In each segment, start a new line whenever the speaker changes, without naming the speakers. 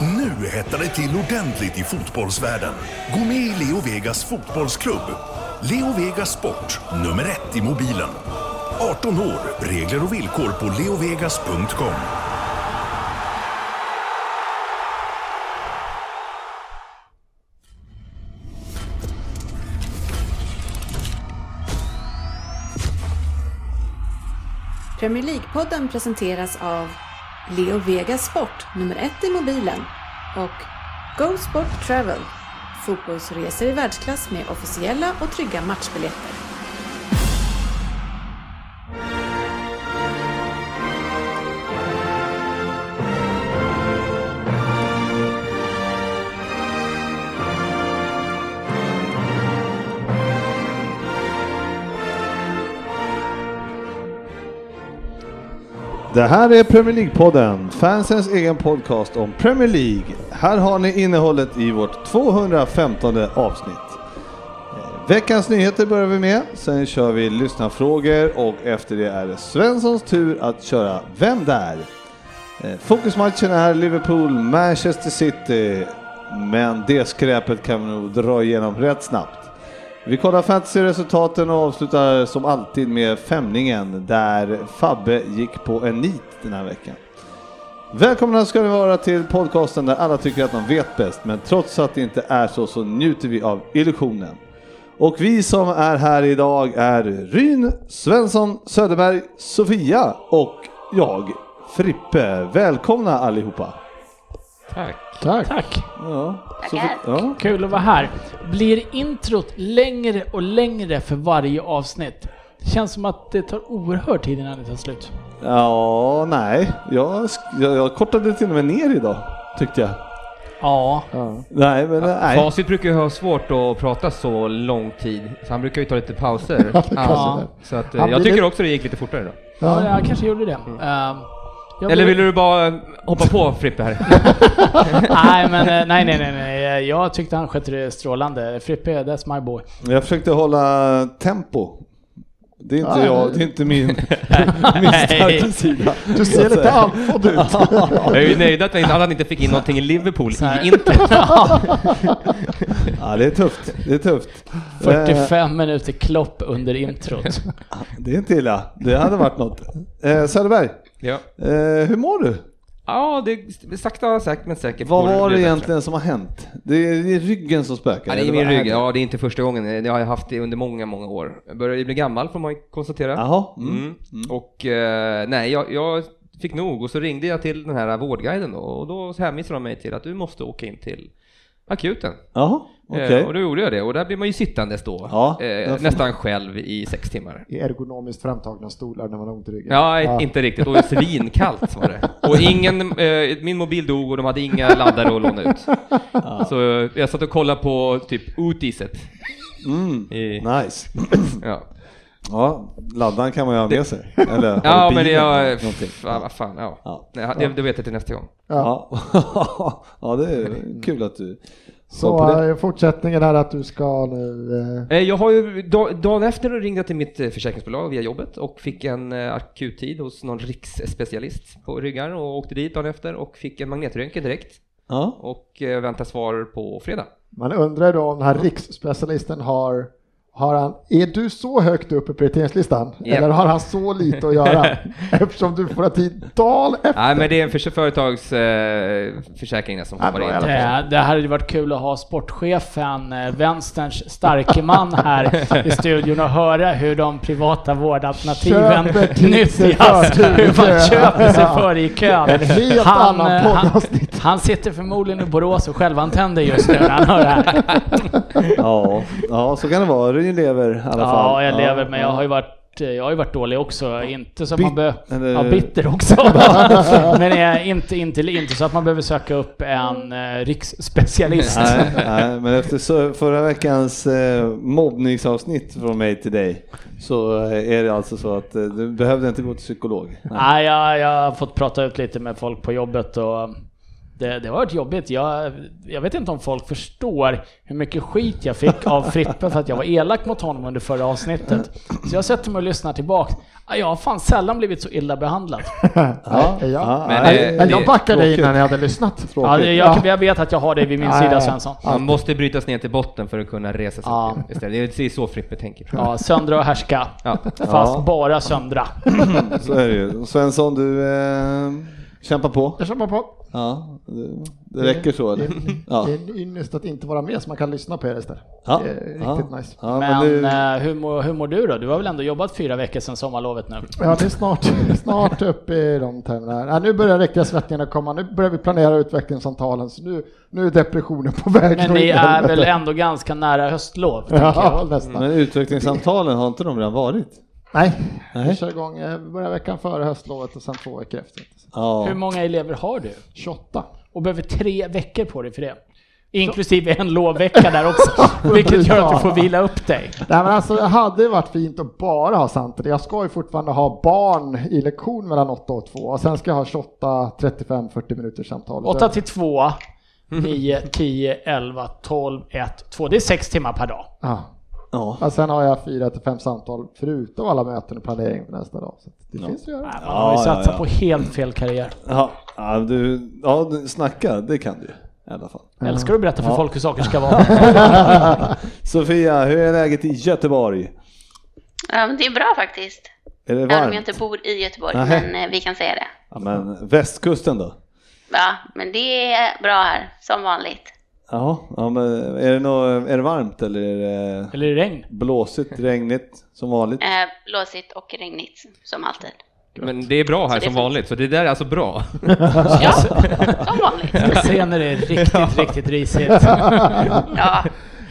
Nu hettar det till ordentligt i fotbollsvärlden. Gå med i Leo Vegas fotbollsklubb. Leo Vegas Sport, nummer ett i mobilen. 18 år, regler och villkor på leovegas.com.
Premier League-podden presenteras av Leo Vegas Sport, nummer ett i mobilen och Go Sport Travel, fotbollsresor i världsklass med officiella och trygga matchbiljetter.
Det här är Premier League-podden, fansens egen podcast om Premier League. Här har ni innehållet i vårt 215 avsnitt. Eh, Veckans nyheter börjar vi med, sen kör vi lyssnarfrågor och efter det är det Svenssons tur att köra Vem där? Eh, Fokusmatchen är Liverpool-Manchester City, men det skräpet kan vi nog dra igenom rätt snabbt. Vi kollar fantasyresultaten och avslutar som alltid med femningen där Fabbe gick på en nit den här veckan. Välkomna ska ni vara till podcasten där alla tycker att de vet bäst, men trots att det inte är så så njuter vi av illusionen. Och vi som är här idag är Ryn, Svensson, Söderberg, Sofia och jag, Frippe. Välkomna allihopa!
Tack.
Tack.
Ja, Sofi- ja.
Kul att vara här. Blir introt längre och längre för varje avsnitt? Känns som att det tar oerhört tid innan det tar slut.
ja nej. Jag, sk- jag, jag kortade till och med ner idag, tyckte jag.
Ja,
Nej, men nej.
Facit brukar ju ha svårt att prata så lång tid, så han brukar ju ta lite pauser. ja. Så att, eh,
Han
jag
blir
tycker
lite-
också det gick lite fortare då.
ja jag kanske gjorde det. Ehm, jag
Mm. Eller
blev-
vill du bara eh, hoppa på Frippe här?
Nej, men eh, nej, nej, nej, nej. Jag tyckte han skötte det strålande. Frippe, that's my boy.
Jag försökte hålla tempo. Det är inte jag, det är inte min, min starka sida.
Du ser lite andfådd ut.
jag är ju nöjd att jag inte, att han inte fick in någonting i Liverpool
Så här.
i introt.
Ja, det är tufft. Det är tufft. Eh,
45 minuter klopp under introt.
det är inte illa. Det hade varit något. Eh, Söderberg,
Ja.
eh, hur mår du?
ja, det är sakta säkert men säkert.
Vad
borde det
var
bli
det
bättre.
egentligen som har hänt? Det är, det är ryggen som spökar.
Ja, det är
eller
min
vad
rygg. Ja, det är inte första gången. Det har jag haft det under många, många år. Jag börjar ju bli gammal får man ju konstatera.
Jaha. Mm.
Mm. Och eh, nej, jag, jag fick nog och så ringde jag till den här vårdguiden då, och då hänvisade de mig till att du måste åka in till akuten.
Jaha, okej.
Eh, och då gjorde jag det och där blir man ju sittandes då,
Ja, där får
eh,
man-
nästan själv i sex timmar.
I ergonomiskt framtagna stolar när man har ont i ryggen.
Ja, inte riktigt. Och svinkallt var det. Och ingen, eh, min mobil dog och de hade inga laddare att låna ut. Så eh, jag satt och kollade på typ Utiset. I,
Mm. Nice.
ja.
Ja, laddaren kan man ju ha med sig. Eller
ja,
eller
men
bilen
jag...
eller någonting.
Fan, vad fan, ja.
Ja.
Nej, Det, det vet jag till nästa gång.
Ja. ja, det är kul att du sa på
Så
det.
eh, fortsättningen är att du ska nu... eh,
Eh, Jag har ju, da- dagen efter ringde jag till mitt eh, försäkringsbolag via jobbet och fick en eh, akuttid hos någon riksspecialist på ryggar och åkte dit dagen efter och fick en magnetröntgen direkt
Ja.
och eh, väntar svar på fredag.
Man undrar då om den här riksspecialisten har... Har han, är du så högt upp i prioriteringslistan?
Ja.
Eller har han så lite att göra? Eftersom du får ha tid dagen efter.
Nej, men det är en förs- företags eh, försäkring där som
Ja,
hoppar
bra,
in.
i alla
Eh, Det, det hade ju varit kul att ha sportchefen, eh, vänsterns starke man här i studion och höra hur de privata vårdalternativen
Köper tid sig
nyttjas.
för
Hur man
tid.
köper sig för i kön.
En helt annan
eh, han,
poddavsnitt.
han sitter förmodligen i Borås och självantänder just nu när han hör det här.
Ja, ja, så kan det vara. Du lever i alla fall.
Ja, jag lever men jag har ju varit eh, jag har ju varit dålig också, inte så att man
Bit-
behöver...
eller-
Ja, bitter också. Men eh, inte, inte, inte så att man behöver söka upp en eh, riksspecialist.
Nej, nej, men efter så, förra veckans eh, mobbningsavsnitt från mig till dig så eh, är det alltså så att eh, du behövde inte gå till psykolog. Nej.
Nej, jag, jag har fått prata ut lite med folk på jobbet och um, det, det har varit jobbigt. Jag, jag vet inte om folk förstår hur mycket skit jag fick av Frippe för att jag var elak mot honom under förra avsnittet. Så jag sätter mig och lyssnar tillbaks. Ah, Jag har fan sällan blivit så illa behandlad.
Ja. Ja. Ja.
Men,
Nej,
eh,
men
det-
jag backade
tråkigt.
innan jag hade lyssnat.
Ja,
Tråkigt.
jag,
Ja.
jag vet att jag har dig vid min
Ja, ja,
sida
ja.
Svensson.
Man måste brytas ner till botten för att kunna resa sig
Ja.
upp istället. Det är precis så Frippe tänker.
Ja, söndra och härska.
Ja.
Fast
Ja.
bara söndra.
Så är det ju. Svensson, du eh, kämpar på.
Jag kämpar på.
Ja, det, det räcker så eller?
Mm.
Ja.
Det är en ynnest att inte vara med så man kan lyssna på er istället.
Ja.
Det är
ja.
riktigt nice.
Ja, men
Men
nu-
eh, hur, mår, hur mår du då? Du har väl ändå jobbat fyra veckor sedan sommarlovet nu?
Ja, det är snart, snart upp i de termerna. här. Ja, nu börjar riktiga svettningarna komma. Nu börjar vi planera utvecklingssamtalen. Så nu, nu är depressionen på väg.
Men
åt
ni är
helvete.
väl ändå ganska nära höstlov?
Ja, nästan.
Men utvecklingssamtalen, har inte de redan varit?
Nej,
Nej.
vi kör igång. eh, Vi börjar veckan före höstlovet och sen två veckor efter.
Hur
Ja.
många elever har du?
28.
Och behöver tre veckor på dig för det. Inklusive en lovvecka där också, vilket gör att du får vila upp dig.
Nej men alltså det hade ju varit fint att bara ha samtidigt. Jag ska ju fortfarande ha barn i lektion mellan 8 och 2 och sen ska jag ha 28, 35, 40 minuters samtal.
8 till 2, 9, 10, 11, 12, 1, 2. Det är 6 timmar per dag.
Ja.
ja.
Och sen har jag 4 till 5 samtal förutom alla möten och planering för nästa dag. Så det finns ju att göra.
Man
Ja,
har ju
ja,
satsat
ja.
på helt fel karriär.
Ja, ja, du, ja, du- snacka, det kan du i alla fall.
Älskar du att berätta för folk hur saker ska vara?
Sofia, hur är läget i Göteborg?
Ja, men det är bra faktiskt.
Är det
Även om jag
varmt?
inte bor i Göteborg,
Nähä.
men eh, vi kan säga det.
Ja, men västkusten då?
Ja, men det är bra här, som vanligt.
Ja, ja men är det, nå är det varmt eller är det
Eller i regn?
blåsigt, regnigt som vanligt?
Eh, blåsigt och regnigt, som alltid.
Men det är bra här
det
som
får-
vanligt, så det där är alltså bra.
Ja, som vanligt.
Jag ser när det är riktigt, riktigt risigt.
Ja,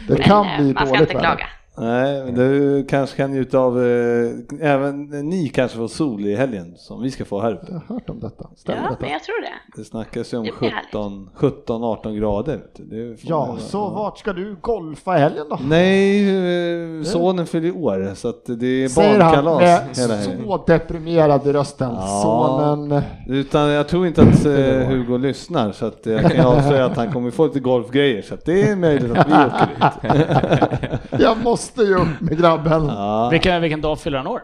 Det
men
kan
eh,
bli
man ska
dåligt
inte
väder.
klaga.
Nej, men du kanske kan njuta av, eh, även ni kanske får sol i helgen som vi ska få här uppe.
Jag har hört om detta. Stämmer
Ja,
detta?
men jag tror det.
Det snackas ju om
Det blir härligt.
17-18 grader. vet du. Det är-
Ja, så vart ska du golfa i helgen då?
Nej, eh, sonen fyller i år så att det är
Säger han med
barnkalas hela helgen.
så deprimerad i rösten.
Ja.
Sonen.
Utan jag tror inte att eh, Hugo lyssnar så att jag kan avslöja att han kommer få lite golfgrejer så att det är möjligt att vi åker dit.
Jag måste ju upp med grabben.
Ja,
Vilken, vilken dag fyller han år?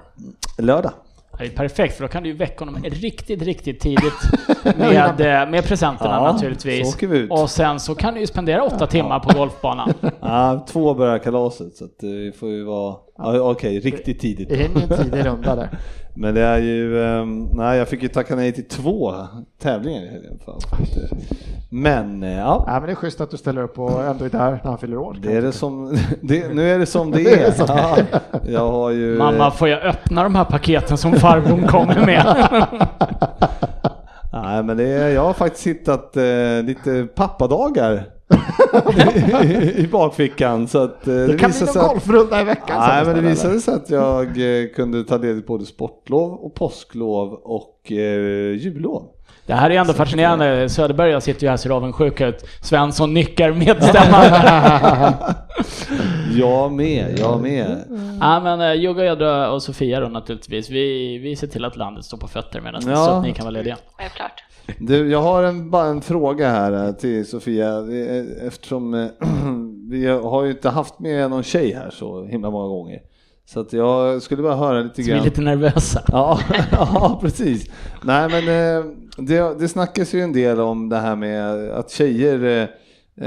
lördag.
Det är perfekt, för då kan du ju väcka honom riktigt, riktigt tidigt med, eh, med presenterna
Ja,
naturligtvis.
så åker vi ut.
Och sen så kan du ju spendera åtta timmar på golfbanan.
Ja, två börjar kalaset så att eh, vi får ju vara, ja, okej, riktigt
Det
tidigt.
hinner ju en tidig runda där.
Men det är ju, eh, nej jag fick ju tacka nej till två tävlingar i helgen. Fan. Men eh, ja,
Nej men det är schysst att du ställer upp och ändå är där när han fyller år.
det är det som, det, nu är det som det är. Ja, jag har ju...
Mamma, får jag öppna de här paketen som farbrorn kommer med?
Nej, men det är, jag har faktiskt hittat eh, lite pappadagar i, i bakfickan. Så att, eh, det,
Det kan bli
visade
någon
sig att-
golfrunda i veckan.
Nej, men
sen,
det
eller?
visade sig att jag eh, kunde ta del av både sportlov och påsklov och eh, jullov.
Det här är ändå fascinerande. Söderberg och jag sitter ju här och ser avundsjuk ut. Svensson nickar medstämmande.
Jag med, jag med.
ja, men eh, Jugge och Edra och Sofia då naturligtvis. Vi, vi ser till att landet står på fötter medan
Ja.
så att ni kan vara lediga.
Självklart.
Du, jag har en, bara en fråga här eh, till Sofia. Eh, Eftersom eh, vi har ju inte haft med någon tjej här så himla många gånger. Så att jag skulle bara höra lite
Så vi är
grann.
lite nervösa.
Ja, ja precis. Nej, men eh, det, det snackas ju en del om det här med att tjejer, eh,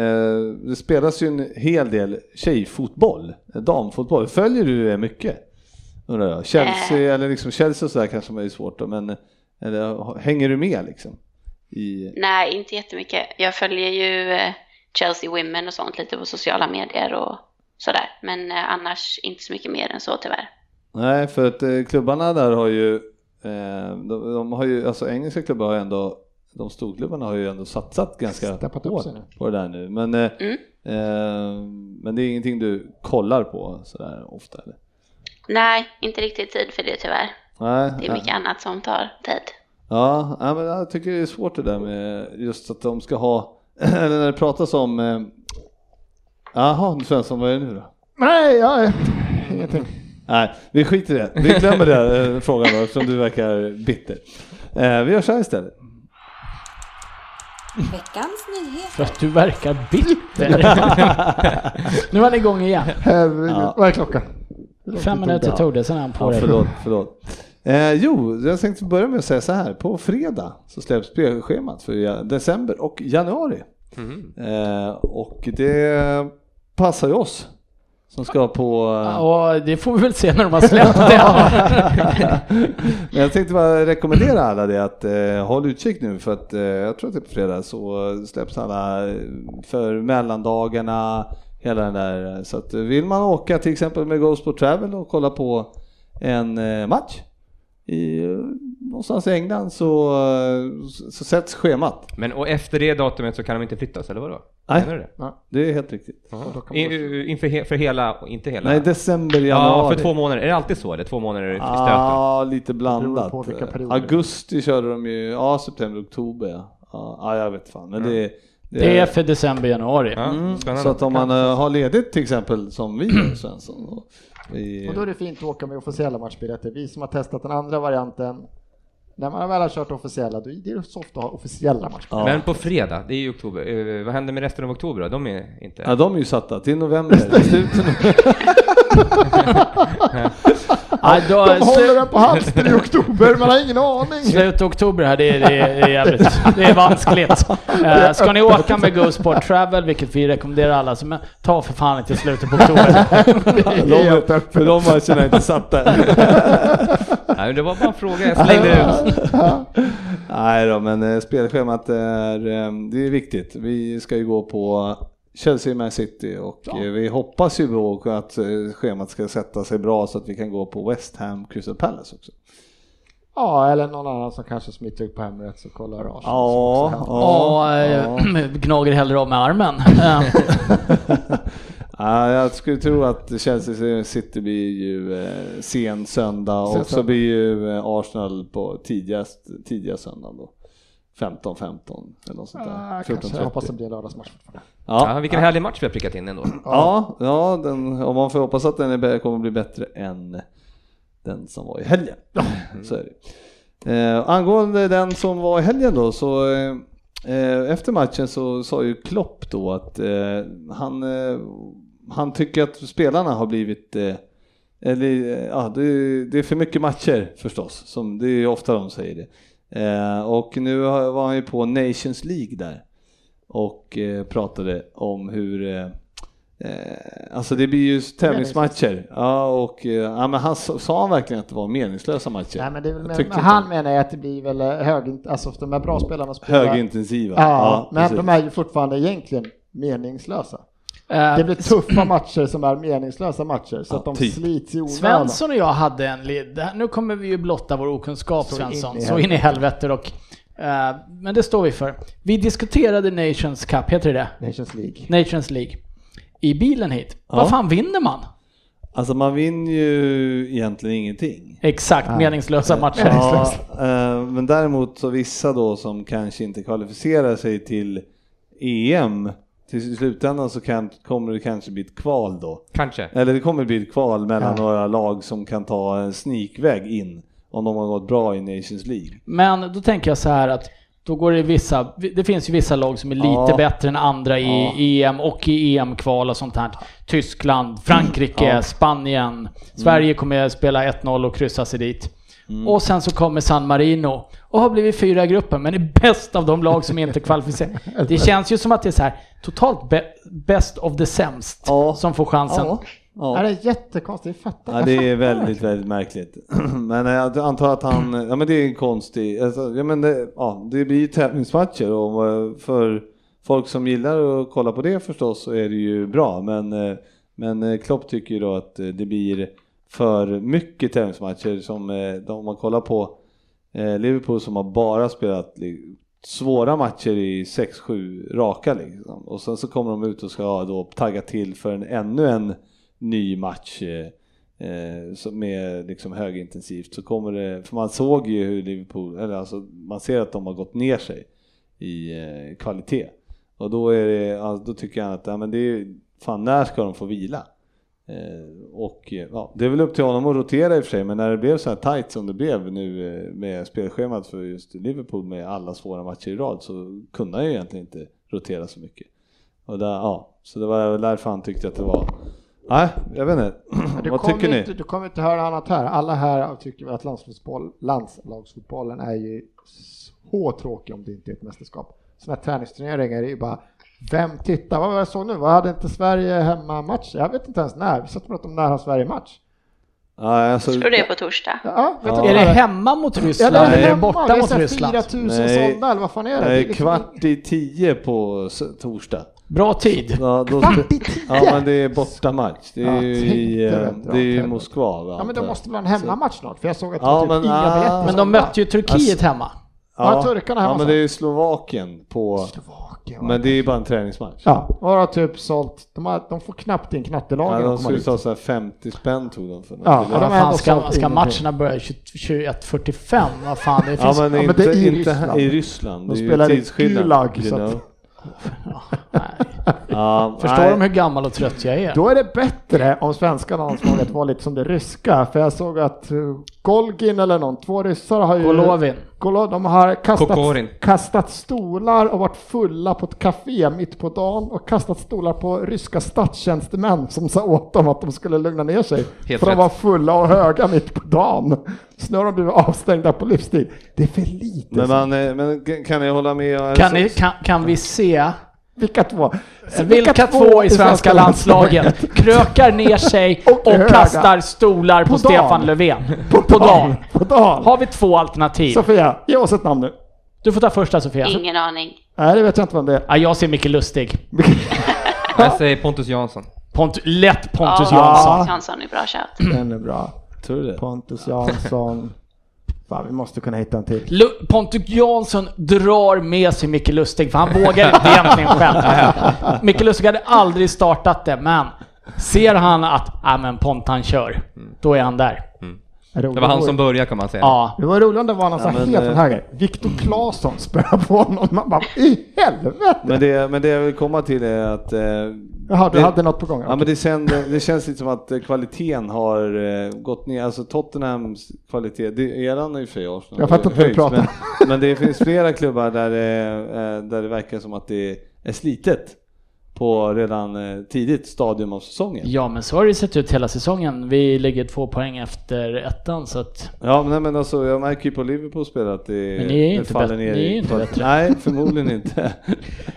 eh, det spelas ju en hel del tjejfotboll, eh, damfotboll. Följer du det mycket? Undrar jag. Chelsea, eller liksom Chelsea och sådär kanske man är svårt då, men eller, hänger du med liksom? I,
Nej, inte jättemycket. Jag följer ju eh, Chelsea Women och sånt lite på sociala medier och sådär. Men eh, annars inte så mycket mer än så tyvärr.
nej, för att eh, klubbarna där har ju, eh, de, de har ju, alltså engelska klubbar har ju ändå, de storklubbarna har ju ändå satsat ganska
Steppat upp
hårt
sig nu.
på det där nu. Men eh,
Mm.
Eh, Men det är ingenting du kollar på sådär ofta eller?
Nej, inte riktigt tid för det tyvärr.
Nej,
Det är
ja.
mycket annat som tar tid.
Ja, ja, men jag tycker det är svårt det där med just att de ska ha, eller när det pratas om, eh, jaha Svensson vad är det nu då?
Nej, jag... Ingenting.
Nej, vi skiter i det. Vi glömmer den eh, frågan då eftersom du verkar bitter. Eh, vi gör så här istället.
Veckans nyhet.
För att du verkar bitter. nu var han igång igen.
Herregud,
Ja.
vad är klockan?
Fem minuter tog det, sen är han på
Ja,
det.
förlåt, förlåt. Eh, jo, jag tänkte börja med att säga så här. På fredag så släpps spelschemat för ja- december och januari. Eh, och det passar ju oss som ska på... eh,
Och det får vi väl se när de har släppt det.
Men jag tänkte bara rekommendera alla det att eh, håll utkik nu för att eh, jag tror att det är på fredag så släpps alla eh, för mellandagarna, hela den där. eh, Så att eh, vill man åka till exempel med Ghost Sport Travel och kolla på en eh, match i, eh, någonstans i England så, eh, så, så sätts schemat.
Men och efter det datumet så kan de inte flyttas, eller vadå?
Nej.
Menar du det?
Det är helt riktigt.
Jaha.
då kan
I,
man-
i- inför he, för hela, inte hela?
Nej, december, januari.
ja, för två månader. Är det alltid så eller? Två månader i stöten?
Ja, lite
Beror
blandat.
på vilka perioder.
Augusti körde de ju, ja september, oktober. ja. Ja, ja, jag vet fan. Men det,
Det är för december, januari.
Ja,
Mm,
spännande.
så att om man eh, har ledigt till exempel som vi gör Svensson. Och vi,
Och då är det fint att åka med officiella matchbiljetter. Vi som har testat den andra varianten, när man väl har kört officiella, då är det så ofta att ha officiella matchbiljetter.
ja.
Men på fredag, det är ju oktober. Eh, vad händer med resten av oktober då? De är inte...
ja, de är ju satta till november. Slut i november.
Nej, då,
De håller
slu,
den på halster i oktober, man har ingen aning.
slut oktober här, det är, det är, det är jävligt... Det är vanskligt. Eh, ska ni åka med Go Sport Travel, vilket vi rekommenderar alla, så men ta för fan inte slutet på oktober.
de, för de matcherna är inte satta.
Nej, men det var bara en fråga jag slängde ut.
Nej då, men eh, spelschemat är, eh, det är viktigt. Vi ska ju gå på Chelsea Man City och eh, vi hoppas ju då att eh, schemat ska sätta sig bra så att vi kan gå på West Ham Crystal Palace också.
Ja, eller någon annan som kanske smiter upp på Emirates och kollar Arsenal.
Ja,
som också händer.
ja,
Och
ja.
eh, gnager hellre av med armen. Eh,
Ja, jag skulle tro att Chelsea City blir ju eh, sen söndag
Sen
och så
söndag.
blir ju eh, Arsenal på tidigast, tidiga söndagen då. 15-15 eller något sånt där.
Ah, kanske. Jag hoppas det
14-30.
blir lördagsmatch fortfarande.
Ja,
Ja,
vilken härlig match vi har prickat in ändå.
ja, ja den, om man får hoppas att den är, bä- kommer bli bättre än den som var i helgen. Så är det. Eh, angående den som var i helgen då så eh, eh, efter matchen så sa ju Klopp då att eh, han, eh, han tycker att spelarna har blivit eh, eller, eh, ja, det, det är för mycket matcher förstås, som det är ju ofta de säger det. Eh, och nu har- var han ju på Nations League där och eh, pratade om hur eh, eh, Alltså det blir ju tävlingsmatcher. Ja, och eh, ja, men han, sa- sa han verkligen att det var meningslösa matcher?
Nej, men det är väl
Jag
men,
tyckte
han
inte-
menar ju att det blir väl hög, alltså de här bra spelarna spelar.
Högintensiva.
Ja, men
precis.
de är ju fortfarande egentligen meningslösa.
eh,
Det blir tuffa matcher som är meningslösa matcher, så
Ja,
att de
typ.
slits i onödan.
Svensson och jag hade en... li- det här- Nu kommer vi ju blotta vår okunskap
Så in i
Svensson,
helvete.
så in i helvete och... eh, men det står vi för. Vi diskuterade Nations Cup, heter det
Nations League.
det? Nations League. I bilen hit. Vad fan vinner man?
Alltså man vinner ju egentligen ingenting.
Exakt, meningslösa matcher.
Ja, eh, men däremot så vissa då som kanske inte kvalificerar sig till EM, till slutändan så kan, kommer det kanske bli ett kval då.
Kanske.
Eller det kommer bli ett kval mellan några lag som kan ta en sneakväg in om de har gått bra i Nations League.
Men då tänker jag så här att då går det vissa, det finns ju vissa lag som är lite
Ja.
bättre än andra i EM och i EM-kval och sånt här. Tyskland, Frankrike, Spanien.
Mm.
Sverige kommer att spela 1-0 och kryssa sig dit. Och sen så kommer San Marino och har blivit fyra i gruppen men är bäst av de lag som inte kvalificerar. Det känns ju som att det är så här totalt bä- bäst av det sämst
Ja.
som får chansen.
Ja. Ja.
Ja, det är jättekonstigt, jag fattar
Ja, det är väldigt, väldigt märkligt. Men jag antar att han, ja men det är en konstig, alltså, ja, men det, ja, det blir ju tävlingsmatcher och eh, för folk som gillar att kolla på det förstås så är det ju bra. Men, eh, men eh, Klopp tycker ju då att eh, det blir för mycket tävlingsmatcher som eh, de- om man kollar på eh, Liverpool som har bara spelat li- svåra matcher i 6-7 raka liksom. Och sen så kommer de ut och ska då tagga till för en, ännu en ny match. Eh, eh, som är liksom högintensivt så kommer det, för man såg ju hur Liverpool, eller alltså man ser att de har gått ner sig i eh, kvalitet och då är det, alltså, då tycker jag att ja, men det är ju- fan när ska de få vila? Eh, Och eh, ja, det är väl upp till honom att rotera i och för sig, men när det blev så här tight som det blev nu eh, med spelschemat för just Liverpool med alla svåra matcher i rad så kunde han ju egentligen inte rotera så mycket. Och där, ja, så det var väl därför han tyckte att det var... Nej, jag vet inte.
Men Du
Vad
kommer
tycker ni?
Inte, du kommer inte höra annat här. Alla här tycker att landslagsfotboll, landslagsfotbollen är ju så tråkig om det inte är ett mästerskap. Sådana här träningsturneringar är ju bara vem tittar? Vad var det jag såg nu? Vad hade inte Sverige hemmamatch? Jag vet inte ens när. Vi satt och pratade om när har Sverige match?
Nej, alltså,
Tror det är på torsdag.
Ja, vet
Ja.
du
Är det
vad
hemma mot Ryssland
Ja,
eller är det
hemma.
borta
Det är
mot
så här
Ryssland?
4000
Nej.
sålda eller vad fan är liksom- det? det
nej,
är
kvart i tio på s- torsdag.
Bra tid.
Ja, då,
Kvart i tio?
ja men det är bortamatch. Det är
Ja,
ju i,
tänkte
eh,
väl dra
det är ju i
åt
Moskva va?
Ja men
antar
det
jag.
måste vara en hemmamatch snart för jag såg att det
Ja,
var typ
men,
inga
ah.
biljetter
Men
sålda.
de mötte ju Turkiet hemma.
Ja, turkarna hemma
Ja men
sen.
det är ju Slovakien på...
Slovakien, va?
Men det är ju bara en träningsmatch.
Ja, och har typ sålt, de, har, de får knappt in
Ja,
knattelagen.
de
att komma
skulle
dit.
ta såhär 50 spänn tog de för något.
Ja,
Eller-
Ja,
de
vad
har ändå
fan ska,
sålt
ska
ingenting.
matcherna börja 20- 21.45? Vad fan, det
ja
finns...
men,
men
inte,
det är i
inte här-
Ryssland.
i Ryssland.
De
det är ju
spelar i
tidsskillnad,
Gulag,
you
så
know.
att-
nej.
Ja,
Förstår
nej.
de hur gammal och trött jag är?
Då är det bättre om svenska landslaget var lite som det ryska, för jag såg att eh, Golgin eller någon, två ryssar har ju...
Golovin.
Golo, de har kastat,
Kokorin.
kastat stolar och varit fulla på ett café mitt på dagen och kastat stolar på ryska statstjänstemän som sa åt dem att de skulle lugna ner sig.
Helt
för
rätt.
de var fulla och höga mitt på dagen. Så nu har de blivit avstängda på livstid. Det är för lite.
Men, man, eh, men kan ni hålla med?
Kan, ni, kan, kan vi se
Vilka två?
vilka två i svenska landslaget krökar ner sig
Och
och
höga.
kastar stolar på,
På dagen.
Stefan Löfven?
På
På dagen.
dagen. På dagen.
Har vi två alternativ?
Sofia, ge oss ett namn nu.
Du får ta första Sofia.
Ingen aning.
Nej, det vet jag inte vem det är.
Ja, jag ser mycket lustig.
Jag säger Pontus Jansson.
Pont, lätt Pontus
Ja,
Jansson.
Pontus Jansson är bra shout.
Den är bra.
Tror du det?
Pontus Jansson. Fan, vi måste kunna hitta en till.
Lu- Pontus Jansson drar med sig Micke Lustig, för han vågar inte egentligen själv. Micke Lustig hade aldrig startat det, men ser han att ja men Pont han kör, då är han där.
Det var han som började kan man säga.
Ja.
Det var roligt om det var någon sån
Ja,
här
men,
helt
eh,
från höger. Viktor Claesson spöade på honom. Man bara, i helvete!
Men det, men det jag vill komma till är att... eh,
Jaha, du
det,
hade något på gång?
Ja, men det, känd, det känns lite som att eh, kvaliteten har eh, gått ner. Alltså Tottenhams kvalitet, det är eran i och för sig Arsenal.
Jag fattar inte vad du
höjts,
pratar
Men, men det finns flera klubbar där det, eh, där det verkar som att det är slitet på redan eh, tidigt stadium av säsongen.
ja, men så har det sett ut hela säsongen. Vi ligger två poäng efter ettan, så att
Ja, men, nej, men alltså, jag märker ju på Liverpools spel att det,
Men ni är
det
inte
faller
bättre-
ner.
ni är
i-
inte bättre.
Nej, förmodligen inte.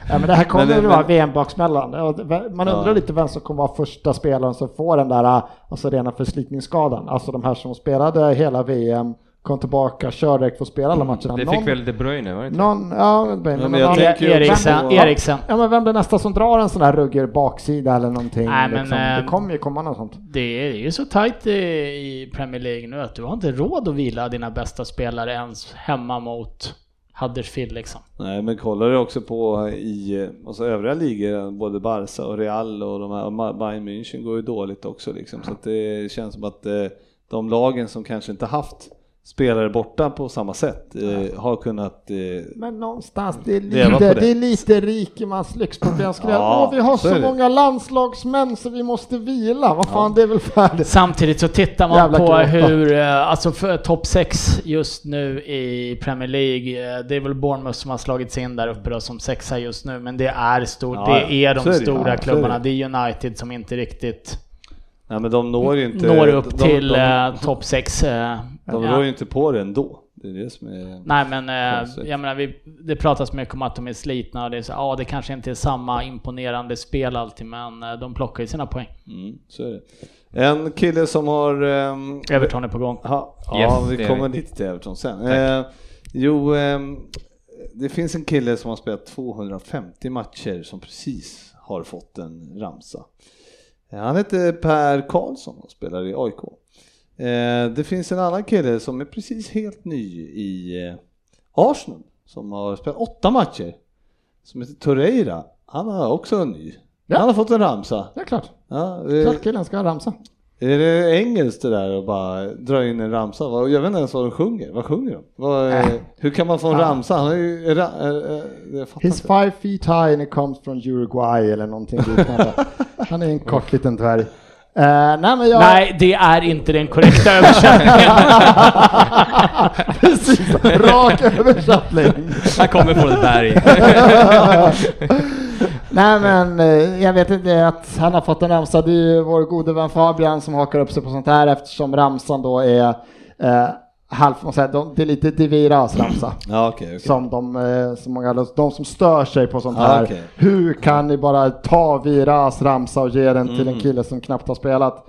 Ja, men det här kommer
Men-
ju vara
men-
VM-baksmällan. Man undrar
Ja.
lite vem som kommer vara första spelaren som får den där äh, alltså rena förslitningsskadan. Alltså de här som spelade hela VM, kom tillbaka, kör direkt, får spela alla matcherna.
Det
Någon-
fick väl De Bruyne, var det inte?
Någon, ja, men,
men
någon
jag
annan-
tänker ju också
Eriksen,
på-
Eriksen.
Ja, men vem blir nästa som drar en sån här ruggig baksida eller någonting?
Nej, men,
liksom.
ehm,
Det kommer ju komma något sånt.
Det är ju så tajt i- i Premier League nu att du har inte råd att vila dina bästa spelare ens hemma mot Huddersfield liksom.
Nej, men kollar du också på i eh, alltså övriga ligor, både Barca och Real och de här, och Ma- Bayern München går ju dåligt också liksom. Så att det känns som att eh, de lagen som kanske inte haft spelare borta på samma sätt eh, har kunnat... eh,
Men någonstans, det är
Leva
lite,
på
det.
det.
är lite rikemans lyxproblem. Skulle jag-
Ja,
Åh, vi har
så
så,
är det.
många landslagsmän så vi måste vila. Vad fan, det är väl färdigt.
Samtidigt så tittar man
Jävla
på
gråta.
hur, eh, alltså för topp 6 just nu i Premier League, eh, det är väl Bournemouth som har slagits in där uppe då som sexa just nu, men det är stort,
Ja, ja.
det är
Så
de
är det.
stora
Ja, så är
klubbarna,
det.
det är United som inte riktigt
Nej, men de når ju inte...
når upp
de,
till
De, de,
eh, topp 6. eh,
de
ja.
rår ju inte på det ändå. Det är det som är...
Nej men eh,
Konstigt.
jag menar, vi, det pratas mycket om att de är slitna och det är så, ja det kanske inte är samma imponerande spel alltid men eh, de plockar ju sina poäng.
Mm, så är det. En kille som har... ehm,
Everton är på gång.
Ja,
Yes,
ja
det
vi
är
kommer
vi.
lite till Everton sen. Eh, jo, ehm, det finns en kille som har spelat 250 matcher som precis har fått en ramsa. Eh, Han heter Per Karlsson och spelar i AIK. Eh, det finns en annan kille som är precis helt ny i eh, Arsenal som har spelat åtta matcher som heter Torreira. Han har också en ny.
Ja.
Han har fått en ramsa.
Det är klart.
Ja, eh,
Klart killen ska ha ramsa.
är det engelskt det där att bara dra in en ramsa? Vad- Jag vet inte ens vad de sjunger. Vad sjunger de? Vad, eh, hur kan man få en ramsa? Han är ju... Ra, eh, eh, jag fattar
He's
inte.
five feet high and he comes from Uruguay eller någonting liknande. Han är en kort liten dvärg. Eh, nej, men jag...
Nej, det är inte den korrekta översättningen.
Precis, rak översättning.
Han kommer från ett berg.
Nej men eh, jag vet inte att han har fått en ramsa. Det är ju vår gode vän Fabian som hakar upp sig på sånt här eftersom ramsan då är eh, halv, man säger, de, det är lite Diviras ramsa.
Ja, okej. Mm, okej.
Som de, eh, som många, de som stör sig på sånt
Ja,
här.
okej.
Hur kan ni bara ta Viras ramsa och ge den
Mm.
till en kille som knappt har spelat?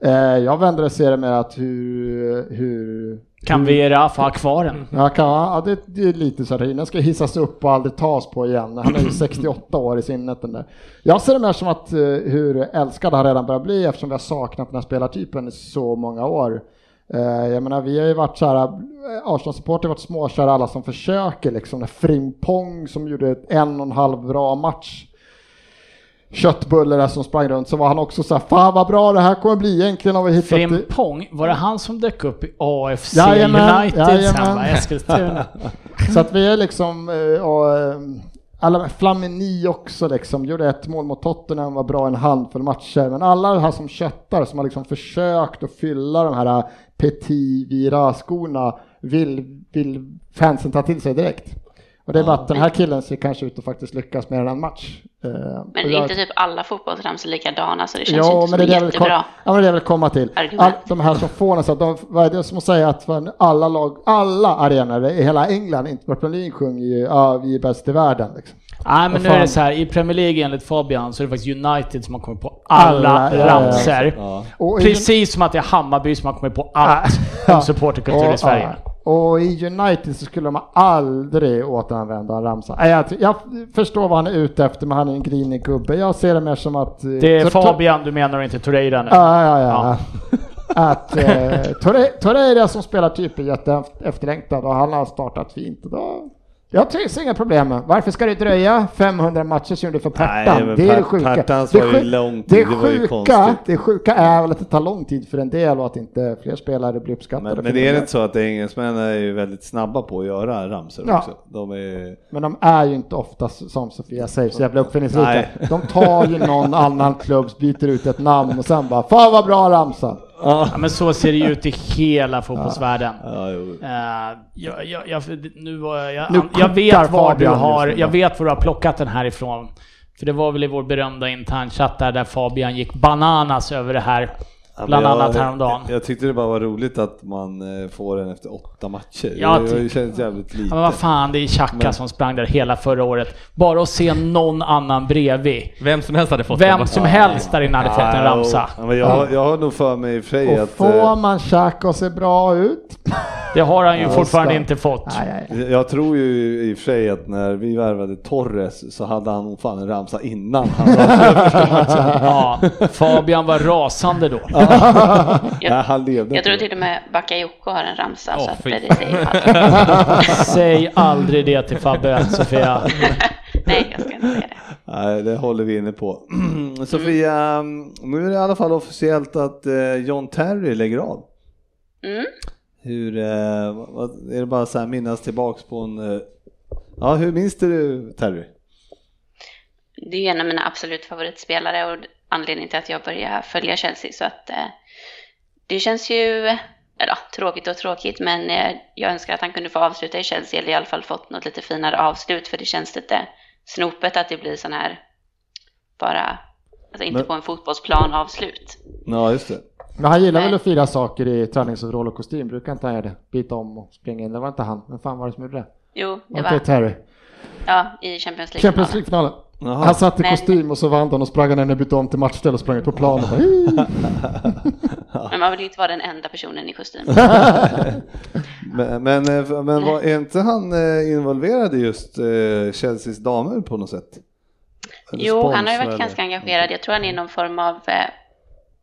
Eh, jag vänder och ser det mer att hur, hur
kan vi i alla fall ha kvar den?
Ja, kan, ja det, det är lite så här. Den ska hissas upp och aldrig tas på igen. Han är ju 68 år i sinnet den där. Jag ser det mer som att eh, hur älskad han redan börjar bli eftersom vi har saknat den här spelartypen i så många år. Eh, jag menar, vi har ju varit så här, eh, Arsenal-supportrar har varit småkära alla som försöker liksom. När Frimpong som gjorde ett en och en halv bra match köttbulle där som sprang runt så var han också så här, fan vad bra det här kommer bli egentligen om vi hittat
Frimpong, var det han som dök upp i AFC
Jajamän,
United?
jajamän.
Han var i Eskilstuna.
Så att vi är liksom, eh, och, eh, alla, Flamini också liksom, gjorde ett mål mot Tottenham, var bra en handfull matcher. Men alla de här som köttar, som har liksom försökt att fylla de här eh, Petit Vira-skorna, vill, vill fansen ta till sig direkt. Och det är bara att den här killen ser kanske ut att faktiskt lyckas mer än en match. Eh,
Men
och
är
jag-
inte typ alla fotbollsramsor likadana så det
Ja,
känns inte
men
som
det är det jag vill
jättebra.
komma, ja, men det jag vill komma till.
argument.
All, de här som får den, så att de, vad är det som att säga att för alla lag, alla arenor i hela England, inte bara Premier League, sjunger ju ja, vi är bäst i världen. Liksom.
Nej men nu
Vad
är det
fan.
så här, i Premier League enligt Fabian så är det faktiskt United som har kommit på alla,
Alla, ja,
ramsor.
Ja.
Och i-
Precis som att det är Hammarby som har kommit på allt om supporterkultur
Och-
i Sverige.
ja. Och i United så skulle de aldrig återanvända en ramsa. Nej, Jag, jag förstår vad han är ute efter, men han är en grinig gubbe. Jag ser det mer som att... eh,
Det är
så-
Fabian du menar och inte Torreira nu.
Ja, ja, ja. Att eh, Torre- Torreira som spelar typ är jätteefterlängtad och han har startat fint. Och Då, jag trivs inga problem med. Varför ska det dröja 500 matcher som gjorde för
Nej,
Pertan?
men
det är
Per-
det sjuka.
Pertans
det,
var ju
sju-
lång tid,
det,
det var ju
sjuka,
konstigt.
det sjuka är väl att det tar lång tid för en del och att inte fler spelare blir uppskattade.
Men,
för
men det är inte så att engelsmännen är ju väldigt snabba på att göra ramsor
Ja.
också? De är...
Men de är ju inte ofta som Sofia säger, så jävla uppfinningsrika.
Nej.
De tar ju någon annan klubb, byter ut ett namn och sen bara Fan vad bra ramsa!
Ja, men så ser det ju ut i hela fotbollsvärlden.
Ja, jo.
Eh, jag, jag, jag, nu var jag,
Nu
jag, jag vet
kokar
var du
Fabian
har,
just nu,
jag
va?
vet var du har plockat den här ifrån. För det var väl i vår berömda internchatt där, där Fabian gick bananas över det här.
Ja, men
Bland
jag,
annat häromdagen.
Jag, jag tyckte det bara var roligt att man eh, får den efter åtta matcher.
Jag
Jag det,
tycker-
det känns jävligt lite.
Ja, men vad fan, det är Xhaka som sprang där hela förra året. Bara att se någon annan bredvid.
Vem som helst hade fått den.
Vem
bara.
som helst där inne hade fått
Ja,
en ramsa.
Ja, men jag, jag har nog för mig i och för sig
Och
att...
får
eh,
man tjack och ser bra ut?
Det har han ju
Ja,
fortfarande
just det.
inte fått.
Nej, nej.
Jag tror ju i och för sig att när vi värvade Torres så hade han nog fan en ramsa innan han var
Ja, Fabian var rasande då.
Nej, han levde
Jag tror
inte.
till och med Bakayoko har en ramsa
Åh,
så att
fy.
det säger allt.
Säg aldrig det till Fabbe, Sofia.
Nej, jag ska inte säga det.
Nej, det håller vi inne på.
Mm.
Sofia, nu är det i alla fall officiellt att eh, John Terry lägger av.
Mm.
Hur, eh, vad- vad, är det bara så här minnas tillbaks på en... Eh, ja, hur minns du Terry?
Det är ju en av mina absolut favoritspelare och anledningen till att jag börjar följa Chelsea. Så att eh, det känns ju eller, ja, tråkigt och tråkigt, men eh, jag önskar att han kunde få avsluta i Chelsea eller i alla fall fått något lite finare avslut, för det känns lite snopet att det blir sån här bara, alltså inte
Men-
på en fotbollsplan avslut.
Ja, just det.
Men han gillar
Nej.
väl att fira saker i träningsoverall och kostym, brukar inte han göra det? Byta om och springa in, det var inte han. Men fan var det som gjorde det?
Jo, det
Var inte det
var
Terry?
ja, i Champions League.
Champions League-finalen.
Jaha.
Han satt i
Men-
kostym och så vann han och sprang han in och bytte om till matchställ och sprang ut på planen. och bara, "Hii!"
Men man vill ju inte vara den enda personen i kostym.
Men, men, eh, men var
Mm.
är inte han eh, involverad i just eh, Chelseas damer på något sätt? Eller
Jo, han har ju
sponsrar
varit
eller?
ganska engagerad. Jag tror han är någon form av eh,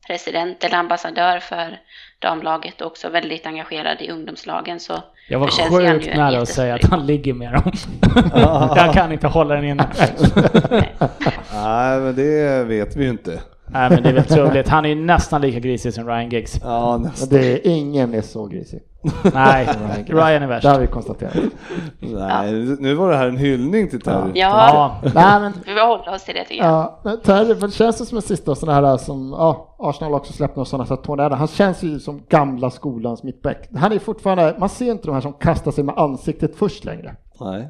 president eller ambassadör för damlaget och också väldigt engagerad i ungdomslagen. Så
Jag var
för Chelsea är han ju
sjukt
en
nära att säga att
jättestor-
han ligger med dem. Jag kan inte hålla den inne.
Nej, men det vet vi ju inte.
Nej men det är väl trevligt. Han är ju nästan lika grisig som Ryan Giggs.
Ja,
Men
nästan.
det är ingen är så grisig.
Nej, Ryan är värst.
Det har vi konstaterat.
Nej, nu var det här en hyllning till Terry.
Ja,
Ja,
Nej, men,
vi håller oss till det tycker jag.
ja, men Terry, för det känns det som en sista sån här eh, som, ja, Arsenal har också släppt några sådana, så att Tornado, han känns ju som gamla skolans mittback. Han är fortfarande, man ser inte de här som kastar sig med ansiktet först längre.
Nej.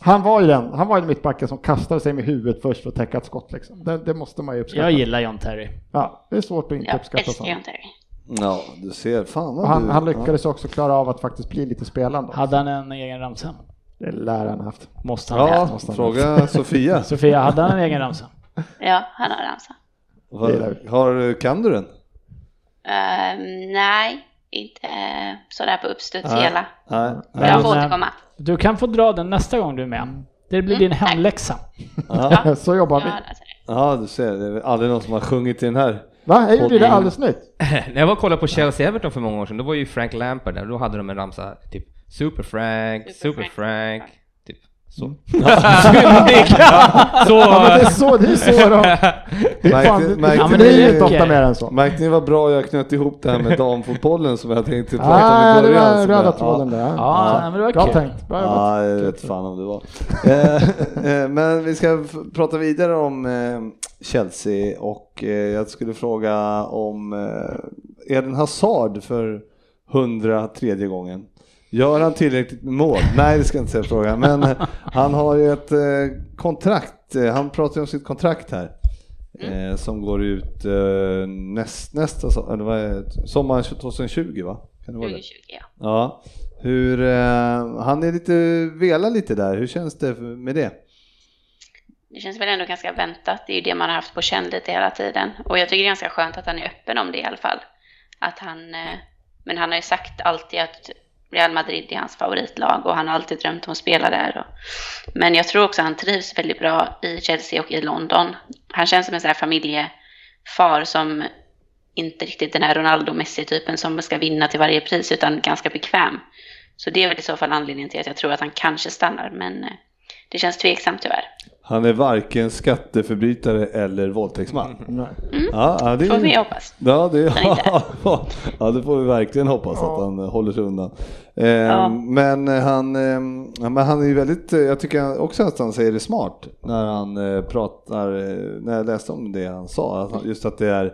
Han var ju den, han var ju den mittbacken som kastade sig med huvudet först för att täcka ett skott liksom. Det, det måste man ju uppskatta.
jag gillar John Terry.
Ja, det är svårt att inte
Jag
uppskatta
älskar
sånt.
John Terry.
Ja, du ser. Fan vad
Och han,
du...
han lyckades också klara av att faktiskt bli lite spelande.
Hade han en egen ramsa?
Det lär han ha haft.
Måste han ha
Ja,
haft.
ja fråga Sofia.
Sofia, hade han en egen ramsa?
Ja, han har ramsa.
Har, har, kan du den?
Eh, nej, inte uh, sådär på uppstuds
Nej.
hela.
Nej.
Men jag
Men,
får
eh,
återkomma.
Du kan få dra den nästa gång du är med. Det blir din hemläxa.
Ja.
Så jobbar vi.
Ja, alltså,
ja, du ser. Det är väl aldrig någon som har sjungit i den här.
Va? Jag gjorde det
Podden.
alldeles nytt.
När jag var och kollade på Chelsea-Everton för många år sedan, då var ju Frank Lampard där, då hade de en ramsa typ Super Frank, Super Frank, typ så. Ja, så,
Ja, men det är så, det är så de... Det är fan,
Märkte-
det,
märkte
det, det,
ni-
är ju inte ofta mer än så.
Märkte ni vad bra jag knöt ihop det här med damfotbollen som jag tänkte prata om
Ah,
i
det
början?
var den
som jag-
röda tråden där.
Ja, men det var
Bra
kul.
tänkt. Bra jobbat.
Ja, jag vet fan om det var. Eh, eh, Men vi ska f- prata vidare om eh, Chelsea och eh, jag skulle fråga om eh, Eden Hazard för 103 gången. Gör han tillräckligt med mål? Nej, det ska jag inte säga frågan. Men eh, han har ju ett eh, kontrakt. Eh, Han pratar ju om sitt kontrakt här.
Mm.
eh, Som går ut eh, näst, nästa so- eller vad är det? sommaren 2020 va? Kan det vara det?
2020 ja.
Ja, hur, eh, han är lite, velar lite där, hur känns det med det?
Det känns väl ändå ganska väntat. Det är ju det man har haft på känn lite hela tiden. Och jag tycker det är ganska skönt att han är öppen om det i alla fall. Att han, eh, men han har ju sagt alltid att Real Madrid är hans favoritlag och han har alltid drömt om att spela där. Och, men jag tror också han trivs väldigt bra i Chelsea och i London. Han känns som en sån här familjefar som inte riktigt den här Ronaldo-Messi-typen som ska vinna till varje pris utan ganska bekväm. Så det är väl i så fall anledningen till att jag tror att han kanske stannar. Men eh, det känns tveksamt tyvärr.
Han är varken skatteförbrytare eller våldtäktsman. Ja, ja, det
Får vi hoppas.
Ja det,
Han är
ja, det får vi verkligen hoppas att han eh, håller sig undan. Eh, Men eh, han, eh, ja, men han är ju väldigt, eh, jag tycker också att han säger det smart när han eh, pratar, eh, när jag läste om det han sa, att han- just att det är,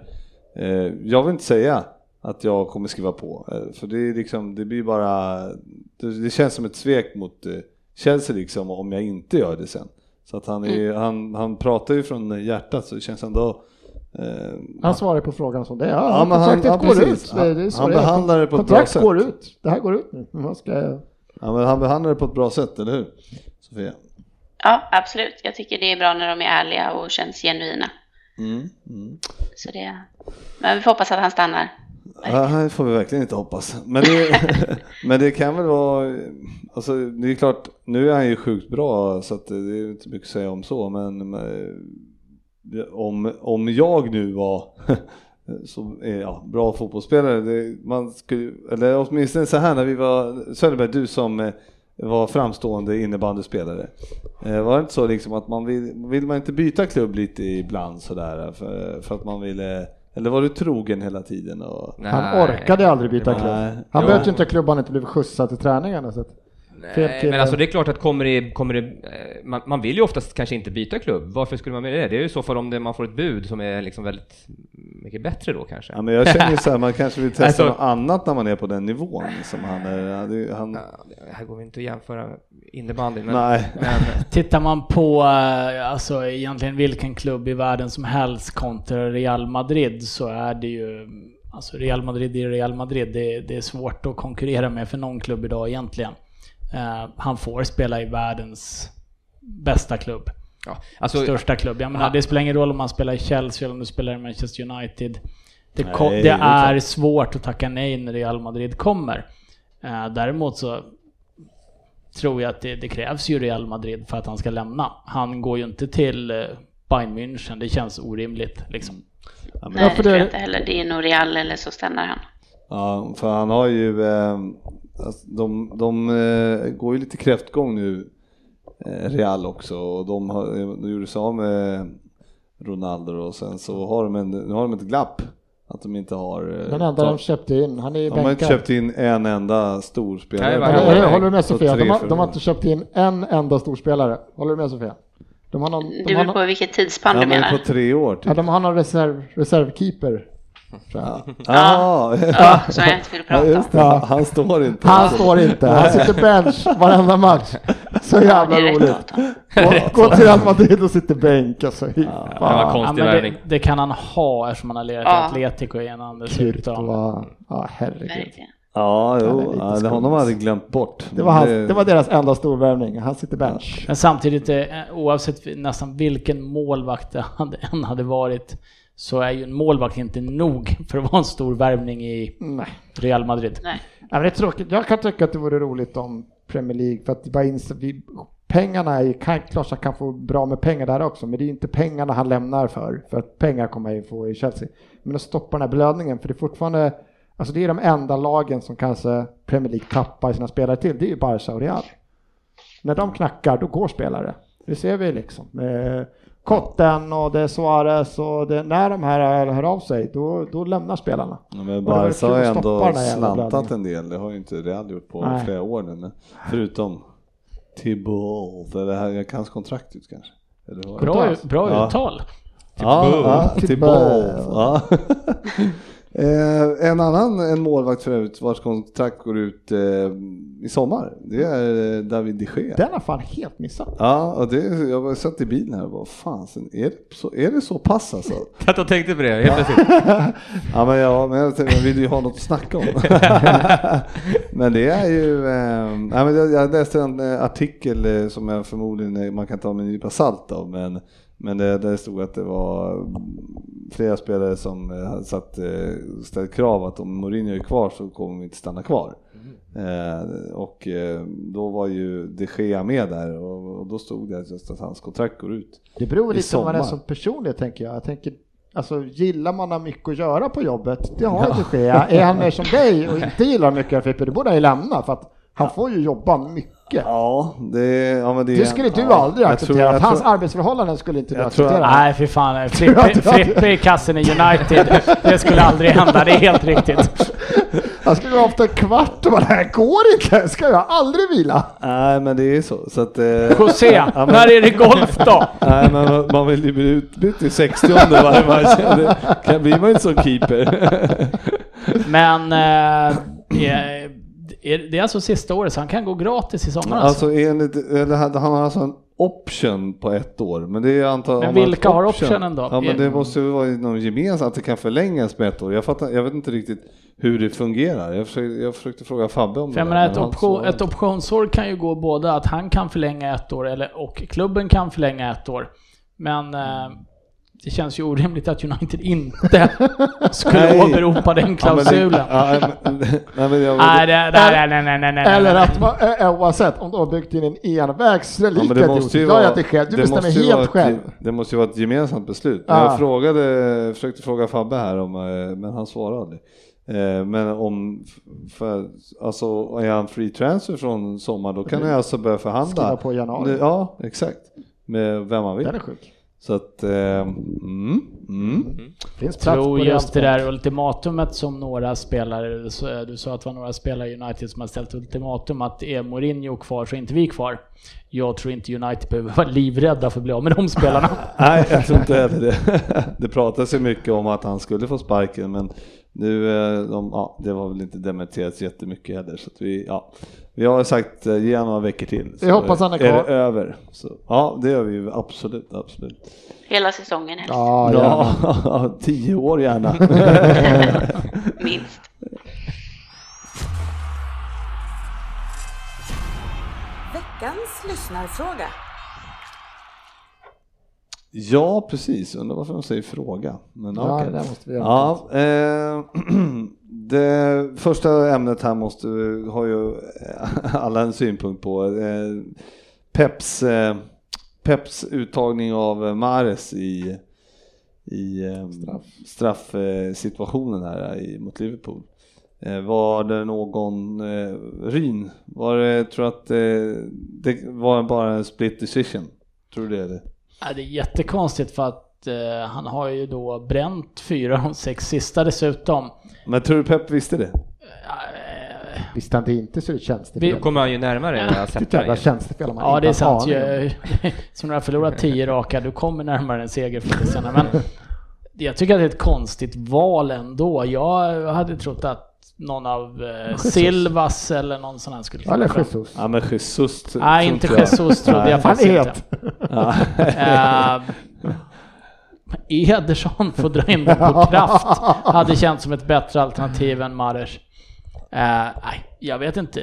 eh, jag vill inte säga att jag kommer skriva på, eh, för det är liksom, det blir bara, det, det känns som ett svek mot eh, Chelsea liksom om jag inte gör det sen. Så att han, är, ju- han, han pratar ju från hjärtat så det känns ändå eh,
Han svarar på frågan som det är.
Ja,
Ja,
men han-
kontraktet
ja,
går
precis.
ut. Det, det är så
Han
det är.
behandlar det på ett
Kontrakt
bra
går
sätt.
ut. Det här går ut nu. Vad ska jag...
Ja, men han behandlar det på ett bra sätt, eller hur? Sofia?
Ja, absolut. Jag tycker det är bra när de är ärliga och känns genuina.
Mm. Mm.
Så det... Men vi får hoppas att han stannar.
Ja, här får vi verkligen inte hoppas. Men det, men det kan väl vara, alltså det är klart, nu är han ju sjukt bra så att det är inte mycket att säga om så, men men, om, om jag nu var så, eh, ja, bra fotbollsspelare, det, man skulle, eller åtminstone så här när vi var, Söderberg, du som eh, var framstående innebandyspelare. Eh, Var det inte så liksom att man vill, vill man inte byta klubb lite ibland sådär för, för att man ville, eller var du trogen hela tiden? Och,
Han
Nej.
orkade aldrig byta
Nej.
klubb. Han
Jo.
bröt ju inte klubb han inte blev skjutsad till träningarna. Så att... Fel
Nej,
kille.
men alltså det är klart att kommer det, kommer det eh, man, man vill ju oftast kanske inte byta klubb. Varför skulle man vilja det? Det är ju i så fall om det, man får ett bud som är liksom väldigt mycket bättre då kanske.
Ja, men jag känner ju så här, man kanske vill testa
Alltså-
något annat när man är på den nivån som han är. Han, är- han,
Ja, det- Här går vi inte att jämföra innebandy, men...
nej.
men
Tittar man på eh, alltså, egentligen vilken klubb i världen som helst kontra Real Madrid så är det ju... Alltså Real Madrid är Real Madrid. Det, det är svårt att konkurrera med för någon klubb idag egentligen. Eh, han får spela i världens bästa klubb.
ja, alltså,
största klubb. Jag menar,
Ja.
det spelar ingen roll om man spelar i Chelsea eller om du spelar i Manchester United. Det, ko-
Nej,
det,
det är
är
klart.
svårt att tacka nej när Real Madrid kommer. Eh, däremot så tror jag att det, det krävs ju Real Madrid för att han ska lämna. Han går ju inte till eh, Bayern München, det känns orimligt liksom.
Nej, det
för
tror
det-
jag inte heller. Det är nog Real eller så stannar han.
Ja, för han har ju, eh, alltså, de, de eh, går ju lite kräftgång nu, eh, Real också, och de, har, de gjorde sig av med Ronaldo och sen så har de, en, nu har de ett glapp. Att de inte har... eh,
Den enda de
tagit-
köpte in, han är ju
de har inte
bänkad.
köpt in en enda stor
Nej,
spelare.
vad-
Men,
Ja,
jag, jag håller du med
Så
Sofia?
tre
De har,
för-
de har inte köpt in en enda storspelare. Håller du med Sofia? De har någon,
Det
de har
beror
någon,
på vilket tidsspann
ja,
du menar.
men på tre år typ.
ja, de har någon reserv, reservkeeper. tror jag.
Ja,
Ja, som jag inte vill
ja
prata om.
just det. Han står inte.
Han står inte, han sitter bench varenda match. Så jävla
Det är rätt
roligt.
åt honom.
Gå- Gå till Real Madrid och sitter bänk alltså. Fy
Det var
fan.
Ja,
konstig
men det,
värvning.
det kan han ha eftersom han har lirat i
Ja.
Atletico innan dessutom.
Kyrkva. Ja, herregud.
Verkligen.
Ja,
Han är
jo.
lite
Ja, det
skum.
honom hade jag glömt bort.
Det var, hans, det var deras enda storvärvning. Han sitter bench.
Men samtidigt, eh, oavsett vi- nästan vilken målvakt det hade- än hade varit, så är ju en målvakt inte nog för att vara en stor värvning i
Nej.
Real Madrid.
Nej.
Nej, men det är tråkigt. Jag kan tycka att det vore roligt om Premier League, för att det bara inser vi, pengarna är kan, klart att han kan få bra med pengar där också, men det är inte pengarna han lämnar för, för att pengar kommer han ju få i Chelsea. Men att stoppa den här belöningen, för det är fortfarande, alltså det är de enda lagen som kanske Premier League tappar sina spelare till, det är ju Barca och Real. När de knackar, då går spelare. Det ser vi liksom. Med Kotten och det är Suarez och det, när de här hör av sig, då, då lämnar spelarna.
Ja, Men
Och det var
Barca
kul
har
att
ju
stoppa
ändå
den här jävla
slantat
blödningen.
en del. Det har ju inte Real gjort på
Nej.
flera år nu. men Förutom Thibault, eller det här, jag kan hans kontrakt ut kanske. Eller vad?
Bra, bra
Ja.
uttal!
Ja, ja,
Thibault.
Thibault. Ja. Eh, en annan en målvakt för övrigt vars kontrakt går ut eh, i sommar. Det är eh, David de Gea.
Den har fan helt missat.
Ja, och det, jag var- satt i bilen här och bara, fan, sen är, det så, är det så pass alltså?
Att jag tänkte på det, helt plötsligt.
Ja, men, ja, men jag tänkte, jag vill ju ha något att snacka om. men det är ju, eh, nej, men jag, jag läste en eh, artikel eh, som jag förmodligen eh, man kan ta med en nypa salt av, men, men det, där stod att det var mm, flera spelare som eh, hade satt, eh, ställt krav att om Mourinho är kvar så kommer vi inte stanna kvar.
Mm.
Eh, och eh, då var ju de Gea med där och, och då stod det just att hans kontrakt går ut.
Det beror
I
lite på vad det är
sommar.
som personlighet tänker jag. jag tänker, alltså, gillar man har mycket att göra på jobbet, det har inte Gea. Är han mer som dig och inte gillar mycket att Frippe, då borde han ju lämna för att han får ju jobba mycket.
Ja, det, ja, men det,
Det skulle du
ja,
aldrig
jag
acceptera.
tror- jag
att hans
tror-
arbetsförhållanden skulle inte du
jag tror-
acceptera.
Nej, fy fan. Frippe, Frippe i kassen i United. Det skulle aldrig hända, det är helt riktigt.
Han skulle vara ofta en kvart och bara, det här går inte, ska jag aldrig vila?
Nej, men det är ju så. så att, eh,
José, när är det golf då?
Nej, men man- man vill ju bli utbytt i 60 varje match. Det kan blir man ju inte som keeper.
Men eh, eh, är- det är alltså sista året, så han kan gå gratis i sommar alltså.
Alltså enligt, eller hade- han har alltså en option på ett år. Men det är antagligen...
Men vilka har optionen då?
Ja, men det måste ju vara någon gemensam, att det kan förlängas med ett år. Jag, fattar, jag vet inte riktigt hur det fungerar. Jag försökte, jag försökte fråga Fabbe om
För jag
det.
menar,
där,
ett,
men han
option,
svarade
ett
inte.
optionsår kan ju gå både att han kan förlänga ett år eller, och klubben kan förlänga ett år. Men eh, det känns ju orimligt att United inte skulle
Nej.
åberopa den
Ja, men det-
klausulen.
ja, men- Nej, men jag...
Nej, det- nej, nej, nej, nej, nej, nej.
Eller att man, ä- ä- oavsett, om du har byggt in en envägs, det är
Ja, men
lika
det måste ju
idiotiskt. Jag
vara,
är inte själv, du
det måste ju
bestämmer
vara
helt
ett-
själv.
Det måste ju vara ett gemensamt beslut.
Ah.
Men Jag frågade, försökte fråga Fabbe här, om, eh, men han svarade aldrig. Eh, Men om, för, alltså är han free transfer från sommar då kan han alltså börja förhandla.
Skriva på i januari.
Ja, exakt. Med vem man vill.
Den är sjuk.
Så att, eh, mm, mm.
Finns plats på
tror
Real
just det
Sport.
där ultimatumet som några spelare, så- du sa att det var några spelare i United som har ställt ultimatum att är Mourinho kvar så är inte vi kvar. Jag tror inte United behöver vara livrädda för att bli av med de spelarna.
Nej, jag tror inte heller det. Det pratas ju mycket om att han skulle få sparken, men nu, eh, de, ja, det var väl inte dementerats jättemycket heller. Så att vi, ja, vi har sagt eh, ge han några veckor till. Så
Jag hoppas han är kvar.
det över. Så, ja, det gör vi ju absolut, absolut.
Hela säsongen helst,
Ja, ja.
Ja, tio år gärna.
minst.
Veckans lyssnarfråga.
ja, precis. Undrar varför de säger fråga. Men,
Ja,
okej.
det där måste vi göra.
Ja, eh, det första ämnet här måste, har ju eh, alla en synpunkt på. Eh, Peps, eh, Peps uttagning av Mares i, i eh, straffsituationen situationen här i, mot Liverpool. Eh, var det någon eh, Ryn? Var det, tror jag att eh, det var bara en split decision? Tror du det? Eller?
Ja, det är jättekonstigt för att eh, han har ju då bränt fyra av de sex sista dessutom.
Men tror du Pep visste det?
Eh,
Visste han det inte så är det tjänstefel.
Vi-
Då kommer han ju närmare ja,
Vilket
Zlatan.
jävla tjänstefel om man
Ja,
inte
det är
har en
sant.
aning om.
Jag, som du har förlorat tio raka, du kommer närmare en seger förr eller senare. Men jag tycker att det är ett konstigt val ändå. Jag hade trott att någon av eh, Silvas eller någon sån här skulle
Ja, Eller
fram.
Jesus.
Ja men Jesus tro-
Nej,
tror
inte
jag.
Jesus trodde jag
Nej.
faktiskt
Han är
inte. Eh, E. Ederson får dra in den på kraft. Hade känts som ett bättre alternativ än Mares. Eh, nej, jag vet inte.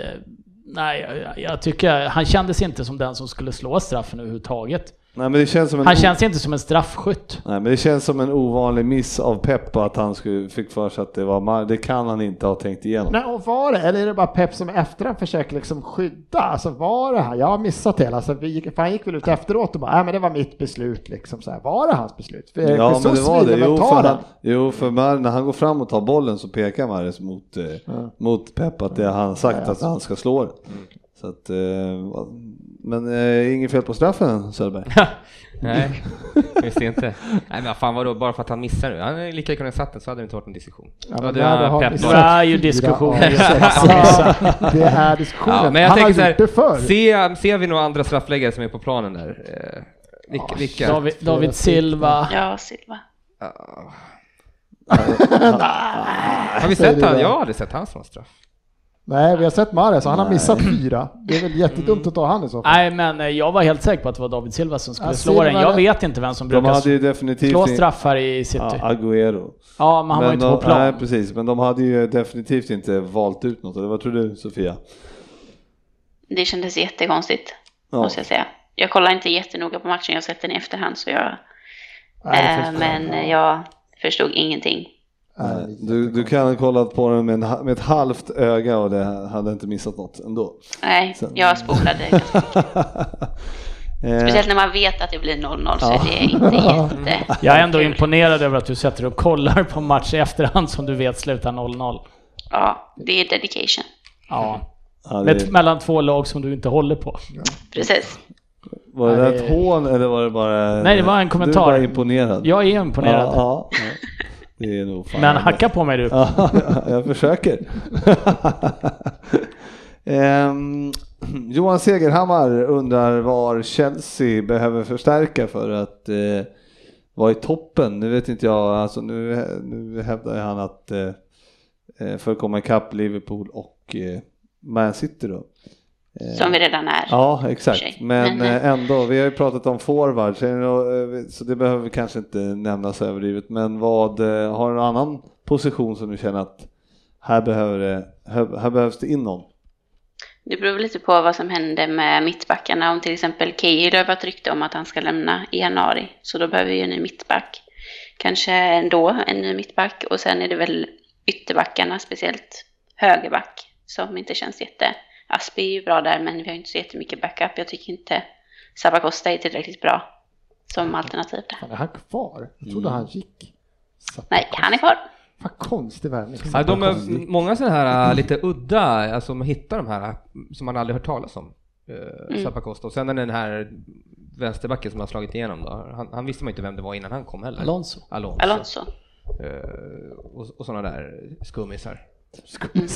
Nej, jag- jag, jag tycker han kändes inte som den som skulle slå straffen överhuvudtaget.
Nej men det känns som en
Han
o-
känns inte som en straffskytt.
Nej men det känns som en ovanlig miss av Pep att han skulle, fick för sig att det var Mar- Det kan han inte ha tänkt igenom.
Nej, och var det, eller är det bara Pep som efterhand försöker liksom skydda? Alltså var det här? Jag har missat det hela. Alltså, vi gick, för han gick väl ut efteråt och bara, nej men det var mitt beslut liksom. Så här, var det hans beslut? För eh,
Ja
Jesus
men det var
ville
det.
väl
Jo
ta
för,
den.
han, jo, för Mar- när han går fram och tar bollen så pekar Mares mot, eh, mot Pep att det har han sagt att han ska slå det. Så att, eh, va- men eh, inget fel på straffen Söderberg.
Nej, visst inte. Nej men vad fan vadå, bara för att han missar nu. Han är lika kunnat satt den så hade det inte varit någon diskussion. Då
Ja, men
hade
där
han
det har
Pep
vi
bara-
Det
sagt
är ju
fyra
diskussion.
av sex. det är diskussionen.
Ja, men jag
han har
tänker
gjort
så här,
det förr.
ser, ser vi några andra straffläggare som är på planen där? Eh, vilka? vilka?
David, David Silva.
Ja, Silva.
har vi
säger
sett
du
han?
det.
Jag har aldrig sett hans någon straff.
Nej, vi har sett Mahrez och han har missat fyra. Det är väl jättedumt att ta han i så fall.
Nej, men eh, jag var helt säker på att det var David Silva som skulle
Ja,
slå
Silva-
den. Jag vet inte vem som
De
brukar
hade ju definitivt...
slå
in-
straffar i City.
Ja, eh, Agüero.
Ja, men han var ju inte
de,
på plan.
Nej, precis. Men de hade ju definitivt inte valt ut något. Eller vad tror du, Sofia?
Det kändes jättekonstigt,
Ja.
måste jag säga. Jag kollar inte jättenoga på matchen, jag har sett den i efterhand, så jag...
Nej, det
eh,
förstår jag.
men jag förstod ingenting.
Nej,
Eh, Du, du kan ha kollat på den med, en, ha- med ett halvt öga och det hade inte missat något ändå.
Nej,
Sen-
jag spolade.
Eh,
Speciellt när man vet att det blir 0-0 så är det inte jätte...
Jag är ändå
kul.
imponerad över att du sätter och kollar på en match i efterhand som du vet slutar 0-0.
Ja, det är dedication.
Ja,
ja,
med,
det,
mellan två lag som du inte håller på.
Precis.
var det där
Nej,
ett
det-
hån eller var det bara...
Nej, det var en
Du
kommentar.
var bara imponerad.
Jag är imponerad.
Ja, ja. Det är nog fan
Men hacka på mig du.
Ja, jag försöker. Ehm, Johan Segerhammar undrar var Chelsea behöver förstärka för att eh, vara i toppen. Nu vet inte jag, alltså nu, nu hävdar ju han att eh, eh, för att komma ikapp Liverpool och eh, Man City då. Eh,
Som vi redan är.
Ja, exakt.
sig.
Men
Men,
eh, ändå, vi har ju pratat om forwards, är det nå- eh, så det behöver vi kanske inte nämnas överdrivet. Men vad, eh, har du någon annan position som du känner att här, behöver det, här, här behövs det in någon?
Det beror väl lite på vad som händer med mittbackarna. Om till exempel Keir har varit rykte om att han ska lämna i januari, så då behöver vi ju en ny mittback. Kanske ändå en ny mittback och sen är det väl ytterbackarna, speciellt högerback, som inte känns jätte... Aspi är ju bra där, men vi har ju inte så jättemycket backup. Jag tycker inte Sabacosta är tillräckligt bra som alternativ där.
Fan, är han kvar? Jag trodde han gick. Så,
Nej, han är kvar.
Vad konstig värvning.
Ja, de är många sådana här äh, lite udda, alltså man hittar de här äh, som man aldrig hört talas om. Mm. Zappacosta. Och sen är det den här vänsterbacken som har slagit igenom då. Han, han visste man inte vem det var innan han kom heller.
Alonso.
Alonso.
Alonso.
Eh, och, och sådana där skummisar.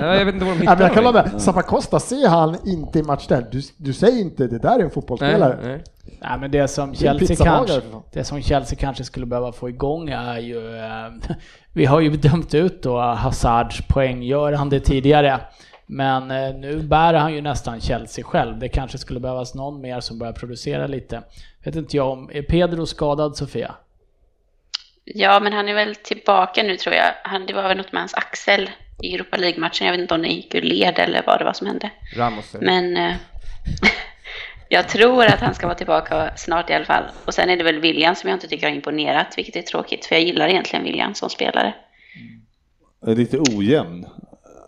Nej, jag vet inte var de
Ja,
hittar
men jag kan
dem.
hålla med. Zappacosta, ser han inte i matchställ? Du, du säger inte det där är en
Nej,
fotbollsspelare.
nej.
Nej, men det som,
Det är
Chelsea
pizzabagare,
kanske,
för fan.
det som Chelsea kanske skulle behöva få igång är ju... eh, Vi har ju dömt ut då Hazards poänggörande tidigare. Men eh, nu bär han ju nästan Chelsea själv. Det kanske skulle behövas någon mer som börjar producera lite. Vet inte jag om... Är Pedro skadad, Sofia?
Ja, men han är väl tillbaka nu tror jag. Han, det var väl något med hans axel i Europa League-matchen. Jag vet inte om den gick ur led eller vad det var som hände.
Ramos. eller-
Men eh, jag tror att han ska vara tillbaka snart i alla fall. Och sen är det väl William som jag inte tycker har imponerat, vilket är tråkigt, för jag gillar egentligen William som spelare.
Är Lite ojämn.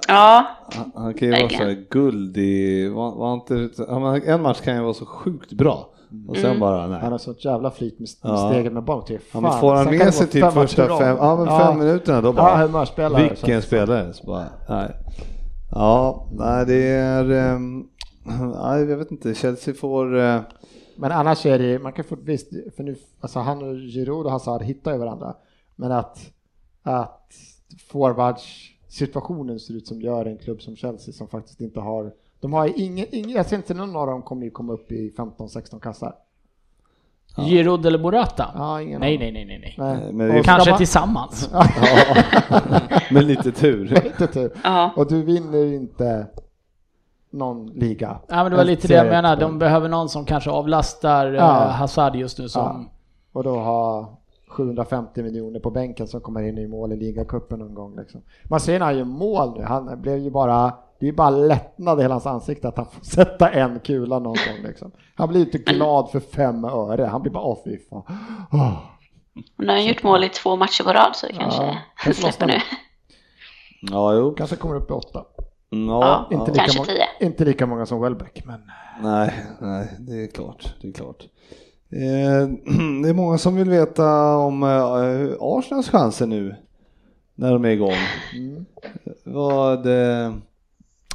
Ja,
Han, han kan ju vara så
Verkligen.
här guld i... Var, var inte, ja, men en match kan ju vara så sjukt bra och sen bara nej.
Han har sånt jävla flyt med med
Ja.
steget med barn till.
Ja, men får han
sen kan det
med sig
gå
typ
fem
första
matcher i
fem,
rad.
ja, men fem minuterna då bara.
Ja, humörspelare.
Vilken spelare. Så bara, nej. Ja, nej det är... ehm, nej, jag vet inte. Chelsea får... eh,
Men annars är det ju- man kan få, visst, för nu, alltså han och Giroud och Hazard hittar ju varandra. Men att, att forwardssituationen ser ut som gör en klubb som Chelsea som faktiskt inte har, de har ju ingen, ingen jag ser inte någon av dem kommer ju komma upp i 15-16 kassar.
Giroud eller Morata?
Ja, ingen
nej,
aning.
nej, nej, nej, nej.
Nej.
Men det är-
Och
Kanske
ska man-
tillsammans.
Med lite tur.
Lite tur.
Ja.
typ. Och du vinner ju inte någon liga.
Ja, men det var
En
lite det jag
serie. typ.
menade. De behöver någon som kanske avlastar eh,
Ja.
Hazard just nu som...
Och då ha 750 miljoner på bänken som kommer in i mål i ligacupen någon gång. Liksom. Man ser när han gör mål nu, han blev ju bara, det är ju bara lättnad i hela hans ansikte att han får sätta en kula någon gång. Liksom. Han blir ju inte glad för fem öre, han blir bara åh fy fan. Åh.
Och nu har han gjort mål i två matcher på rad så det kanske
kanske
släpper nu.
lossnar.
Ja, jo.
Kanske kommer upp i åtta.
Ja,
Ja.
Inte,
ja.
lika
Kanske
många,
tio.
inte lika många som Welbeck, men
Nej, nej, det är klart. Det är klart. Eh, det är många som vill veta om eh, Arsenals chanser nu när de är igång.
Mm.
Vad, eh,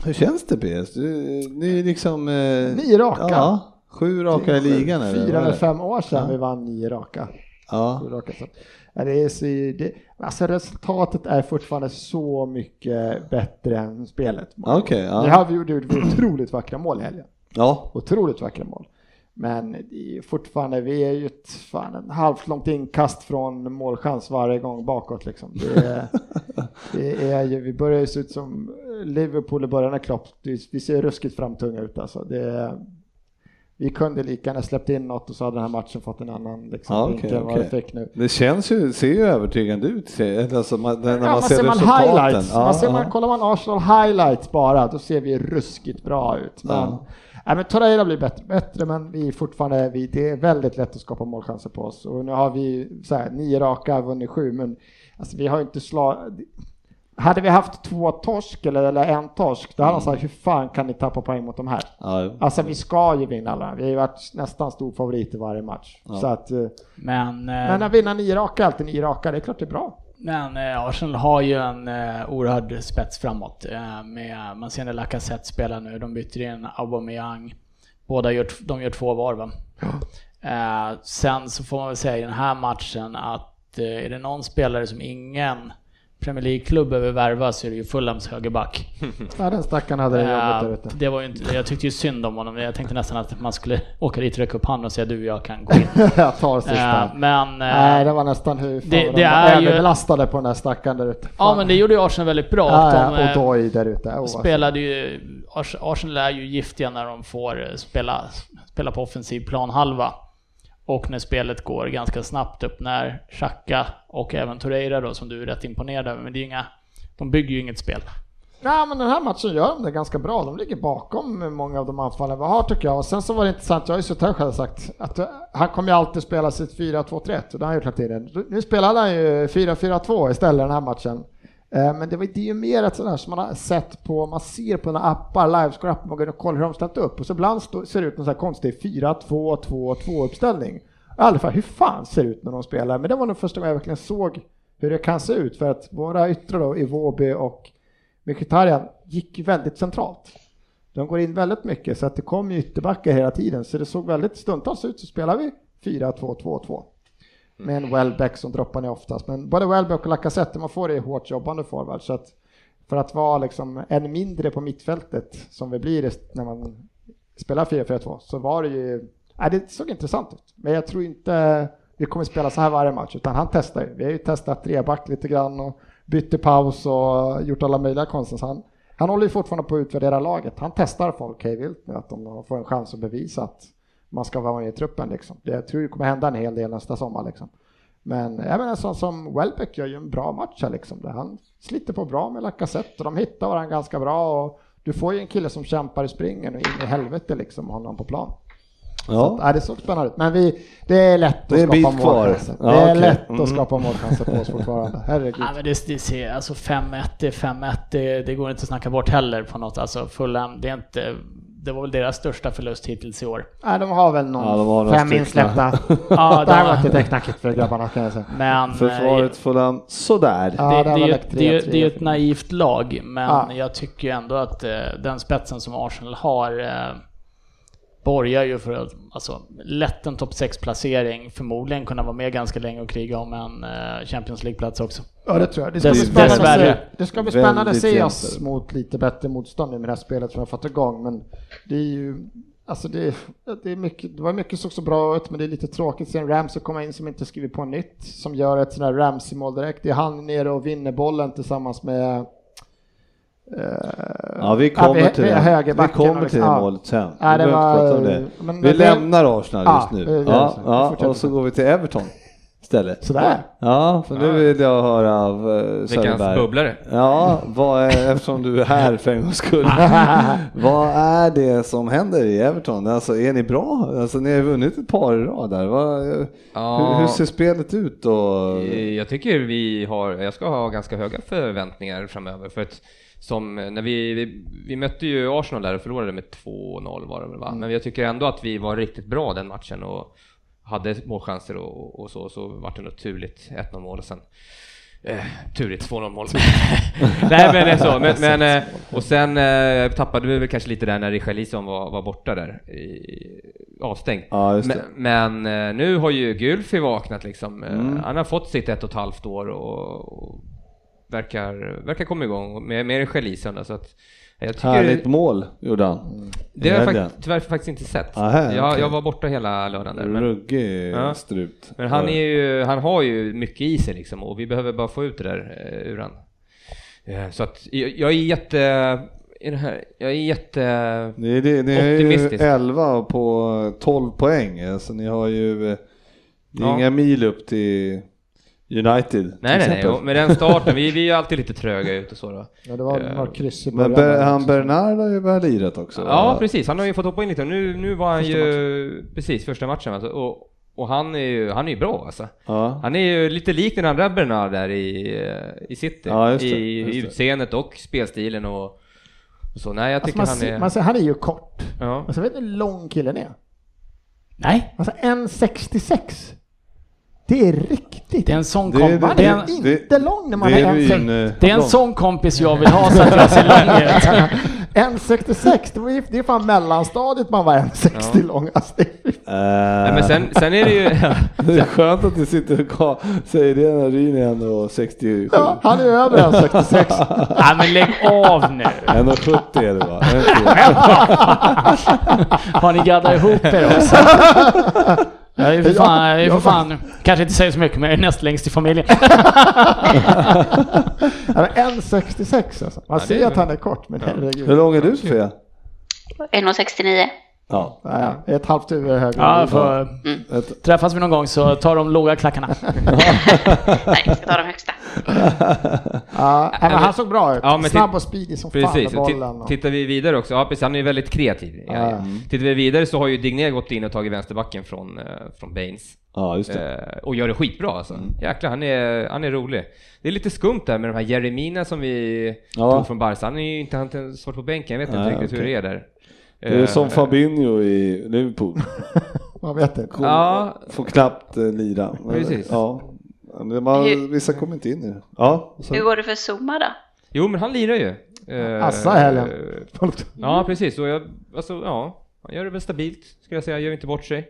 hur känns det PS? Du, ni är liksom... Eh,
nio raka.
Ja, sju raka i ligan eller?
Fyra
Vad är
eller
det?
fem år sedan
Ja.
vi vann nio raka.
Ja.
Sju raka. Så, ja, det är så, det, alltså resultatet är fortfarande så mycket bättre än spelet.
Okej,
Nu
ja.
har vi gjort gjort otroligt vackra mål i helgen.
ja.
Otroligt vackra mål. Men det är fortfarande, vi är ju ett, fan, en halvt långt inkast från målchans varje gång bakåt. Liksom. Det är, det är ju, vi börjar ju se ut som Liverpool i början av Klopp. Det- Vi ser ruskigt framtunga ut alltså. Det är, vi kunde lika gärna släppt in något och så hade den här matchen fått en annan liksom,
Ja, okej,
vinkel än vad
okej.
den fick nu.
Det känns ju, ser ju övertygande ut. ser- eller Alltså, man, när man
Ja, man
ser,
ser man
resultaten.
highlights.
Ja,
man ser man,
ja.
kollar man Arsenal highlights bara, då ser vi ruskigt bra ut. Men,
Ja.
nej, men Torreira blir bättre, bättre, men vi är fortfarande, vi, det är väldigt lätt att skapa målchanser på oss. Och nu har vi så här, nio raka, vunnit sju, men alltså, vi har ju inte slagit... Hade vi haft två torsk eller, eller en torsk, då hade han
Mm.
sagt hur fan kan ni tappa poäng mot de här?
Ja, jo.
Alltså vi ska ju vinna alla, vi har ju varit nästan stor favorit i varje match. Så att, eh,
Men, eh,
men att vinna nio raka, alltid nio raka, det är klart det är bra.
men eh, Arsenal har ju en eh, oerhörd spets framåt. Eh, med, man ser när Lacazette spelar nu, de byter in Aubameyang. Båda gör, t- de gör två var va? Eh, sen så får man väl säga i den här matchen att eh, är det någon spelare som ingen Premier League-klubb behöver värva så är det ju Fulhams högerback.
Ja, den stackaren hade det jobbigt där ute.
Eh, det var ju inte, jag tyckte ju synd om honom, men jag tänkte nästan att man skulle åka dit och räcka upp handen och säga du jag kan gå in.
jag tar sista.
Eh, men... eh,
Nej, det var nästan hur fan
det-
vad
det
de
är
är
ju-
överbelastade på den där stackaren där ute.
Ja men det gjorde ju Arsenal väldigt bra.
ja,
de,
ja,
eh,
och Doy där ute. Oh, vad-
spelade ju, Ars- Arsenal är ju giftiga när de får eh, spela, spela på offensiv planhalva. Och när spelet går ganska snabbt upp när Xhaka och även Torreira då som du är rätt imponerad över, men det är ju inga, de bygger ju inget spel.
Nej, men den här matchen gör de det ganska bra. De ligger bakom många av de anfallen vi har tycker jag. Och sen så var det intressant, jag har ju suttit här och själv sagt att eh, han kommer ju alltid spela sitt 4-2-3-1 och det har han gjort hela tiden. Nu spelade han ju 4-4-2 istället den här matchen. Eh, Men det, var, det är ju mer ett sånt här som man har sett på, man ser på några appar, livescore-appar, man går in och kollar hur de ställt upp och så ibland stå, ser det ut någon sån här konstig 4-2-2-2 uppställning. Jag har aldrig fattat hur fan ser det ut när de spelar, men det var nog första gången jag verkligen såg hur det kan se ut för att våra yttre då, Iwobi och Mkhitaryan gick ju väldigt centralt. De går in väldigt mycket så att det kom ju ytterbackar hela tiden så det såg väldigt stundtals ut så spelar vi 4-2-2-2. Med en Welbeck som droppar ner oftast. Men både Welbeck och Lacazette, man får det i hårt jobbande forward. Så att för att vara liksom en mindre på mittfältet som vi blir i- när man spelar 4-4-2 så var det ju, nej, det såg intressant ut. Men jag tror inte vi kommer spela så här varje match utan han testar ju. Vi har ju testat treback lite grann och bytt i paus och gjort alla möjliga konster. Så han, han håller ju fortfarande på att utvärdera laget. Han testar folk hej vilt nu att de får en chans att bevisa att man ska vara med i truppen liksom. Det jag tror det kommer hända en hel del nästa sommar liksom. Men även en sån som Welbeck gör ju en bra match här liksom. Där han sliter på bra med Lacazette och de hittar varandra ganska bra. Och du får ju en kille som kämpar i springen och in i helvete liksom och har någon på plan. Så att,
Ja.
nej, det såg spännande ut. Men vi, det är lätt att
Det är en bit
skapa
kvar.
målchanser.
Ja,
det är
okej.
lätt
Mm.
att skapa målchanser på oss fortfarande. Herregud.
Ja men det, det ser, alltså 5-1 det är 5-1, det, det går inte att snacka bort heller på något. Alltså Fulham, det är inte, det var väl deras största förlust hittills i år.
Nej, de har väl någon
Ja, de har några
fem
stycken.
insläppta.
Ja,
det här
de-
var lite knackigt för grabbarna kan jag säga.
Men... eh,
Försvaret Fulham, sådär.
Ja,
det,
där
det, är
var
ju-
läckt
det, är ju-
3-3.
det är ju ett naivt lag, men
Ja.
jag tycker ju ändå att eh, den spetsen som Arsenal har eh, borgar ju för att, alltså, lätt en topp 6-placering, förmodligen kunna vara med ganska länge och kriga om en eh, Champions League-plats också.
Ja, det tror jag. Det ska
Dess-
bli spännande, att se.
dessvärre.
det ska bli spännande att
Väldigt
se
jämnt
oss
är det.
mot lite bättre motstånd nu med det här spelet som har fått igång. Men det är ju, alltså det, det, är mycket, det var mycket som såg bra ut, men det är lite tråkigt. Sen Ramsey komma in som inte skriver på nytt, som gör ett sånt här Ramsey-mål direkt. Det är han nere och vinner bollen tillsammans med
Ja, vi kommer
vi-
till
vi-
det. Vi
högerbacken
kommer
och-
till det
ja.
målet sen.
Nej,
vi
det
behöver inte prata
var-
om det.
men-
vi
men-
lämnar Arsenal
Ja,
just
det
nu.
gör
Ja,
vi.
ja,
Fortsätt.
och så går vi till Everton istället.
sådär.
Ja, för nu vill jag höra av eh,
Veckans
Söderberg.
bubblare.
Ja, vad är, eftersom du är här för en gångs skull. vad är det som händer i Everton? Alltså, är ni bra? Alltså, ni har vunnit ett par i rad där. Vad,
Ja.
hur, hur ser spelet ut då?
Eh, Jag tycker vi har, jag ska ha ganska höga förväntningar framöver för att som eh, när vi, vi, vi mötte ju Arsenal där och förlorade med 2-0 var det väl va? Men jag tycker ändå att vi var riktigt bra den matchen och hade målchanser och, och så, så vart det naturligt 1-0 mål och sen Eh, turligt 2-0 mål. Nej men det är så. Men, men, eh, och sen eh, tappade vi väl kanske lite där när Richarlison var, var borta där. I, avstängd.
Ja, just det.
Men- men eh, nu har ju Gylfi vaknat liksom. Eh,
Mm.
Han har fått sitt ett och ett halvt år och, och verkar, verkar komma igång med, med Richarlison. där, Så att jag tycker,
Härligt mål gjorde han.
det har jag
Helgen.
fakt, tyvärr faktiskt inte sett.
Aha,
jag,
Ah, okej.
jag var borta hela lördagen där. Men,
Ruggig
Ja.
strut.
men han, är ju, han har ju mycket i sig liksom och vi behöver bara få ut det där eh, ur han. Eh, Så att jag, jag är jätte... i det här, jag är jätte...
Ni, är det, ni är ju
Optimistiskt.
11 på 12 poäng, alltså ni har ju eh, det är
Ja.
inga mil upp till United
Nej,
till
nej, nej.
exempel.
och Med den starten, vi, vi är ju alltid lite tröga ut och så då.
Ja, det var
Eh,
några kryss i
Men
början.
Ber,
där
han
också.
Bernard har ju börjat lirat också.
Ja,
va?
precis. Han har ju fått hoppa in lite. Nu, nu var han
Första
ju... Precis, första matchen. Alltså. Och, och han är ju han är ju bra alltså.
Ja.
Han är ju lite lik den andra Bernard där i, eh, i City.
Ja, just det,
I
just det.
utseendet och spelstilen och, och så. Nej, jag
Alltså
tycker
man,
han
ser,
är...
man ser, han är ju kort.
ja.
Alltså, vet du hur lång killen är?
Nej,
Alltså 1,66. Det är riktigt.
det är en sån
Det är-
kompis.
Man
Det,
är
är en-
inte lång när man
det
är
är ju
1,66.
en, eh,
det är en
lång-
sån kompis jag vill ha så att jag ser lång ut.
1,66, det, var ju- det är fan mellanstadiet man var
Ja.
1,60 lång. Alltså, det är-
Nej, men sen, sen är det ju...
äh, Det är skönt att du sitter och ka- säger det när Ryn är 1,67.
ja, han är över 1,66.
Nej men lägg av nu.
1,70 är det va? Är det inte det?
Har ni gaddat ihop er också? Jag är för fan, jag är för fan kanske inte säger så mycket men jag är näst längst i familjen.
Han är 1,66 alltså.
Ja,
Man ser
det är-
att han är kort, men
Hur
herregud.
lång är du Sofia?
1,69.
Ja.
Ja, ja. Ett halvt huvud högre.
Ja, för
Ett-
träffas vi någon gång så tar de låga klackarna.
Nej, jag ska ta de högsta.
Ja, men han såg bra ut.
Ja, men
Snabb
titt-
och speedig som fan
Precis,
med
och ti-
bollen. Och...
tittar vi vidare också, ja precis, han är ju väldigt kreativ. Ja, ja. Tittar vi vidare så har ju Digné gått in och tagit vänsterbacken från, eh, från Baines.
Ja, just det.
Eh, och gör det skitbra alltså.
Mm.
Jäklar, han är, han är rolig. Det är lite skumt där med de här Jeremina som vi
Ja.
tog från Barca. Han är ju inte, han har inte svårt på bänken, jag vet inte
Nej,
riktigt hur
okej.
det är där.
Det är
Eh,
som Fabinho i Liverpool.
Man vet inte.
Kom,
Ja.
Får knappt eh, lira. Men,
Precis.
Ja. Ja, men Man,
Hur-
vissa kommer inte in i det. Ja, så.
Hur går det för Zuma då?
Jo, men han lirar ju. Eh,
Assa i helgen.
eh, Ja, precis. Och jag, alltså, ja, han gör det väl stabilt, skulle jag säga. Han gör inte bort sig.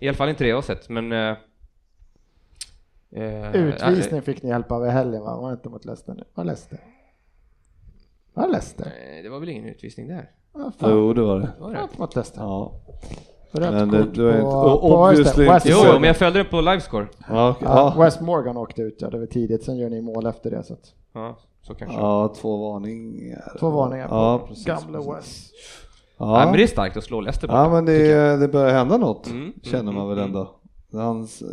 I alla fall inte det jag har sett, men... eh, eh,
Utvisning fick ni hjälp av i helgen va? Var det inte mot Leicester nu? Var det Leicester? Var det Leicester?
eh, Det var väl ingen utvisning där?
Ja, fan.
Jo, det var det.
Var det inte mot Leicester?
Ja.
Rött
Men det-
kort
det var
på-
inte-
på
obviously
West-
inte
West-
Jo,
Så-
men jag följde det på livescore.
Ja, okej.
Ja,
ja.
Wes Morgan åkte ut ja, det var tidigt, sen gör ni mål efter det. Så att,
Ja, så kanske.
ja två varningar.
två varningar på
Ja, precis.
gamle Wes.
Nej, men det
Ja.
är starkt att slå Leicester borta.
ja, men det, är- det börjar hända något,
Mm, mm,
känner man väl
mm,
ändå. Hans, eh,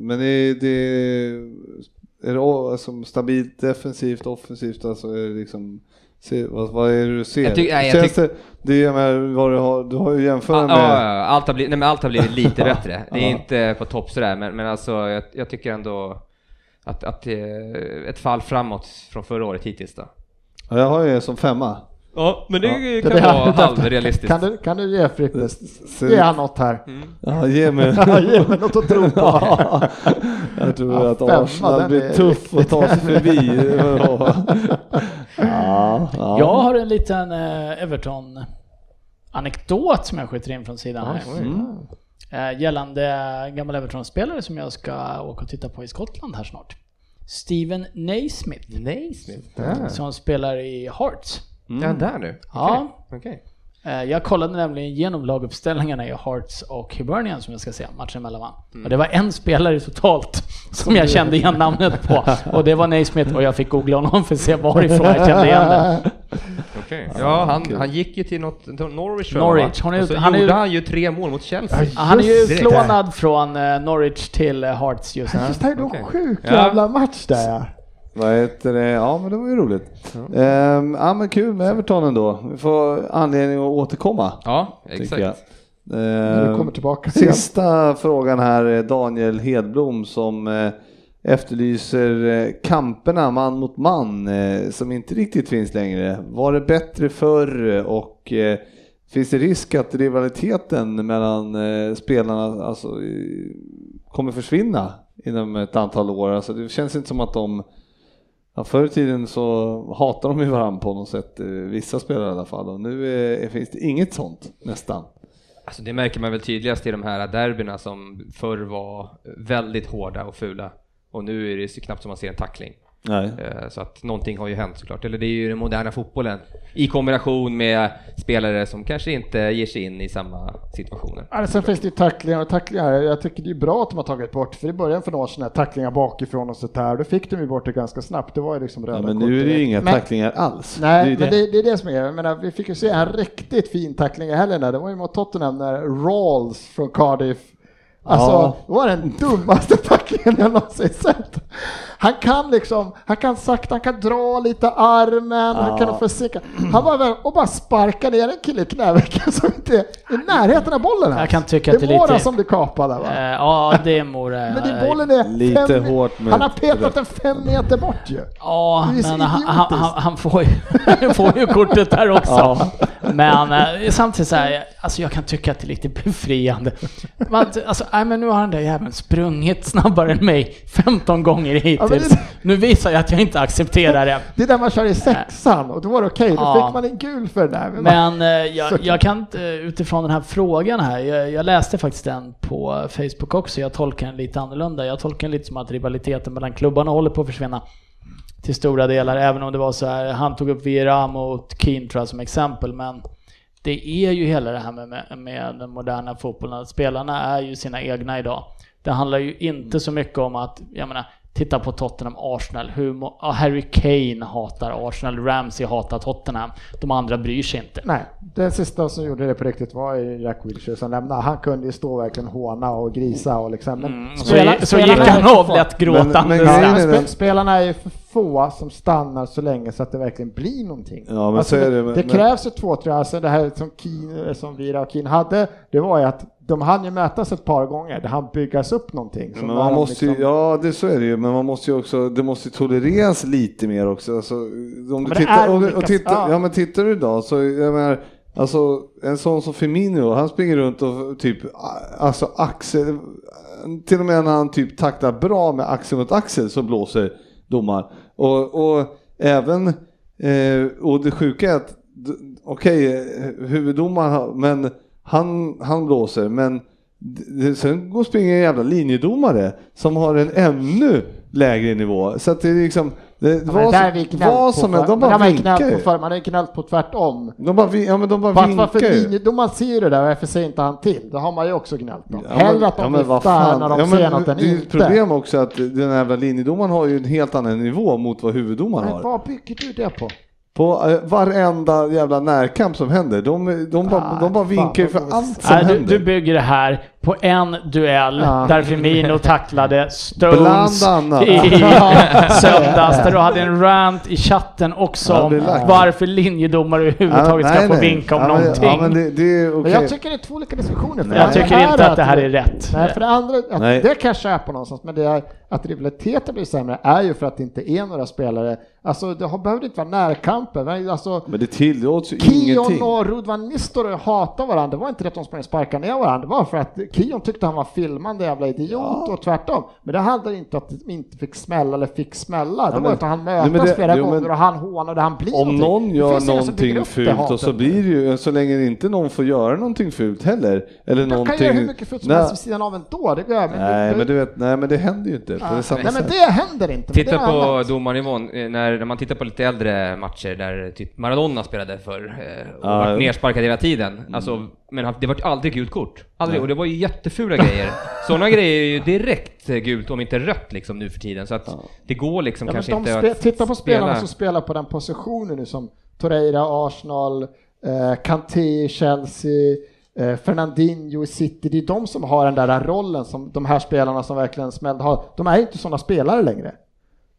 men det, är- det är- är det o- alltså, stabilt defensivt, offensivt, alltså är det liksom se, vad, vad är det du ser?
Jag tyck- nej, jag
Känns det, det är med vad du har, du har ju jämfört med
Ja, ja, ja, allt, har blivit, nej, men allt har blivit lite bättre. Det är
Ja.
inte på topp sådär, men, men alltså, jag, jag tycker ändå att, att det är ett fall framåt från förra året hittills då.
Ja, jag har ju som femma.
Ja, men det kan
Det där-
vara halvrealistiskt.
Kan du, kan du ge Frippes?
Så-
Ge han något här.
Ja, ge mig.
Mm. Ge mig något att tro på.
Ja, jag tror
Ja,
att
femma,
Arsenal
den
blir
är
tuff att ta sig förbi. ja, ja.
Jag har en liten eh, Everton anekdot som jag skjuter in från sidan här.
Mm.
Eh, Gällande gammal Everton-spelare som jag ska åka och titta på i Skottland här snart. Steven Naismith.
Nej, Smith.
Som spelar i Hearts.
Mm. Ja, där nu.
Ja.
Okej. Okej.
Eh, Jag kollade nämligen igenom laguppställningarna i Hearts och Hibernian som jag ska se matchen mellan varandra. Och det var en spelare totalt som jag kände igen namnet på. Och det var Naismith och jag fick googla honom för att se varifrån jag kände igen det.
Okej. Ja, han, han gick ju till något, till Norwich tror jag, va?
Norwich. Han är-
Och så
han är-
gjorde han ju tre mål mot Chelsea.
Han är ju
Just det.
utlånad från eh, Norwich till eh, Hearts just nu.
Just det, det var
okej.
en sjuk
Ja.
jävla match där ja.
Vad heter det? Ja, men det var ju roligt. Ehm, ja, men kul med Everton ändå. Vi får anledning att återkomma.
Ja,
tycker
exakt.
jag.
När
Ehm,
du kommer tillbaka igen.
Sista frågan här är Daniel Hedblom som eh, efterlyser eh, kamperna man mot man eh, som inte riktigt finns längre. Var det bättre förr och eh, finns det risk att rivaliteten mellan eh, spelarna alltså, eh, kommer försvinna inom ett antal år? Alltså, det känns inte som att de Ja, förr i tiden så hatade de ju varandra på något sätt, eh, vissa spelare i alla fall, och nu eh, finns det inget sånt nästan.
Alltså det märker man väl tydligast i de här derbyna som förr var väldigt hårda och fula. Och nu är det så knappt som man ser en tackling.
Nej.
Eh, Så att någonting har ju hänt såklart. Eller det är ju den moderna fotbollen i kombination med spelare som kanske inte ger sig in i samma situationer.
Ja, Sen finns det ju tacklingar och tacklingar. Jag tycker det är bra att de har tagit bort, för i början för några år sedan, här tacklingar bakifrån och sånt här, då fick de ju bort det ganska snabbt. Det var ju liksom röda
Ja, men
kort
nu är det ju
direkt.
inga
Men-
tacklingar alls.
Nej,
det är ju
men det, det är det som är. Jag menar, vi fick ju se en riktigt fin tackling i helgen där. Det var ju mot Tottenham när Rawls från Cardiff Alltså,
Ja.
det var den dummaste tacklingen jag någonsin sett. Han kan liksom, han kan sakta, han kan dra lite armen, han kan försöka. Han var väl och bara sparka ner en kille i knävecken som inte är i närheten av bollen ens.
kan tycka att det är
Mora
lite-
som blir kapad där va?
Eh, Ja, det är eh, Mora.
Men det, bollen är
lite
fem,
hårt med-
Han har petat den fem meter bort ju.
Ja,
Det är så
men han,
idiotiskt.
han, han, han, får ju, han får ju kortet där också. Men eh, samtidigt så här, alltså jag kan tycka att det är lite befriande. Man, alltså, nej, men nu har den där jäveln sprungit snabbare än mig 15 gånger
men det-
hittills. Nu visar jag att jag inte accepterar det.
Det är där man kör i sexan och då var det okej, då
Eh. Ja.
fick man en gul för det där. Men man-
Men eh, jag, jag kan inte, eh, utifrån den här frågan här, jag, jag läste faktiskt den på Facebook också, jag tolkar den lite annorlunda. Jag tolkar den lite som att rivaliteten mellan klubbarna håller på att försvinna till stora delar, även om det var så här, han tog upp Vieira mot Keane tror jag som exempel, men det är ju hela det här med, med, med den moderna fotbollen, att spelarna är ju sina egna idag. Det handlar ju inte så mycket om att, jag menar, titta på Tottenham, Arsenal, hur må- ja, Harry Kane hatar Arsenal, Ramsey hatar Tottenham, de andra bryr sig inte.
Nej, den sista som gjorde det på riktigt var ju Jack Wilshere som lämnade. Han kunde ju stå verkligen håna och grisa och liksom. Men
Mm.
Så, så gick han av lätt gråtande.
men-
sen.
Ja,
Nej,
men
nej,
spe-
nej.
spelarna är ju för få som stannar så länge så att det verkligen blir någonting. Alltså,
Ja, men så är det, men-
det
men-
krävs ju två, tre. Alltså det här som, Keen, eh, som Vira och Keen hade, det var ju att de hann ju mötas ett par gånger. Det hann byggas upp någonting. Så
Men
när
man
de
måste ju,
liksom-
ja det så är det ju, men man måste ju också, det måste ju tolereras lite mer också. Alltså, om du
det
tittar,
är
om du,
olika-
och tittar,
ja.
ja. men tittar du idag så, jag menar, alltså en sån som Firmino, han springer runt och typ, a- alltså axel, till och med när han typ taktar bra med axel mot axel så blåser domaren. Och, och även, eh, och det sjuka är att, d- okej, eh, huvuddomaren, har- men han, han blåser, men D- det- Sen går springer en jävla linjedomare som har en ännu lägre nivå. Så att det är liksom... Det,
Ja, men
vad
det där
som,
har vi gnällt
vad
på
som
för-
helst, de
men det
bara
har man ju
vinkar
gnällt
ju.
på för, Man har ju gnällt på tvärtom.
De bara, vi- ja, men de bara
Fast
vinkar
varför
ju.
linjedomaren ser ju det där, varför säger inte han till? Då har man ju också gnällt på.
Ja, men-
Hellre att de
men vad
viftar
fan.
när de
Ja, men
ser något än
Det är ju
inte.
ett problem också att den här jävla linjedomaren har ju en helt annan nivå mot vad huvuddomaren
Men
har.
vad bygger du det på?
På eh, varenda jävla närkamp som händer. De, de, bara,
Ah,
de bara
fan,
vinkar ju för
vad går-
allt som
Nej, du,
händer.
du bygger det här på en duell
Ja.
där Firmino tacklade Stones
Bland annat.
i söndags. Där du hade en rant i chatten också
Ja,
om
det är lagt.
varför linjedomare överhuvudtaget
Ja, Ah,
ska
nej,
få
nej.
vinka om
ja, men-
någonting.
Ja, men det, det är okej.
Men jag tycker det är två olika diskussioner. För
Jag
det
tycker
här
inte att det här är rätt.
Nej, för det andra, att
Nej.
det kan jag köpa någonstans, men det är att rivaliteten blir sämre är ju för att det inte är några spelare. Alltså det har, behöver inte vara närkamper. men Alltså,
Men det tillåts ju ingenting.
Kion och Rudvan Nistor hatade varandra. Det var inte det att de sprang och sparkade ner varandra. Det var för att Kion tyckte han var filmande jävla idiot och tvärtom. Men det handlar inte om att de inte fick smälla eller fick smälla. Det
Ja,
var
men-
att han
Jo, men
möttes
det-
flera
jo, men-
gånger och han hånade, han blir
Om
någonting.
någon
Det
gör
finns ingen som bygger
någonting
upp det
fult och så
hatet.
blir det ju, så länge inte någon får göra någonting fult heller. Eller
De
någonting...
kan göra hur mycket fult som
Nej.
helst vid sidan av ändå. Det gör, men
Nej,
det,
men du vet, nej men det händer ju inte på det samma
Ah, nej, men
sätt.
det händer inte. men det
Titta
är
på
annat.
domarnivån, eh, när, när man tittar på lite äldre matcher där typ Maradona spelade för eh, och
Ja, Mm.
vart
jo.
nersparkad hela tiden. Alltså, men han- det var aldrig gult kort. Aldrig, och det var ju jättefula grejer. Sådana grejer är ju direkt eh, gult, om inte rött liksom nu för tiden. Så att det går liksom
Ja, men
kanske
de
inte
spe-
att
titta på spelarna
spela.
som spelar på den positionen nu som Torreira, Arsenal, eh, Kanté, i Chelsea, eh, Fernandinho i City. Det är de som har den där rollen som de här spelarna som verkligen smällde har. De är inte sådana spelare längre.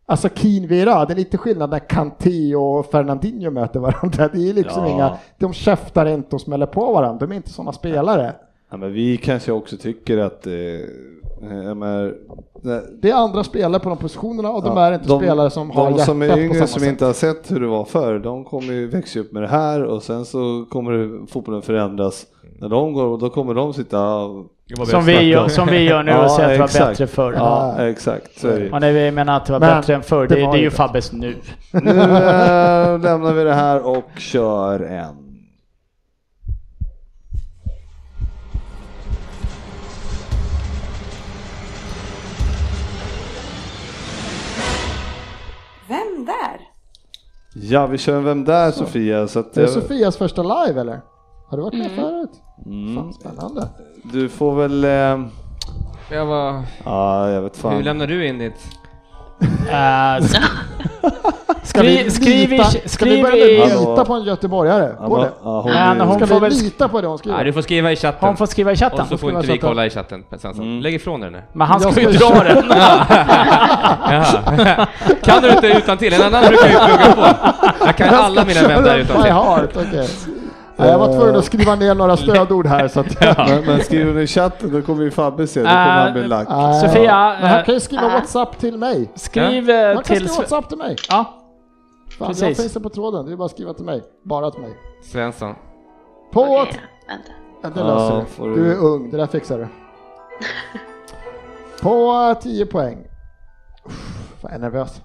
Alltså Keen Vira, det är lite skillnad när Kanté och Fernandinho möter varandra. Det är liksom
Ja.
inga, de käftar inte och smäller på varandra. De är inte sådana spelare.
Ja, men vi kanske också tycker att... Eh, jag menar, nej,
Det är andra spelare på de positionerna och de
Ja,
är inte spelare som
de
har hjärtat
som
på
är
samma
yngre som
sätt.
inte har sett hur det var förr, de kommer ju växa upp med det här och sen så kommer det- fotbollen förändras. När de går och då kommer de sitta och...
Som vi, gör, som vi gör nu och säger att det var bättre förr.
Ja, exakt. Så är det. ju.
Och när vi menar att det var
Men
bättre än förr,
det
det, det,
var
är
ju
ju
bättre.
Fabbes nu.
Nu eh, lämnar vi det här och kör en...
Vem där?
Ja, vi kör en Vem där Sofia? Så att,
Är det
eh,
Sofias första live eller? Har du varit
Mm.
med förut?
Mm.
Fan, spännande.
Du får väl... eh,
Jag var,
Ja, jag vet
hur
fan.
lämnar du in ditt?
Eh, sk- skriv,
vi
skriv,
lita-
i-
Ska vi
skriv
börja nu
i...
Hallå.
lita på en göteborgare?
Ja,
Går
men-
det?
ja,
Men
är-
hon-
Ska
får
vi
väl-
lita på det hon skriver?
Nej, du får skriva i chatten.
Hon får skriva i
och så
chatten.
får
skriva
inte vi
chatten.
kolla i chatten sen. så. Lägg ifrån dig den där.
Men han
Jag
ska ju
ska-
dra den.
Jaha. Kan du inte utan till? En annan brukar ju plugga på. Jag kan alla mina vem där utan
My
till.
heart, okej. Nej, Jag var tvungen att skriva ner några stödord här så att...
Men, men skriver ni i chatten då kommer ju Fabbe se, då kommer
Ah,
han bli
Äh,
lack.
Nej.
Sofia,
Men han
eh,
kan ju skriva Whatsapp till mig.
Skriv eh,
Man kan
till...
skriva Whatsapp till mig.
Ja,
Fan, jag
precis.
finns det på tråden. Det är bara att skriva till mig. Bara till mig.
Svensson.
På...
Okej, vänta.
Ja, Det
Ja,
löser
får
du.
du-
Du är ung, det där fixar du. På 10 poäng. Uff, Fan, jag är nervös.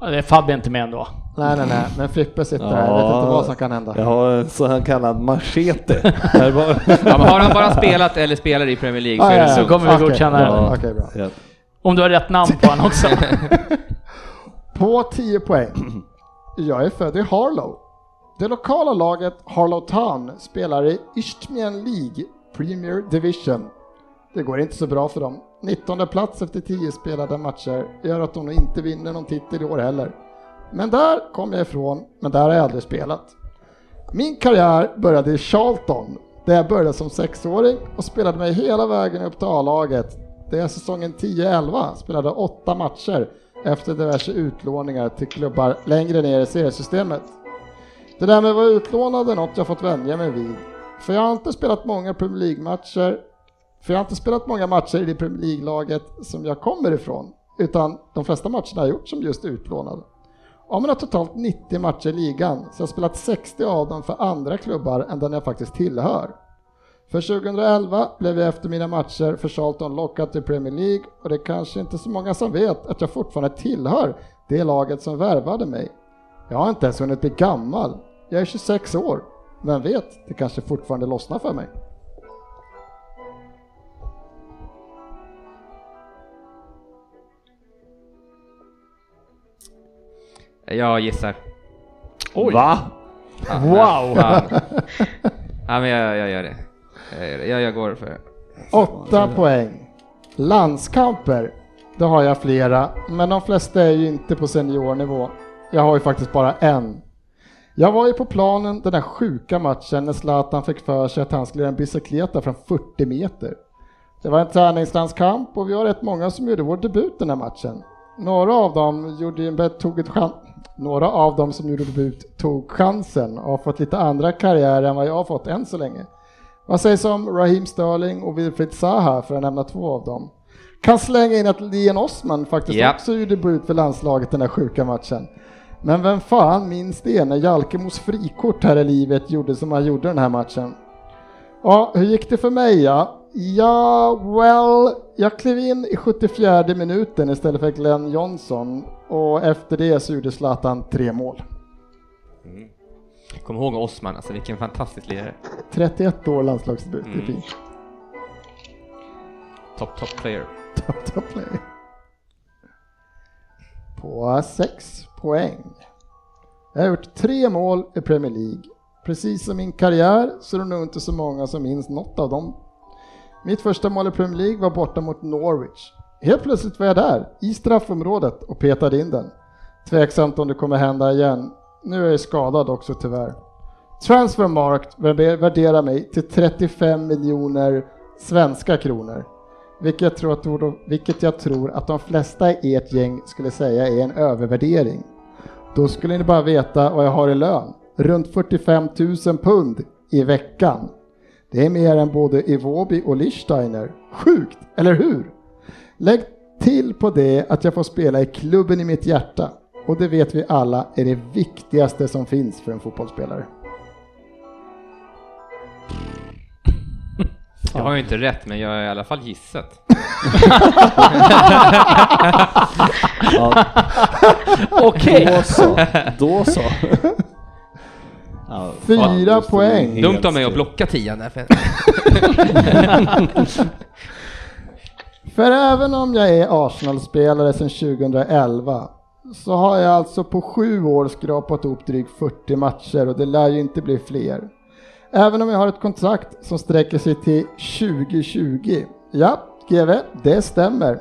det är Fabbe inte med ändå.
Nej, nej, nej, men Frippe sitter här. Jag
Ja.
vet inte vad som kan hända.
Jag har en så han kallad machete. Här var...
Ja, men har han bara spelat eller spelar i Premier League så är det
ja.
lugnt.
kommer vi
Okej.
godkänna det.
Ja, Okej, bra.
Ja.
Om du har rätt namn på honom också.
På 10 poäng. Jag är född i Harlow. Det lokala laget Harlow Town spelar i Isthmian League Premier Division. Det går inte så bra för dem. 19 plats efter 10 spelade matcher gör att de nog inte vinner någon titel i år heller. Men där kom jag ifrån, men där har jag aldrig spelat. Min karriär började i Charlton, där jag började som sexåring och spelade mig hela vägen upp till A-laget. Där jag säsongen 10-11 spelade åtta matcher efter diverse utlåningar till klubbar längre ner i seriesystemet. Det där med att vara utlånad är något jag fått vänja mig vid. För jag har inte spelat många Premier League-matcher, för jag har inte spelat många matcher i det Premier League-laget som jag kommer ifrån, utan de flesta matcherna har jag gjort som just utlånad. Ja, men jag har totalt 90 matcher i ligan, så jag har spelat 60 av dem för andra klubbar än den jag faktiskt tillhör. För 2011 blev jag efter mina matcher för Charlton lockad till Premier League och det är kanske inte så många som vet att jag fortfarande tillhör det laget som värvade mig. Jag har inte ens hunnit bli gammal. Jag är 26 år. Vem vet, det kanske fortfarande lossnar för mig.
Jag gissar.
Va?
Wow!
Fan. Ja, men jag, jag gör det. Jag, gör det. Jag, jag går för det.
8 poäng. Landskamper, det har jag flera, men de flesta är ju inte på seniornivå. Jag har ju faktiskt bara en. Jag var ju på planen den där sjuka matchen när Zlatan fick för sig att han skulle göra en bicykleta från 40 meter. Det var en träningslandskamp och vi var rätt många som gjorde vår debut den här matchen. Några av dem, gjorde ju en bet- tog ett chan- Några av dem som gjorde debut tog chansen och har fått lite andra karriärer än vad jag har fått än så länge. Vad sägs om Raheem Sterling och Wilfried Zaha för att nämna två av dem? Kan slänga in att Leon Osman faktiskt
Ja.
också gjorde debut för landslaget den där sjuka matchen. Men vem fan minns det när Jalkemos frikort här i livet gjorde som han gjorde den här matchen? Ja, hur gick det för mig? Ja? Ja, well, jag klev in i 74 minuten istället för Glenn Johnson och efter det så gjorde Zlatan tre mål.
Kom ihåg Osman, alltså vilken fantastisk lirare.
31 år landslagsdebut, det är fint.
Top, top player.
Top, top player. På 6 poäng. Jag har gjort tre mål i Premier League. Precis som min karriär så är det nog inte så många som minns något av dem. Mitt första mål i Premier League var borta mot Norwich. Helt plötsligt var jag där, i straffområdet och petade in den. Tveksamt om det kommer hända igen. Nu är jag skadad också tyvärr. Transfermarkt värderar mig till 35 miljoner svenska kronor. Vilket jag, tror att, vilket jag tror att de flesta i ert gäng skulle säga är en övervärdering. Då skulle ni bara veta vad jag har i lön. Runt 45 000 pund i veckan. Det är mer än både Iwobi och Lichsteiner. Sjukt, eller hur? Lägg till på det att jag får spela i klubben i mitt hjärta. Och det vet vi alla är det viktigaste som finns för en fotbollsspelare.
Jag har ju inte rätt, men jag har i alla fall gissat.
Ja,
Okej!
då så. Då så. Ja,
Fyra
fan, just det,
poäng.
det är
Dumt
helt
av mig att
styrt.
blocka tian där. För...
För även om jag är Arsenal-spelare sedan 2011 så har jag alltså på sju år skrapat ihop drygt 40 matcher och det lär ju inte bli fler. Även om jag har ett kontrakt som sträcker sig till 2020. Ja, GV, det stämmer.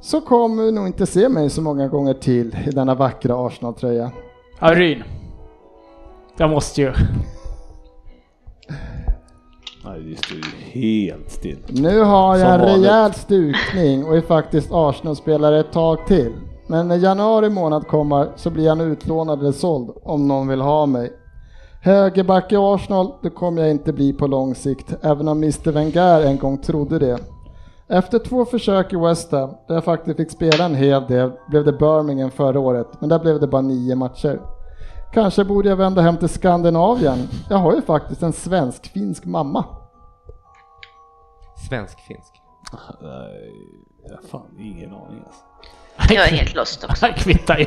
Så kommer du nog inte se mig så många gånger till i denna vackra Arsenal-tröja.
Ja, Ryn. Jag måste ju.
Nej, det står ju helt still.
Nu har jag
Som
en
vanligt.
rejäl stukning och är faktiskt Arsenal-spelare ett tag till. Men när januari månad kommer så blir jag nu utlånad eller såld om någon vill ha mig. Högerback i Arsenal, det kommer jag inte bli på lång sikt, även om Mr Wenger en gång trodde det. Efter två försök i West Ham, där jag faktiskt fick spela en hel del, blev det Birmingham förra året, men där blev det bara nio matcher. Kanske borde jag vända hem till Skandinavien. Jag har ju faktiskt en svensk-finsk mamma.
Svensk-finsk.
Nej, jag har fan ingen aning alltså.
Jag är helt lost också.
Jag kvittar ju.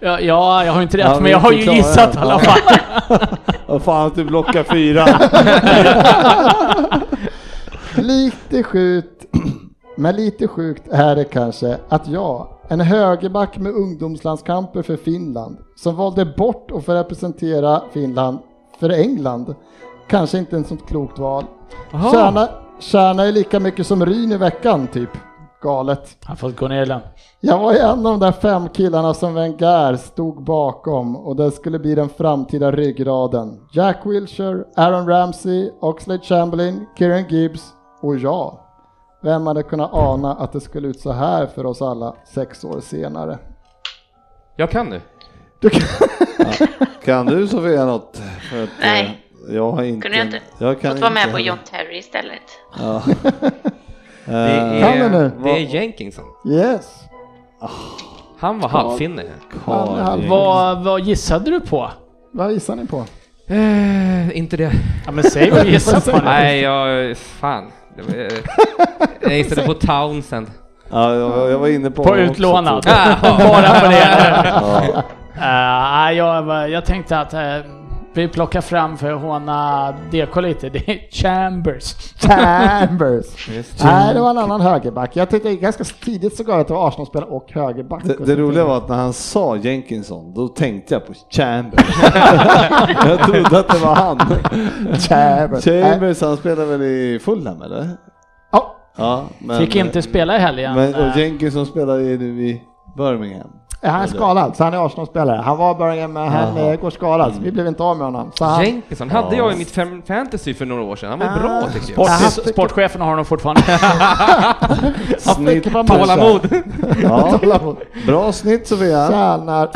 ja, ja, jag har inte rätt,
Ja,
men jag har
vi
ju
klarar
gissat i
det.
alla fall.
Vad fan att du blockar fyra.
Lite sjukt, men lite sjukt är det kanske att jag, en högerback med ungdomslandskamper för Finland, som valde bort att få representera Finland för England, kanske inte en sånt klokt val.
Jaha.
Tjäna, tjäna är lika mycket som Ryn i veckan, typ. Galet.
Han har fått gå ner i lön.
Jag var ju en av de där fem killarna som Wenger stod bakom och det skulle bli den framtida ryggraden. Jack Wilshere, Aaron Ramsey, Oxlade Chamberlain, Kieran Gibbs och jag. Vem hade kunnat ana att det skulle ut så här för oss alla sex år senare?
Jag kan nu.
Du kan...
Kan du Sofia något? För att, eh,
Nej.
Jag har inte.
Kunde jag inte
Jag kan
fått vara med
inte
på
heller.
John Terry istället?
Ja.
Det
Eh,
Kan du
är,
nu?
det är Jenkinson.
Yes!
Han var halvfinne.
Karl-
Halv-
Vad, vad gissade du på?
Vad gissar ni på?
Eh, inte det.
Ja, men säg vad du gissade på. Nej.
Nej, jag... Fan. Det var, eh, jag gissade på Townsend.
Ja, jag, jag var inne på
På
honom också,
utlånad.
tror jag.
Bara på det.
Ja.
Uh, jag, jag tänkte att eh, vi plockar fram för att håna DK lite. Det är Chambers.
Chambers!
Just
Nej, det var en annan högerback. Jag tyckte ganska tidigt så gav jag att det var Arsenalspelare och högerback.
Det,
Och
det
så-
roliga var att när han sa Jenkinson, då tänkte jag på Chambers. jag trodde att det var han.
Chambers. Nej.
Chambers, han spelar väl i Fulham eller?
Ja,
Ja, men, eh,
Fick inte spela i helgen.
Men,
Eh,
och Jenkinson spelar ju nu i Birmingham.
Är han skadad? Så han är Arsenal-spelare? Han var Birmingham, men han
Jaha. Mm.
eh, går skadad, så vi blev inte av med honom. Så han,
Jenkinson hade jag i mitt fem- fantasy för några år sedan. Han var bra tycker jag.
Sport,
Aha.
sportchefen har honom fortfarande.
Snitt
fick bara
på-
Tålamod!
Ja, bra snitt Sofia.
tjänar,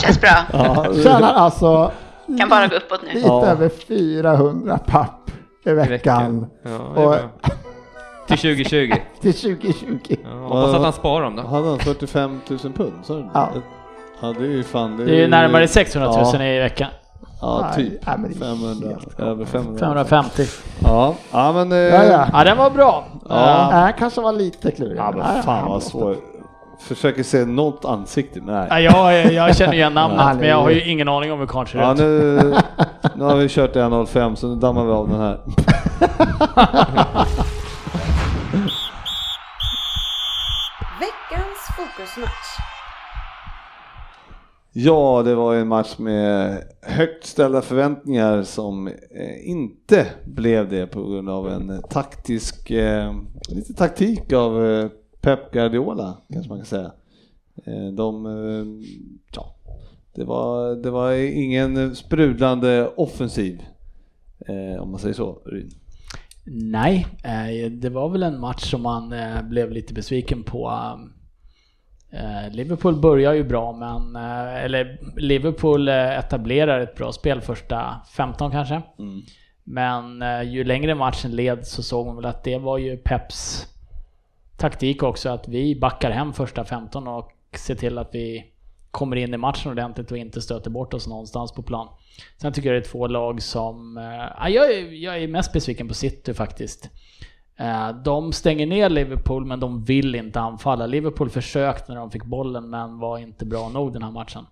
Känns bra.
Ja,
tjänar alltså
Kan bara gå uppåt nu.
lite
Ja.
över 400 papp i
I veckan.
veckan.
Ja, det är
Och,
bra. Till 2020.
till 2020.
Ja, hoppas att han sparar dem då.
hade han 45 000 pund? Så
Ja.
ja. ja, det är ju fan...
Det är ju närmare 600 000 i veckan.
Ja,
Nej,
typ.
nej, men det är
500.
helt
Över 500.
550.
Ja, ja men... eh,
Ja, ja.
Ja, den var bra.
Ja.
Eh,
Nej, kanske var lite klurig.
Ja, men
Nej,
fan
han
vad
måste-
svårt. Försöker se något ansikte, men nej.
nej, jag, jag känner igen namnet,
Nej.
men jag har ju ingen aning om hur karln ser
Ja,
ut.
nu, nu har vi kört 1.05 så nu dammar vi av den här.
Veckans fokusmatch.
Ja, det var ju en match med högt ställda förväntningar som eh, inte blev det på grund av en eh, taktisk, eh, lite taktik av eh, Pep Guardiola kanske man kan säga. Eh, de, eh, ja, det var, det var ingen sprudlande offensiv eh, om man säger så. Ryn.
Nej, eh, det var väl en match som man eh, blev lite besviken på. Eh, Liverpool börjar ju bra, men... eh, Eller Liverpool eh, etablerar ett bra spel första 15 kanske. Men eh, ju längre matchen led så såg man väl att det var ju Peps taktik också, att vi backar hem första 15 och ser till att vi kommer in i matchen ordentligt och inte stöter bort oss någonstans på plan. Sen tycker jag det är två lag som... eh, ja, jag, är, jag är mest besviken på City faktiskt. Eh, de stänger ner Liverpool men de vill inte anfalla. Liverpool försökte när de fick bollen men var inte bra nog den här matchen.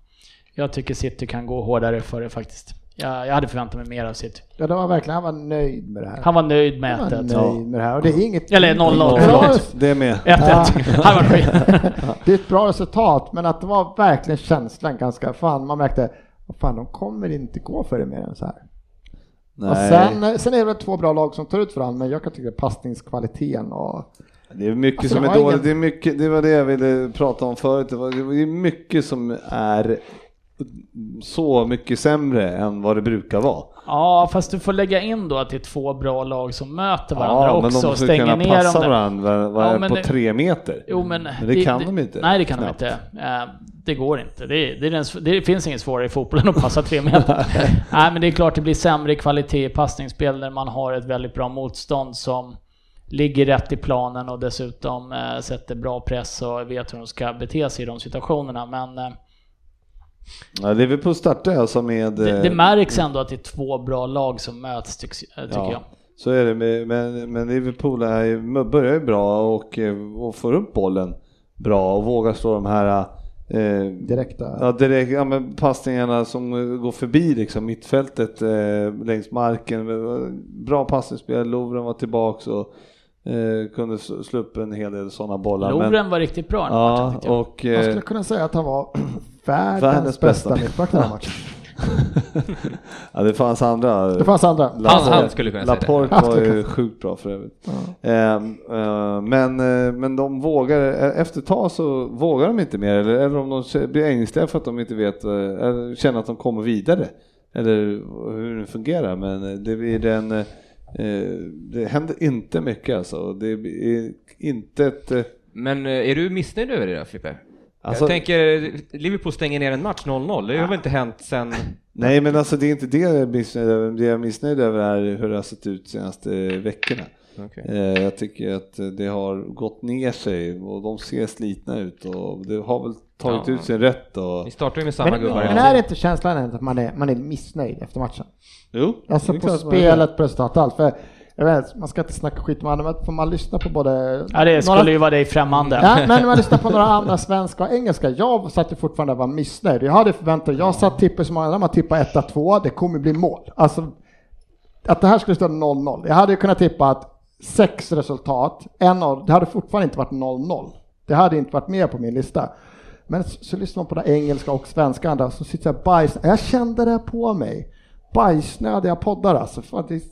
Jag tycker City kan gå hårdare för det faktiskt. Jag, jag hade förväntat mig mer av City.
Ja, det var verkligen, han var nöjd med det här.
Han var nöjd med
Han var
1-1.
nöjd med det här. Och det är inget...
Eller 0-0,
Ja,
förlåt.
Det med.
1-1. Han var nöjd.
Det är ett bra resultat, men att det var verkligen känslan ganska... Fan, man märkte... "Vad Fan, de kommer inte gå för det mer än så här. Och
Nej,
sen, eh, sen är det väl två bra lag som tar ut varandra, men jag kan tycka passningskvaliteten och...
det är mycket
Alltså,
som
det
är
var
dåligt.
ingen-
Det, är mycket, det var det jag ville prata om förut. Det, var, det är mycket som är så mycket sämre än vad det brukar vara.
Ja, fast du får lägga in då att det är två bra lag som möter varandra
Ja, men
också
de
och
skulle
stänger
kunna
ner
passa
dem. där.
varandra vad
Ja,
är
men
på
det-
tre meter.
Jo, men
Mm. Men det kan de inte.
Nej, det kan
Knappt.
de inte. Eh, Det går inte. Det, är- det, är den, sv- det finns inget svårare i fotbollen än att passa tre meter. Nej, men det är klart det blir sämre kvalitet i passningsspel när man har ett väldigt bra motstånd som ligger rätt i planen och dessutom eh, sätter bra press och vet hur de ska bete sig i de situationerna. Men eh,
Ja, Liverpool startar alltså med...
det, det
eh,
märks ändå att det är två bra lag som möts, tycks, eh, tycker
ja,
jag.
Så är det, men- men, men Liverpool är, ju- börjar ju bra och, eh, och får upp bollen bra och vågar slå de här eh,
Direkta.
Ja, direkt, ja, men passningarna som eh, går förbi liksom, mittfältet eh, längs marken. Bra passningsspel, Lovren var tillbaks och eh, kunde s- slå upp en hel del sådana bollar. men-
Lovren var riktigt bra den här matchen,
ja,
tyckte jag.
och,
Man
eh,
skulle kunna säga att han var världens,
Världens bästa.
bästa mittback den här matchen.
ja, det fanns andra.
Det fanns andra.
Han- han skulle kunna säga det.
Laporte
Han
var
skulle
ju sjukt bra för övrigt. Ehm, eh, men, eh, men de vågar, eh, efter ett tag så vågar de inte mer, eller, eller om de k- blir ängsliga för att de inte vet, eh, eller känner att de kommer vidare. Eller hur det fungerar, men eh, det blir en, eh, eh, det händer inte mycket alltså. Det är inte ett... eh,
Men eh, är du missnöjd över det där Frippe?
Alltså-
jag tänker, Liverpool stänger ner en match 0-0, det har väl inte hänt sen...
Nej men alltså det är inte det jag är missnöjd över, det jag är missnöjd över är hur det har sett ut de senaste eh, veckorna.
Okej.
Eh, Jag tycker att eh, det har gått ner sig och de ser slitna ut och det har väl tagit
Ja.
ut sin rätt. Och...
Ni startar ju med samma
Men,
gubbar
men är det inte känslan ändå att man är, man är missnöjd efter matchen?
Jo,
Alltså
det är
på
klart man är
spelet, på resultatet, allt. För jag vet, man ska inte snacka skit om andra, men får man lyssna på både...
Ja, det skulle
några,
ju vara dig främmande.
Ja, men man lyssnar på några andra svenska och engelska. Jag satt ju fortfarande och var missnöjd. Jag hade förväntat Jag satt tippa som andra, man tippar 1-2, det kommer bli mål. Alltså, att det här skulle stå 0-0. Jag hade ju kunnat tippa att sex resultat, en av, det hade fortfarande inte varit 0-0. Det hade inte varit med på min lista. Men så, så lyssnar man på det engelska och svenska andra, så sitter jag bajs. Jag kände det här på mig. Bajsnödiga poddar alltså. Fan, det,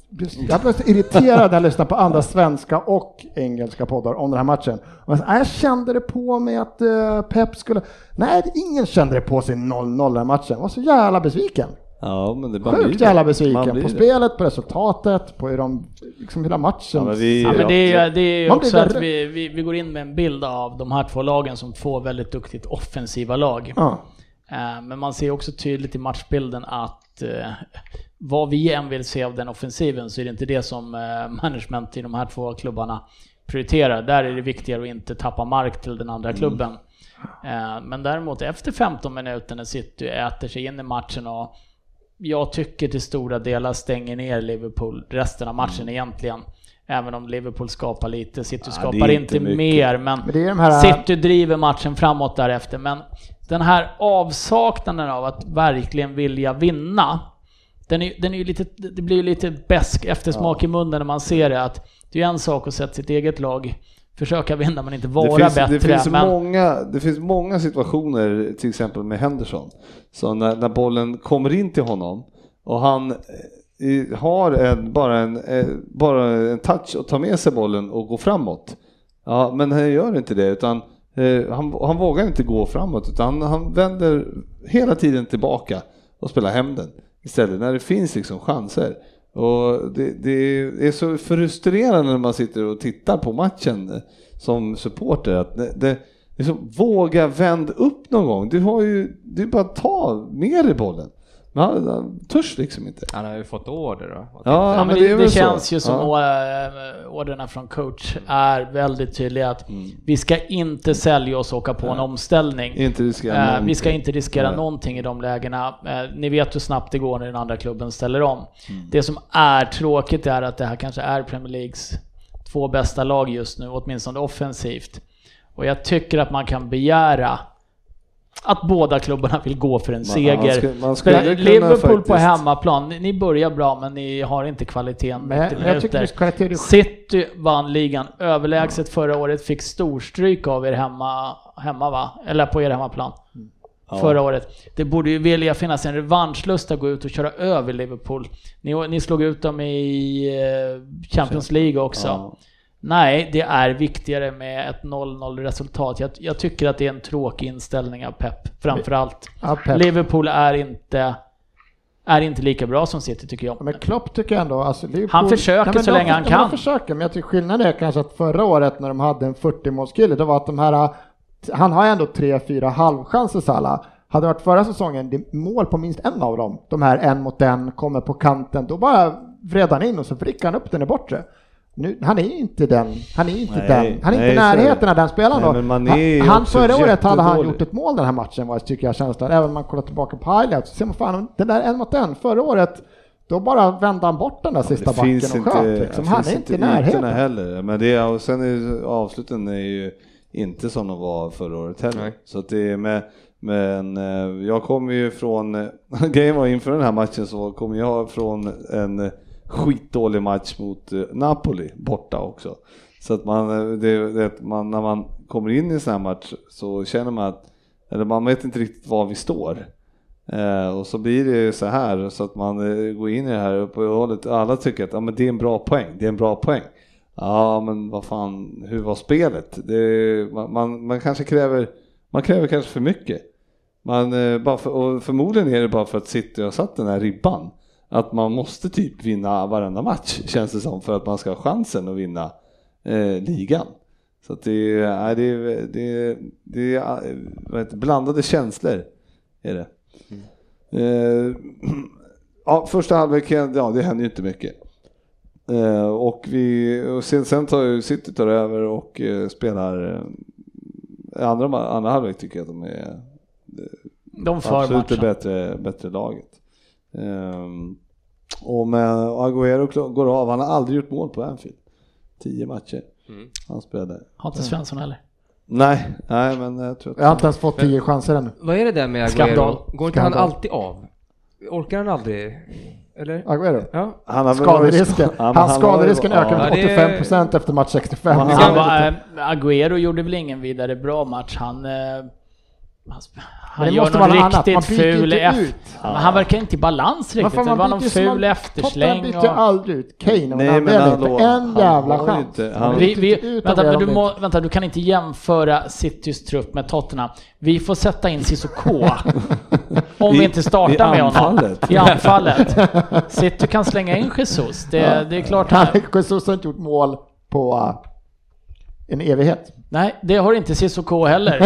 jag blev så irriterad när jag lyssnade på andra svenska och engelska poddar om den här matchen. Och jag, sa, jag kände det på mig att eh, Pep skulle... Nej, ingen kände det på sig 0-0 den här matchen. Jag var så jävla besviken.
Ja, men det bara blir
Sjukt
det.
jävla
Man
besviken
blir
på
det.
spelet, på resultatet, på hur de, liksom hela matchen.
Ja, men vi-
Ja, men det är ju, det är ju
eh, Man blir
också att
värre.
vi, vi, vi går in med en bild av de här två lagen som två väldigt duktigt offensiva lag.
Ja.
Eh, Men man ser också tydligt i matchbilden att eh, vad vi än vill se av den offensiven så är det inte det som eh, management i de här två klubbarna prioriterar. Där är det viktigare att inte tappa mark till den
Mm.
andra klubben. Eh, Men däremot efter 15 minuter när City äter sig in i matchen och jag tycker till stora delar stänger ner Liverpool resten av matchen egentligen. Även om Liverpool skapar lite, City
Mm. Ja, det är
skapar
inte
inte,
mycket.
mer, men,
Men det är de här-
City driver matchen framåt därefter. Men den här avsaknaden av att verkligen vilja vinna, den är, den är ju lite, det blir ju lite besk eftersmak i munnen när man ser det. Att det är ju en sak att sätta sitt eget lag, försöka vinna men inte vara
det finns,
bättre.
det, finns
men,
många, det finns många situationer, till exempel med Henderson, så när, när bollen kommer in till honom och han eh, i- har en, bara, en, eh, bara en touch och tar med sig bollen och går framåt. Ja, men han gör inte det, utan eh, han, han vågar inte gå framåt, utan han vänder hela tiden tillbaka och spelar hem den istället, när det finns liksom chanser. Och det, det är så frustrerande när man sitter och tittar på matchen som supporter. Att det, det, liksom, våga vänd upp någon gång. Du har ju, det är bara att ta med dig bollen. Men han, han törs liksom inte.
Han har ju fått order då.
Ja,
Ja, men
men det
det,
är
det
väl så.
känns ju som
Ja.
ja. orderna från coach är väldigt tydliga att
Mm.
vi ska inte sälja oss och åka på en omställning.
Inte riskera
Eh, Vi
någonting.
ska inte riskera
Nej.
någonting i de lägena. Eh, Ni vet hur snabbt det går när den andra klubben ställer om.
Mm.
Det som är tråkigt är att det här kanske är Premier Leagues två bästa lag just nu, åtminstone offensivt. Och jag tycker att man kan begära att båda klubbarna vill gå för en seger.
man skulle- man skulle
Spel-
kunna
Liverpool på
faktiskt-
hemmaplan, ni, ni börjar bra men ni har inte kvaliteten.
Men jag-
90
men jag tycker
minuter.
just kvalitet är-
City vann ligan överlägset förra året, fick storstryk av er hemma, hemma va? Eller på er hemmaplan. Förra året. Det borde ju vilja finnas en revanschlust att gå ut och köra över Liverpool. Ni, ni slog ut dem i eh, Champions League också.
Ja.
Nej, det är viktigare med ett 0-0 resultat. Jag, jag tycker att det är en tråkig inställning av Pep, framförallt.
Ja, Pep.
Liverpool är inte, är inte lika bra som City tycker jag.
Ja, Men Klopp tycker jag ändå, alltså Liverpool,
Han försöker
men
så
de-
länge han
de
kan.
försöker, men jag tycker skillnaden är kanske att förra året när de hade en 40-målskille, det var att de här, han har ändå tre, fyra halvchanser Salah. Hade det varit förra säsongen det är mål på minst en av dem, de här en mot en, kommer på kanten, då bara vred han in och så vrickade han upp den i bortre. Nu, han är ju inte den, han är ju inte
Nej,
den, han är
nej,
inte i
så är det.
närheten av den spelaren
Nej,
då.
men Mané är ju
han, han
också
förra året hade han
jättedålig.
gjort ett mål den här matchen, vad jag tycker jag känslan. Även om man kollar tillbaka på highlights så ser man fan, den där en mot en, förra året, då bara vände han bort den där sista
Det
backen
finns
och
inte,
sköt. Liksom.
det
Han
finns
är inte i
ytorna
närheten.
heller. Men det, är- och sen är ju- avsluten är ju inte som de var förra året heller.
Nej.
Så att det är med, men eh, jag kommer ju från, eh, grejen var inför den här matchen så kommer jag från en eh, skitdålig match mot eh, Napoli borta också. Så att man, eh, det, det, man, när man kommer in i en sån här match så känner man att, eller man vet inte riktigt var vi står. Eh, och så blir det ju så här så att man eh, går in i det här uppehållet. Alla tycker att ja, men det är en bra poäng, det är en bra poäng. Ja men vad fan, hur var spelet? Det, man, man, man kanske kräver, man kräver kanske för mycket. Man, eh, bara för, och förmodligen är det bara för att City har satt den här ribban. Att man måste typ vinna varenda match känns det som för att man ska ha chansen att vinna eh, ligan. Så att det, är- nej, det, är- det, är- det är eh, vad heter, det, blandade känslor är det. Eh, ja, första halvleken, ja det händer ju inte mycket. Eh, och vi, och sen, sen tar ju City tar över och eh, spelar eh, andra, ma- andra halvlek tycker jag att de är
De för
absolut det
matchen.
bättre, bättre laget. Ehm, och med och Agüero kl- går av, han har aldrig gjort mål på Anfield. Tio matcher han spelade.
Har inte Svensson heller.
Nej, nej men jag tror att...
Jag har inte ens fått tio chanser ännu.
Vad är det där med
Skandal.
Aguero? Går inte han
Skandal.
alltid av? Orkar han aldrig? Eller?
Aguero.
Ja.
Han har väl varit-
Skaderisken.
Ja, men
Hans
han har ju-
skaderisken ökar
Ja,
med
det-
85% efter match 65.
Ja,
Han
han-
var, eh, Agüero gjorde väl ingen vidare bra match. Han, eh, han, sp-
det
han gör
måste
någon
vara något annat. Man
riktigt
byter
ful
inte
F.
ut.
Men han verkar inte i balans
Vad
riktigt.
fan,
det var
man
någon
byter ju-
ful
man- Tottenham
eftersläng.
byter ju
Och...
aldrig ut Kane om
Nej,
han
men
använder
hallå,
inte en
han
jävla
har ju
chans.
inte-
Man
han-
Vi,
byter inte
vi,
ut
vänta,
Aguero
men du
om det
må, vänta, du kan inte jämföra Citys trupp med Tottenham. Vi får sätta in Cissoko. om
I-
vi inte startar
i
med honom.
anfallet.
I anfallet. City kan slänga in Jesus. Det, det är klart.
Han Jesus har inte gjort mål på eh, en evighet.
Nej, det har inte Cissoko heller.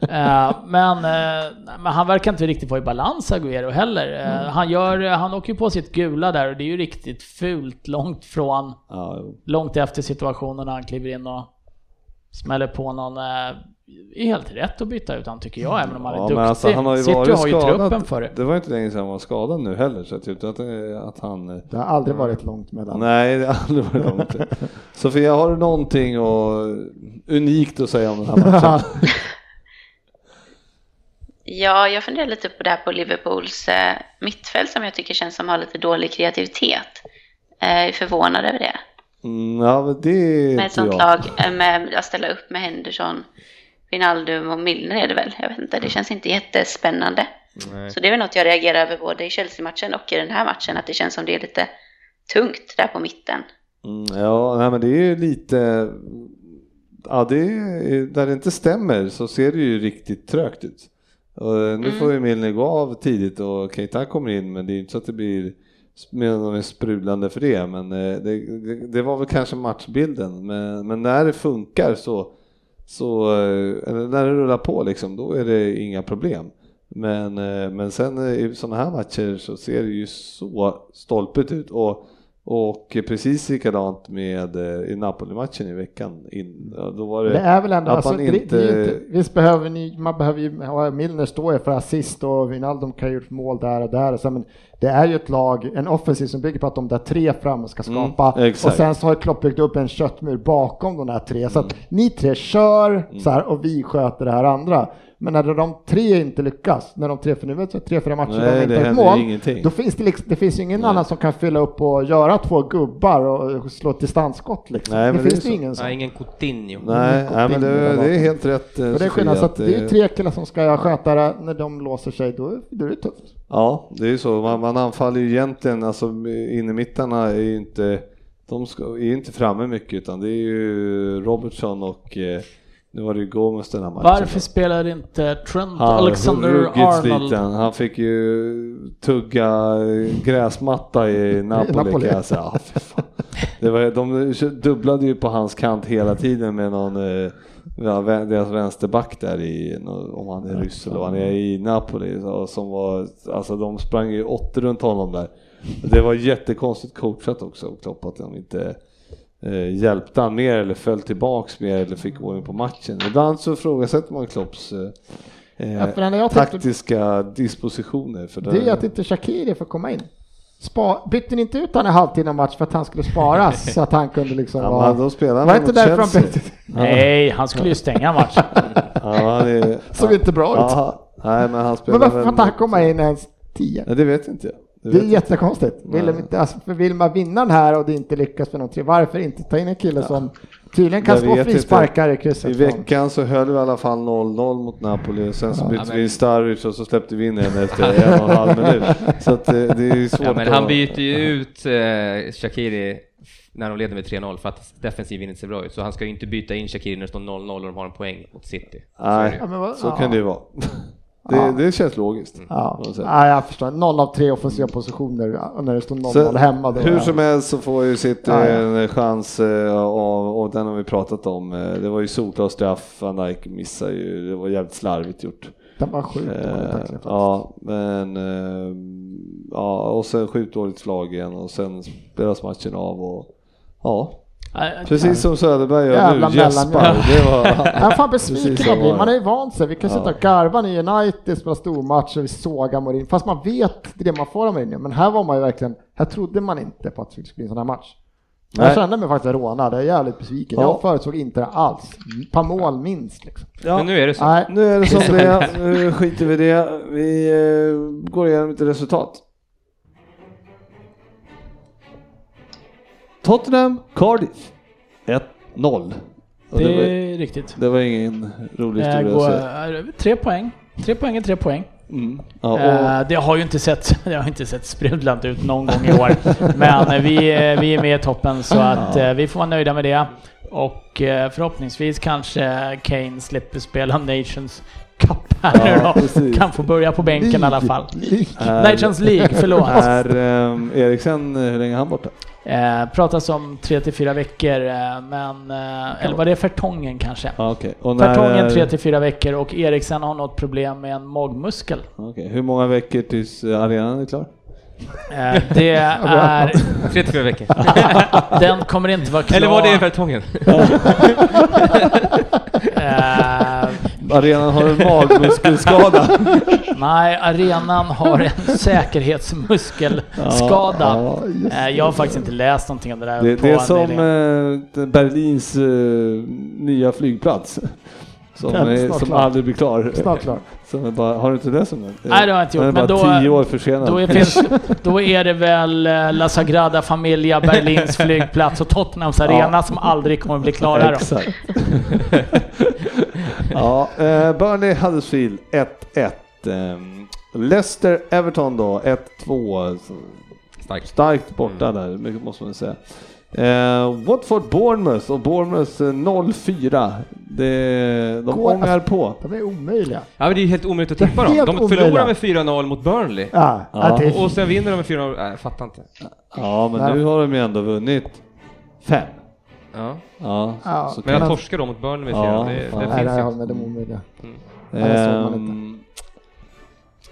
Eh, men, eh, men han verkar inte riktigt vara i balans Agüero heller. Eh, han, gör, han åker ju på sitt gula där och det är ju riktigt fult långt från,
Ja, jo.
långt efter situationen när han kliver in och smäller på någon, eh, är helt rätt att byta ut han tycker jag, även om han är duktig.
men alltså, han har ju
City
varit
har ju
skadad.
truppen för det.
Det var inte länge sedan han var skadad nu heller, så jag tyckte att, eh, att han... eh,
Det har aldrig varit långt mellan.
Nej, det har aldrig varit långt. Sofia, har du någonting och unikt att säga om den här matchen?
Ja, jag funderar lite på det här på Liverpools eh, mittfält som jag tycker känns som har lite dålig kreativitet. Eh, Jag är förvånad över det.
Mm, ja, men det är
Med ett
inte
sånt
jag.
lag, eh, med att ställa upp med Henderson, Wijnaldum och Milner är det väl? Jag vet inte, det känns inte jättespännande. Så det är väl något jag reagerar över både i Chelsea-matchen och i den här matchen, att det känns som det är lite tungt där på mitten.
Mm, ja, nej, men det är ju lite... Ja, det är, där det inte stämmer så ser det ju riktigt trögt ut. Och eh, nu får ju Milner gå av tidigt och Keita kommer in, men det är ju inte så att det blir med någon sprudlande för det, men eh, det, det, det var väl kanske matchbilden. Men, men när det funkar så, så eh, eller när det rullar på liksom, då är det inga problem. Men, eh, men sen eh, i sådana här matcher så ser det ju så stolpigt ut och, och precis likadant med eh, i Napoli-matchen i veckan. In, ja, då var det,
Det är väl ändå,
att
alltså,
man
det, det är ju
inte-
inte, visst behöver ni, man behöver ju, ja, Milner står ju för assist och Wijnaldum kan ju gjort mål där och där och så, men det är ju ett lag, en offensiv som bygger på att de där tre framme ska skapa
Mm,
och
exakt.
sen så har Klopp byggt upp en köttmur bakom de där tre så
Mm.
att ni tre kör så här och vi sköter det här andra. Men när de tre inte lyckas, när de tre, för nu vet jag, tre, fyra matcher
Nej,
de
det
inte har ett
händer
mål,
ju ingenting.
då finns det, liksom, det finns ju ingen annan som kan fylla upp och göra två gubbar och och slå ett distansskott liksom.
Nej,
det
men det
finns
är
ju
så.
ingen sån.
Nej, ingen Coutinho.
Nej, nej men det, det är helt rätt eh,
Men det är
Sofia,
skillnad, så att det är
eh,
tre killar som ska sköta det. När de låser sig, då, då är det tufft.
Ja, det är ju så. Man, man anfaller ju egentligen, alltså innermittarna är ju inte, de ska, är ju inte framme mycket utan det är ju Robertson och eh, nu var det ju Gomes den här matchen.
Varför spelar inte Trent
Han-
Alexander-Arnold?
ruggigt sliten. Han fick ju tugga gräsmatta i Napoli,
Napoli.
kan jag säga. Ja, fy fan. Det var, de dubblade ju på hans kant hela tiden med någon eh, ja, vä- deras vänsterback där i, om han är ryss eller vad han är i Napoli. så- Som var, alltså de sprang ju åtta runt honom där. Det var jättekonstigt coachat också och Klopp att de inte eh, hjälpte han mer eller föll tillbaks mer eller fick ordning på matchen. Ibland så ifrågasätter man Klopps eh,
Ja, för det enda jag tänkte-
taktiska dispositioner. För
Det är att inte Shakiri får komma in. Spa, bytte ni inte ut han i halvtid av match för att han skulle sparas så att han kunde liksom
Ja,
vara...
men då spelar han
var
mot
inte därför han
Chelsea.
bytte?
Nej, han skulle ju stänga matchen.
ja, det,
Såg inte bra ut.
Aha. Nej, men han spelar
Men varför får inte han
mot-
komma in ens 10?
Nej, det vet inte jag. Det
Det är
vet jag.
jättekonstigt. Vill, de inte, alltså, för vill man vinna den här och det inte lyckas med de tre, varför inte ta in en kille som tydligen kan
Jag
slå
vet
frisparkar i
inte.
krysset?
I
från-
veckan så höll vi i alla fall 0-0 mot Napoli och sen så bytte
men-
vi in Starwich och så släppte vi in en efter en och en halv minut. Så att eh, det är ju svårt
Ja, men han
att-
byter ju ut eh, Shakiri när de leder med 3-0 för att defensiven inte ser bra ut. Så han ska ju inte byta in Shakiri när det står 0-0 och de har en poäng mot City. Så är det
Nej,
ju.
Ja, men vad-
så
ja.
kan det ju vara. Det,
Ja.
det känns logiskt.
Ja.
på något sätt.
ja, jag förstår. Noll av tre offensiva positioner och när det står 0-0
Så,
hemma. Då
hur som helst så får ju City
Ja, ja.
en chans eh, och, och den har vi pratat om. Eh, Det var ju solklar straff, van Dijk missar ju, det var jävligt slarvigt gjort.
Den var sjukt dålig
Eh,
tackling faktiskt.
ja, men eh, ja, och sen sjukt dåligt slag igen och sen spelas matchen av och ja,
Nej,
precis som Söderberg gör
Jävla
nu, gäspar.
mellanmjölk.
Det var,
Jag är fan
Precis
besviken
så
jag blir.
var
Man
det.
är ju vant sig. Vi kan sitta och garva i United, spela stormatcher, vi sågar Mourinho. Fast man vet det man får av Mourinho. Men här var man ju verkligen, här trodde man inte på att det skulle bli en sån här match.
Nej.
Jag kände mig faktiskt rånad, jag är jävligt besviken.
Ja.
Jag förutsåg inte det alls. Ett par mål minst liksom.
Men nu är det så.
Nej,
nu är det som det är, nu skiter vi i det. Vi eh, går igenom lite resultat. Tottenham, Cardiff 1-0. Och
Det
Det, var,
är riktigt.
det var ingen rolig
Eh,
historia.
Går,
så-
eh, tre poäng. Tre poäng är tre poäng.
Mm. Ja, och,
Eh, det har ju inte sett, det har inte sett sprudlant ut någon gång i år. Men eh, vi, eh, vi är med i toppen så att eh, vi får vara nöjda med det. Och eh, förhoppningsvis kanske Kane slipper spela Nations Cup här nu
Ja,
då.
precis.
Kan få börja på bänken i alla fall. Eh,
är-
Nations League, förlåt.
Är ehm, Eriksen, hur länge är han borta?
Eh, pratas om 3-4 veckor, eh, men... Eh, eller var det Fertongen kanske?
Ja, okej. Och när
Fertongen
är-
3-4 veckor och Eriksen har något problem med en magmuskel.
Okej, Hur många veckor tills eh, arenan är klar?
Eh, Det är...
34 veckor.
Den kommer inte vara klar...
Eller var det följetongen?
Eh,
Arenan har en magmuskelskada.
Nej, arenan har en säkerhetsmuskelskada.
Ja, just
Eh, Jag har faktiskt inte läst någonting om det där.
Det,
på
det är
en
som
nyligen.
eh, den Berlins eh, nya flygplats. Som,
Den är
är,
snart
som
klar.
aldrig blir klar.
Snart klar.
Som är bara, har du inte läst om den?
Nej, det har jag inte gjort,
Den är
men
bara
då-
tio år försenad.
Då är, finns, då är det väl eh, La Sagrada Familia, Berlins flygplats och Tottenhams arena som aldrig kommer bli klara då.
Exakt. ja, eh, Burnley Huddersfield 1-1. Ehm, Leicester Everton då 1-2. Så
Starkt.
Starkt borta där, mycket måste man säga. Eh, Watford Bournemouth och Bournemouth eh, 0-4. Det, de
Går-
ångar på.
De är omöjliga.
Ja men det är ju helt omöjligt att tippa dem.
Helt
De förlorar
omöjligt.
med 4-0 mot Burnley.
Ja,
Ja.
att det är
Och sen vinner de med 4-0. Nej, jag fattar inte.
Ja, men nu har de ju ändå vunnit fem. Ja,
Ja.
så-
Ja,
så
Men
kan-
jag torskar då mot Burnley med 4-0.
Ja,
det,
fan.
det
Nej,
finns
där
ju.
har vi de omöjliga.
Ehm,
det såg man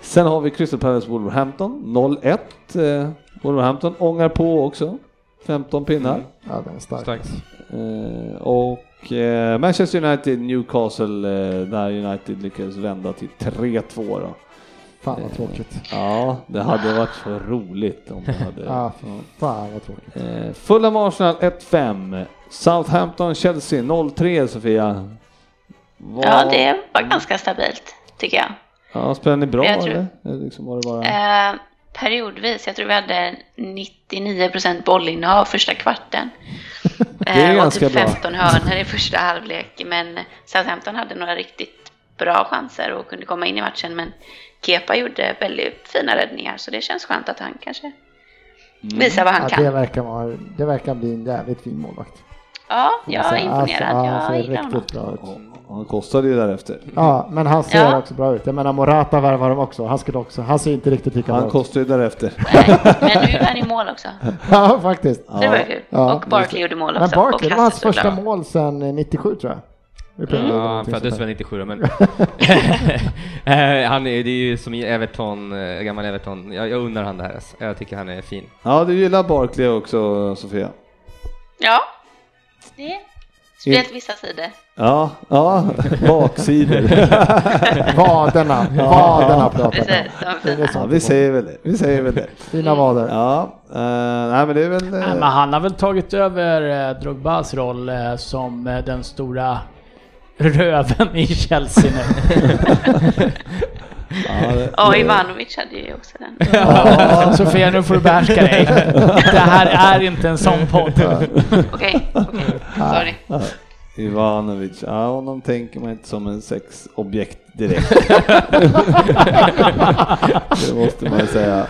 Sen har vi Crystal Palace Wolverhampton 0-1. Eh, Wolverhampton ångar på också. 15 pinnar.
Ja, den är stark.
Starkt.
Eh, och eh, Manchester United Newcastle eh, där United lyckades vända till 3-2 då.
Fan vad tråkigt.
Ja, det hade varit så roligt om det hade...
Ja, Ah, fy fan vad tråkigt.
Eh, Fulham Arsenal 1-5. Southampton Chelsea 0-3 Sofia. Vad-
Ja, det var ganska stabilt tycker jag.
Ja, spelade ni bra
Jag tror-
eller? Eller Liksom var det bara...
Eh, periodvis, jag tror vi hade 99% bollinnehav första kvarten.
är
Eh,
ganska
och typ
bra.
15 hörnor i första halvlek. Men Southampton hade några riktigt bra chanser och kunde komma in i matchen. Men Kepa gjorde väldigt fina räddningar så det känns skönt att han kanske
Mm.
visar vad han
Ja, det,
kan.
verkar vara, det verkar bli en jävligt fin målvakt.
Ja, jag är
Alltså,
imponerad.
alltså, han
jag
ser
gillar honom.
riktigt bra ut.
Ja, Han kostade ju därefter.
Ja, men han ser
Ja.
också bra ut. Jag menar Morata värvar de också. Han skulle också. Han ser inte riktigt lika
Han
bra ut.
kostade ju därefter.
Nej, men nu är han i mål också.
Ja, faktiskt.
Så det var ju kul.
Ja,
och Barkley gjorde mål också.
Men Barkley,
och
det var hans
Hassel gjorde
första
bra.
mål sedan eh, 97 tror jag. Vi
Mm.
pratade om
Ja, han
någonting
föddes
sånt där.
väl 97 men... Eh, han är, det är ju som i Everton, eh, gammal Everton. Jag, jag undrar han det här. alltså. Jag tycker han är fin.
Ja, du gillar Barkley också Sofia.
Ja, det är speciellt vissa sidor.
Ja, ja, baksidor.
Vaderna, vaderna pratar vi om.
Precis, de är fina.
Ja, vi säger väl det. Vi säger väl det.
Fina vader.
Ja, eh, nej men det är väl... eh,
Nej, men han har väl tagit över eh, Drogbas roll eh, som eh, den stora röven i Chelsea nu.
ja, det-
Ja, Ivanovic hade ju också den.
Ja, Sofia, nu får du behärska dig. Det här är inte en sån podd.
Okej, okej. Sorry.
Ivanovic, ja honom tänker man inte som en sexobjekt direkt. det måste man ju säga.
Ja,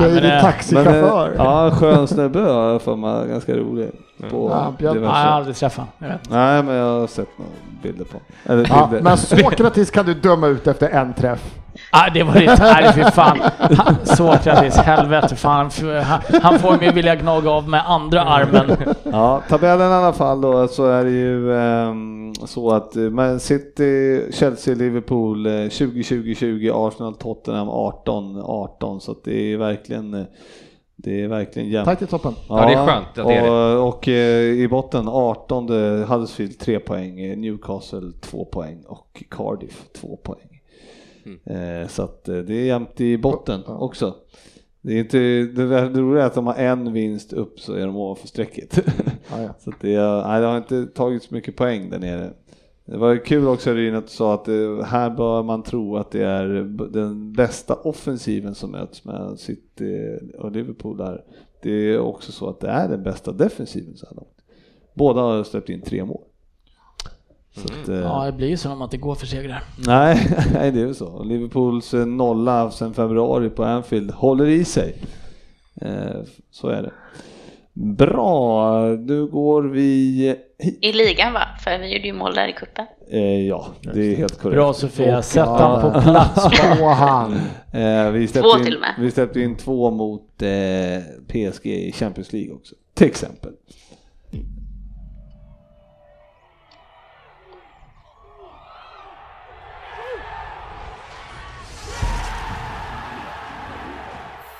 men,
Shady
eh,
Men, eh,
taxichaufför.
ja, skön snubbe har jag för mig, ganska rolig. På
Ja,
Ja,
Björn-
jag har
diverse.
aldrig träffat honom. jag vet.
Nej men jag har sett några bilder på honom. Eller
Ja,
bilder.
men Sokratis kan du döma ut efter en träff.
Ah, det var det. Nej, fy fan. Han- Sokrates, helvete fan. Han, han får mig vilja gnaga av med andra armen.
Ja, tabellen i alla fall då så är det ju ehm, så att eh, Man City, Chelsea, Liverpool eh, 20-20-20, Arsenal, Tottenham 18-18 så att det är verkligen eh, det är verkligen jämnt.
Tajt i toppen.
Ja, det är skönt att det är
och, och eh, i botten 18 Huddersfield 3 poäng, eh, Newcastle 2 poäng och Cardiff 2 poäng.
Mm.
Eh, Så att eh, det är jämnt i botten också. Det är inte, det det roliga är att de har en vinst upp så är de ovanför strecket.
Ja, ja.
Så att det, är- nej, det har inte tagit så mycket poäng där nere. Det var ju kul också Ryn att du sa att eh, här bör man tro att det är b- den bästa offensiven som möts med City och Liverpool där. Det är också så att det är den bästa defensiven så här långt. Båda har släppt in tre mål. Så att, eh,
Ja, det blir ju så om man inte går för segrar.
Nej, nej, det är ju så. Och Liverpools eh, nolla sedan februari på Anfield håller i sig. Eh, Så är det. Bra, nu går vi... hit.
I ligan va? För vi gjorde ju mål där i kuppen.
Eh, Ja, det är helt korrekt.
Bra Sofia, sätt
Ja.
han på plats.
Två hand.
Eh, Vi
Två
släppte,
till
in,
och med.
vi släppte in två mot eh, PSG i Champions League också, till exempel.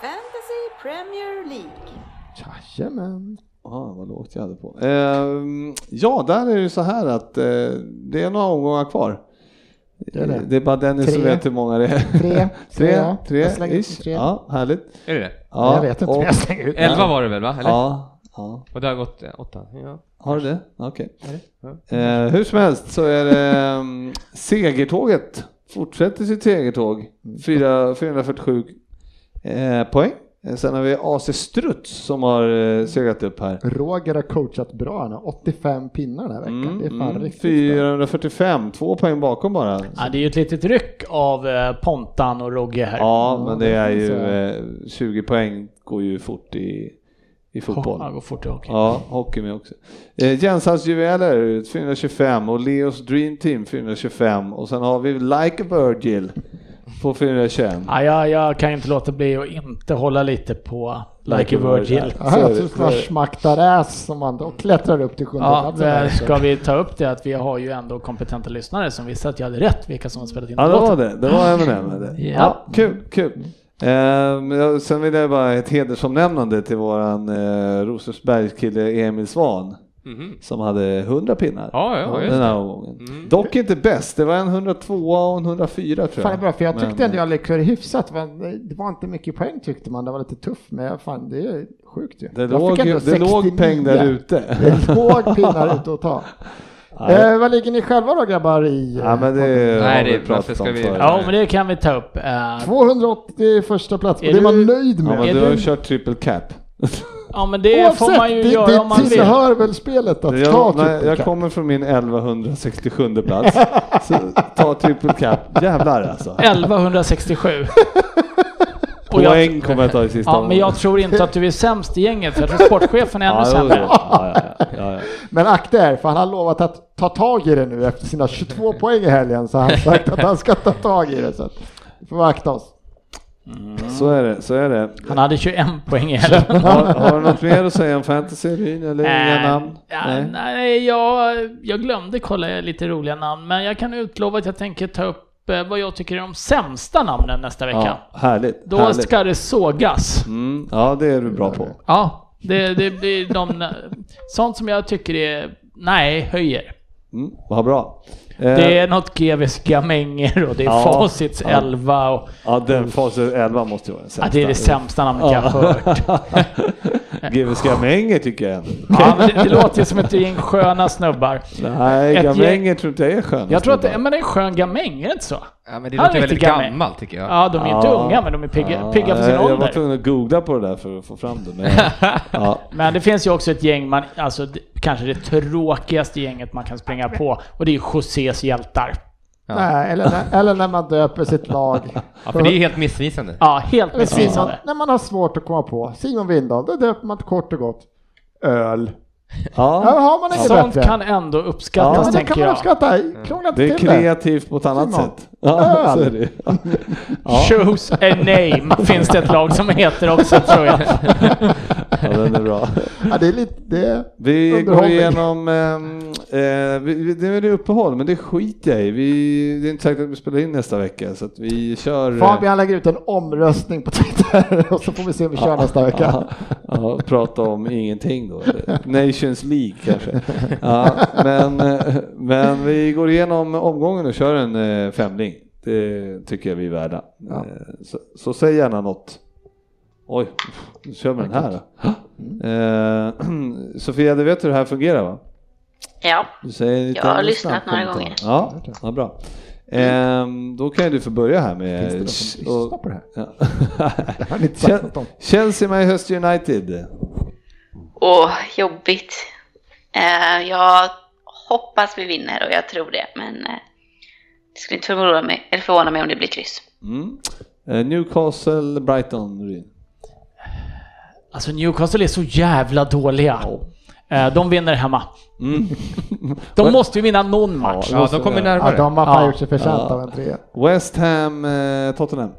Fantasy
Premier League.
Jajamän.
Ja, Ah, vad lågt jag hade på. Ehm, ja, där är det ju så här att eh, det är några omgångar kvar. Det
är
är,
det.
bara Dennis som
Tre.
vet hur många det är.
Tre.
tre,
Jag slänger
tre,
in
ish.
tre.
Ja, härligt.
Är det det?
Ja,
jag vet inte,
och-
men jag slänger ut.
Elva var det väl va? Eller?
Ja, ja.
Och det har gått eh, åtta? Ja.
Har du det? Okej. Eh, hur som helst så är det um, segertåget. Fortsätter sitt segertåg.
Mm.
Fyra- 447 eh, poäng. Eh, Sen har vi AC Struts som har eh, seglat upp här.
Roger har coachat bra, han har 85 pinnar den här veckan.
Mm,
det är fan
mm.
riktigt bra.
445, två poäng bakom bara.
Ja, det är ju ett litet ryck av eh, Pontan och Rogge här.
Ja, men det
det
är
finns
ju
det.
eh, 20 poäng går ju fort i, i fotboll.
Ja, går fort i hockey.
Ja, hockey med också. Eh, Jensans Juveler 425 och Leos Dream Team 425 och sen har vi Like a Virgil på 421.
Ja, jag, jag kan ju inte låta bli att inte hålla lite på Like a Virgil.
Jag hör att du svartsmaktar ass som man då klättrar upp till sjunde
Ja,
platsen
men
här.
ska vi ta upp det att vi har ju ändå kompetenta lyssnare som visste att jag hade rätt vilka som har spelat in
Ja, det
låten.
var det. Det var Eminem. med det.
Ja.
kul, kul. Ehm, ja, sen vill jag bara ett hedersomnämnande till våran eh, Rosersbergskille Emil Svan
Mhm.
som hade 100 pinnar
Ja, ja, just Mm.
den här omgången. Dock inte bäst, det var en 102 och en 104 tror jag.
Fan det är bra, för jag tyckte
Men,
ändå jag lyckades hyfsat. men Det var inte mycket poäng tyckte man, det var lite tuff. Men fan, det är sjukt ju.
det
Jag
låg,
fick ändå
ju- det låg
69.
peng där ute.
Det låg pinnar ute att ta. Eh, vad ligger ni själva då grabbar i? eh,
Ja, men det
Nej,
har vi
det-
pratat
varför
om
ska vi-
förut.
Ja, men det kan vi ta upp. Eh,
280 första plats, och
Är
det är
du-
man nöjd
Ja,
med.
men
Är
du har ju
du-
kört triple cap.
Ja, men det får man ju
det,
göra
det
om man vill.
tillhör väl spelet att ta typ
Jag, nej,
triple
jag
cap.
kommer från min 1167 plats. Så ta triple cap. Jävlar alltså.
1167. Och jag-
Poäng kommer jag ta i sista
Ja, men jag tror inte att du är sämst i gänget, för jag tror sportchefen är
Ja, jo, jo.
ännu sämre.
Ja, ja, ja, ja, ja.
Men akta er, för han har lovat att ta tag i det nu efter sina 22 poäng i helgen. Så han har sagt att han ska ta tag i det. Så att vi får akta oss.
Mm. Så är det, så är det.
Han hade 21 poäng i helgen.
Har, har du något mer att säga om fantasy, Ryn, eller inga
Äh,
namn?
ja,
Nej.
nej, jag, jag glömde kolla lite roliga namn, men jag kan utlova att jag tänker ta upp eh, vad jag tycker är de sämsta namnen nästa vecka.
Ja, härligt.
Då
härligt.
ska det sågas.
Mm, ja, det är du bra på.
Ja, det, det blir de... Sånt som jag tycker är... Nej, höjer.
Mm, vad bra.
Det
Eh,
är något GVs gamänger och det är
Ja,
Facits
ja.
11 och...
ja, den fasen 11 måste ju vara den sämsta.
Ja, det är det sämsta namnet jag har hört.
GW Skamänger tycker jag ändå.
Ja, men det, det låter ju som ett gäng sköna snubbar.
Nej,
Ett gäng-
Gamänger tror inte jag är skön.
Jag tror att det, ja, men det är en skön gamäng, är det inte så?
ja men det
Ja,
låter
lite
väldigt
gammal.
gammalt tycker jag.
Ja, de är ju inte
Ja.
unga, men de är pigga,
Ja,
pigga för sin
jag, Jag var
ålder.
tvungen att googla på det där för att få fram det. Men, ja,
Men det finns ju också ett gäng, man, alltså det, kanske det tråkigaste gänget man kan springa på, och det är Josés hjältar.
Nej, eller, när, eller när man döper sitt lag.
Ja, för det är helt missvisande.
Ja, helt
Eller Simon,
missvisande.
när man har svårt att komma på. Simon Windahl, då döper man kort och gott öl. Ja,
ja,
har man inget
Sånt
bättre.
kan ändå
Ja,
uppskattas,
men det
tänker
kan man
jag.
uppskatta. Krångla
det
inte
är
till det.
kreativt på ett annat
Simon.
sätt. Ja,
Öl.
så är det. ju.
Choose a name, finns det ett lag som heter också, tror jag.
Ja, den är bra.
Ja, det är lite... Det,
Vi går
Underhållning.
igenom, ehm, eh, vi, vi- nu är det uppehåll, men det skiter jag i. Vi, det är inte säkert att vi spelar in nästa vecka, så att vi kör... eh,
Fabian lägger ut en omröstning på Twitter och så får vi se om vi kör nästa vecka.
Ja, ja, prata om ingenting då. eller Nations League kanske. Ja, men, eh, men vi går igenom omgången och kör en eh, femling. Det tycker jag vi är värda.
Ja.
Eh, Så, så säg gärna något. Oj, nu kör vi den här då. Eh, Sofia, du vet hur det här fungerar va?
Ja,
Du säger lite
Jag har
annorlunda
lyssnat några
kommentar.
gånger.
Ja, vad bra. Ehm, då kan ju du få börja här med...
Finns det någon
och-
som lyssnar på det här?
Ja.
Det har ni inte sagt
Chen-
något om.
Chelsea, Manchester United.
åh, jobbigt. Eh, jag hoppas vi vinner och jag tror det, men eh, det skulle inte förvåna mig, eller förvåna mig om det blir kryss.
Mm. Eh, Newcastle, Brighton, Ryn.
Alltså Newcastle är så jävla dåliga. Eh, De vinner hemma. De måste ju vinna någon match.
Ja, de kommer
Ja,
närmare.
de har fan
Ja.
gjort sig förtjänta
Ja.
av en trea.
West Ham, eh, Tottenham.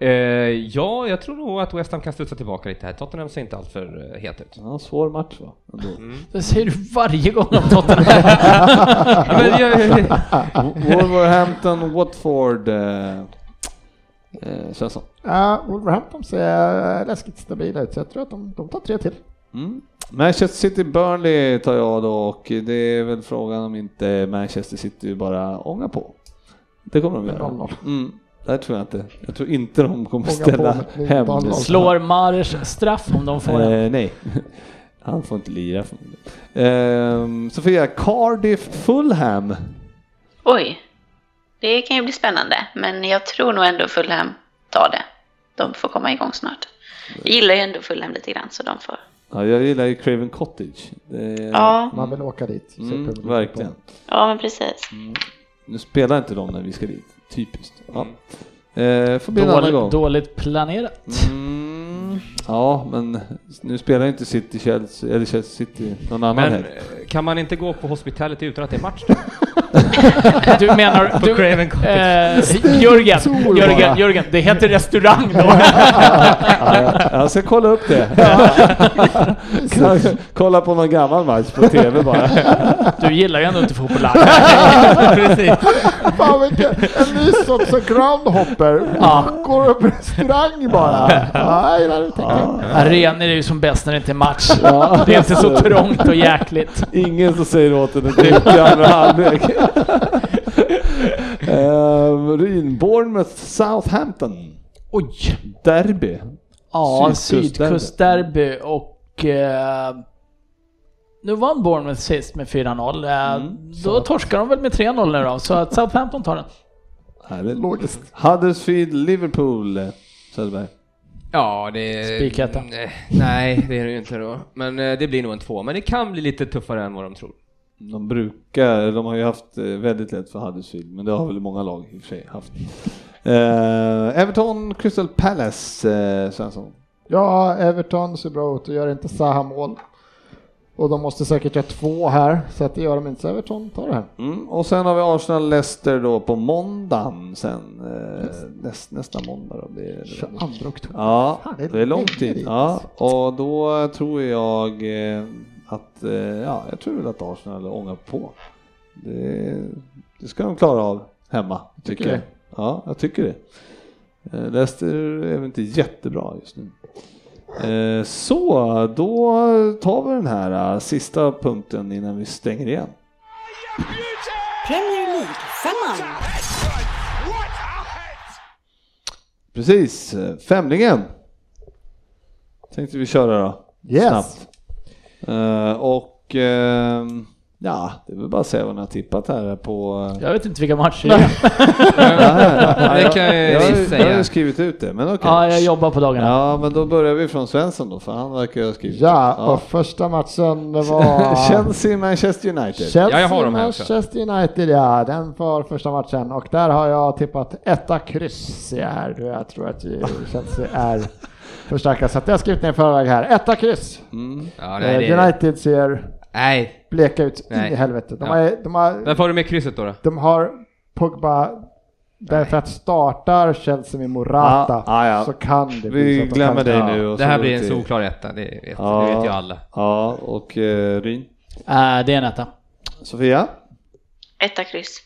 Eh, ja, jag tror nog att West Ham kan studsa tillbaka lite här. Tottenham ser inte alltför eh, het ut.
Ja, svår match va? Ändå.
Det säger du varje gång om Tottenham.
Ja, men jag,
Wolverhampton, Watford, eh, eh, Svensson.
Ja, Wolverhampton ser eh, läskigt stabila ut, så jag tror att de, de tar tre till.
Mm. Manchester City Burnley tar jag då och det är väl frågan om inte Manchester City bara ångar på. Det kommer de göra.
0-0.
Mm. Det här tror jag inte. Jag tror inte de kommer
Ånga på
ställa
med ett
hem.
nytt boll.
Slår Mars straff om de får den?
Eh, nej. Han får inte lira förmodligen. Ehm, Sofia, Cardiff Fulham.
Oj, det kan ju bli spännande. Men jag tror nog ändå Fulham tar det. De får komma igång snart. Jag gillar ju ändå Fulham lite grann så de får.
Ja, jag gillar ju Craven Cottage. Det-
Ja,
Man vill åka dit. se Premier
Mm,
League
verkligen.
ja men precis.
Nu spelar inte de när vi ska dit. Typiskt. Ja. Eh, får bli en annan gång.
Dåligt, dåligt planerat.
Mm, ja, men nu spelar ju inte City Chelsea, eller Chelsea City någon annan
Men
helg.
eh, kan man inte gå på hospitality utan att det är match då?
Du menar...
På
Du,
Craven Cottage.
eh, Jörgen,
Sol bara.
Jörgen, Jörgen, det heter restaurang då.
Ja, jag- jag ska kolla upp det. Kan- kolla på någon gammal match på TV bara.
Du gillar ju ändå inte fotboll.
Precis.
Fan vilken, en ny sorts groundhopper.
Ja.
Går upp restaurang bara. Nej, det är tänker
Arenor är ju som bäst när det inte är match. Det är inte så trångt och jäkligt.
Ingen som säger åt en att dricka i andra halvlek. Ehm, Ryn, Bournemouth, Southampton.
Oj!
Derby.
Ja,
Sydkustderby.
sydkustderby och... Eh, nu vann Bournemouth sist med 4-0. Eh, Då torskar de väl med 3-0 nu då, så att Southampton tar den.
Härligt.
Logiskt.
Huddersfield, Liverpool. Söderberg.
Ja, det...
Spiketta.
Nej, Nej, det är det ju inte då. Men eh, det blir nog en två. Men det kan bli lite tuffare än vad de tror.
De brukar, de har ju haft eh, väldigt lätt för Huddersfield, men det har väl många lag i och för sig haft. Eh, Everton, Crystal Palace, eh, Svensson.
Ja, Everton ser bra ut och gör inte Zaha mål. Och de måste säkert göra två här, så att det gör de inte. Så Everton tar det här.
Mm. Och sen har vi Arsenal-Leicester då på måndagen sen, eh, näst, nästa måndag då blir det.
22 oktober.
Ja,
Fan, det är
det är lång
länge
tid.
dit.
Ja, och då tror jag eh, att, eh, ja, jag tror väl att Arsenal ångar på. Det, det ska de klara av hemma, tycker
Tycker
jag. Ja, jag tycker det. Eh, Leicester är väl inte jättebra just nu. Eh, Så, då tar vi den här eh, sista punkten innan vi stänger igen.
Premier League-femman.
Precis, eh, Femlingen tänkte vi köra då.
Yes.
Snabbt. Eh, och ehm, ja, det är väl bara att säga vad ni har tippat här på... eh,
Jag vet inte vilka matcher det är.
Det kan jag
jag, har ju- jag har ju
säga.
skrivit ut det, men okej.
Ja, jag jobbar på dagarna.
Ja, men då börjar vi från Svensson då, för han verkar ju ha skrivit
Ja,
ut.
och första matchen det var...
Chelsea, Manchester United.
Chelsea,
Ja, jag har dem här också.
Manchester United, ja. Den var första matchen och där har jag tippat etta kryss. i här. Jag tror att ju Chelsea är förstärkta, så att jag har skrivit ner i förväg här. Etta kryss.
Ja,
Eh,
nej, det...
United ser
nej.
bleka ut
Nej.
in i helvete. De,
Ja.
är, de, har,
Varför har du med krysset då? då?
de har Pogba därför att startar Chelsea med Morata
Ja, Ah, ja, ja.
så kan det bli så
Vi
att de
glömmer
kan-
dig
Ja,
nu. Och
det
så
här
går
blir
vi
en
till-
solklar etta, det vet,
Ja,
det vet ju alla.
Ja, och eh, Ryn.
Äh, det är en etta.
Sofia?
Etta kryss.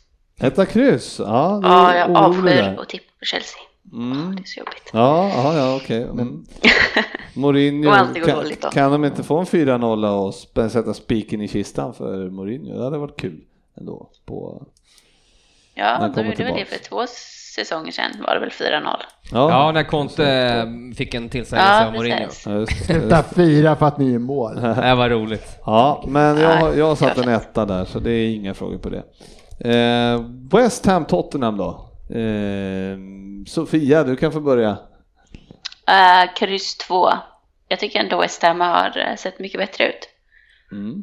Etta kryss. Ja, du är
Ja, jag
orolig
avskyr
där.
att tippa på Chelsea.
Mm.
Det är så jobbigt.
Ja, ja, ja okej. Mm. Mourinho,
Och allting går
kan,
dåligt då.
kan de inte få en 4-0 och sp- sätta spiken i kistan för Mourinho? Det hade varit kul ändå. På...
Ja,
Han
då
kommer
gjorde väl det
tillbaks.
för två säsonger sedan var det väl 4-0.
Ja,
Ja, när Conte eh, fick en tillsägelse
Ja,
av Mourinho.
precis.
ja, just det.
Sluta fira för att ni är i mål.
Det var roligt.
ja men jag, har- jag har satt en etta där så det är inga frågor på det. Eh, West Ham Tottenham då? Eh, Sofia, du kan få börja.
Uh, kryss 2. Jag tycker ändå West Ham har eh, sett mycket bättre ut
Mm.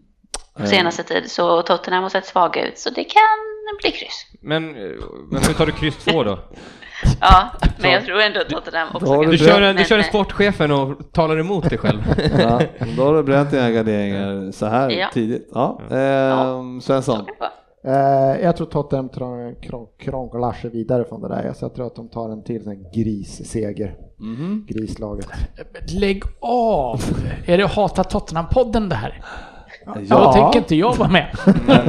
på senaste tid. Så Tottenham har sett svaga ut, så det kan bli kryss.
Men, eh, men hur tar du kryss två då?
Ja, men jag tror ändå att Tottenham också
Då har
kan
Du
du
kör, en, du
Men,
kör en
eh,
sportchefen och talar emot dig själv.
Ja, då har du bränt dina garderingar så här
Ja.
tidigt. Ja. Eh, Svensson?
Eh, jag tror Tottenham tra- krång- krånglar sig vidare från det där. Så jag tror att de tar en till sån här grisseger.
Mhm.
Grislaget.
Lägg av! Är det Hata Tottenham-podden det här?
Ja.
Då tänker inte jag vara med.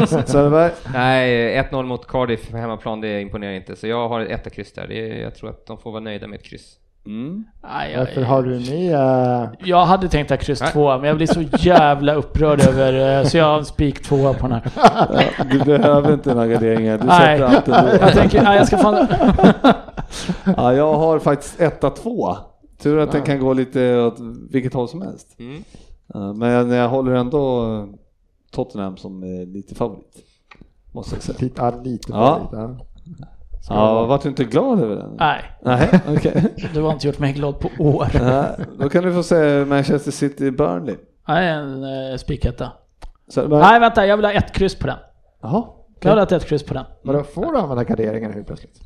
Söderberg?
Nej, eh, 1-0 mot Cardiff på hemmaplan, det imponerar inte. Så jag har ett etta kryss där. Det är, jag tror att de får vara nöjda med ett kryss.
Mm.
Aj, aj,
Varför har du med... eh,
Jag hade tänkt att kryss
Nej.
två, men jag blir så jävla upprörd över... eh, Så jag har en spik tvåa på den här.
Ja, du behöver inte några garderingar. Du
Nej.
sätter allt ändå.
Jag tänker, nej, jag ska fan...
Ja, jag har faktiskt etta två. Tur att den kan gå lite åt vilket håll som helst.
Mm.
Eh, Men jag håller ändå eh, Tottenham som är lite favorit. Måste jag säga.
Lite, ja, lite
Ja.
favorit, ja. Ska
Ja, vart du inte glad över den?
Nej,
Nej, okej.
du har inte gjort mig glad på år.
Nej, Då kan du få se Manchester City Burnley.
Nej, en eh, spiketta.
Så,
Nej, vänta, jag vill ha ett kryss på den.
Jaha.
Jag vill ha ett- ett kryss på den.
Vadå, får du använda garderingen helt plötsligt?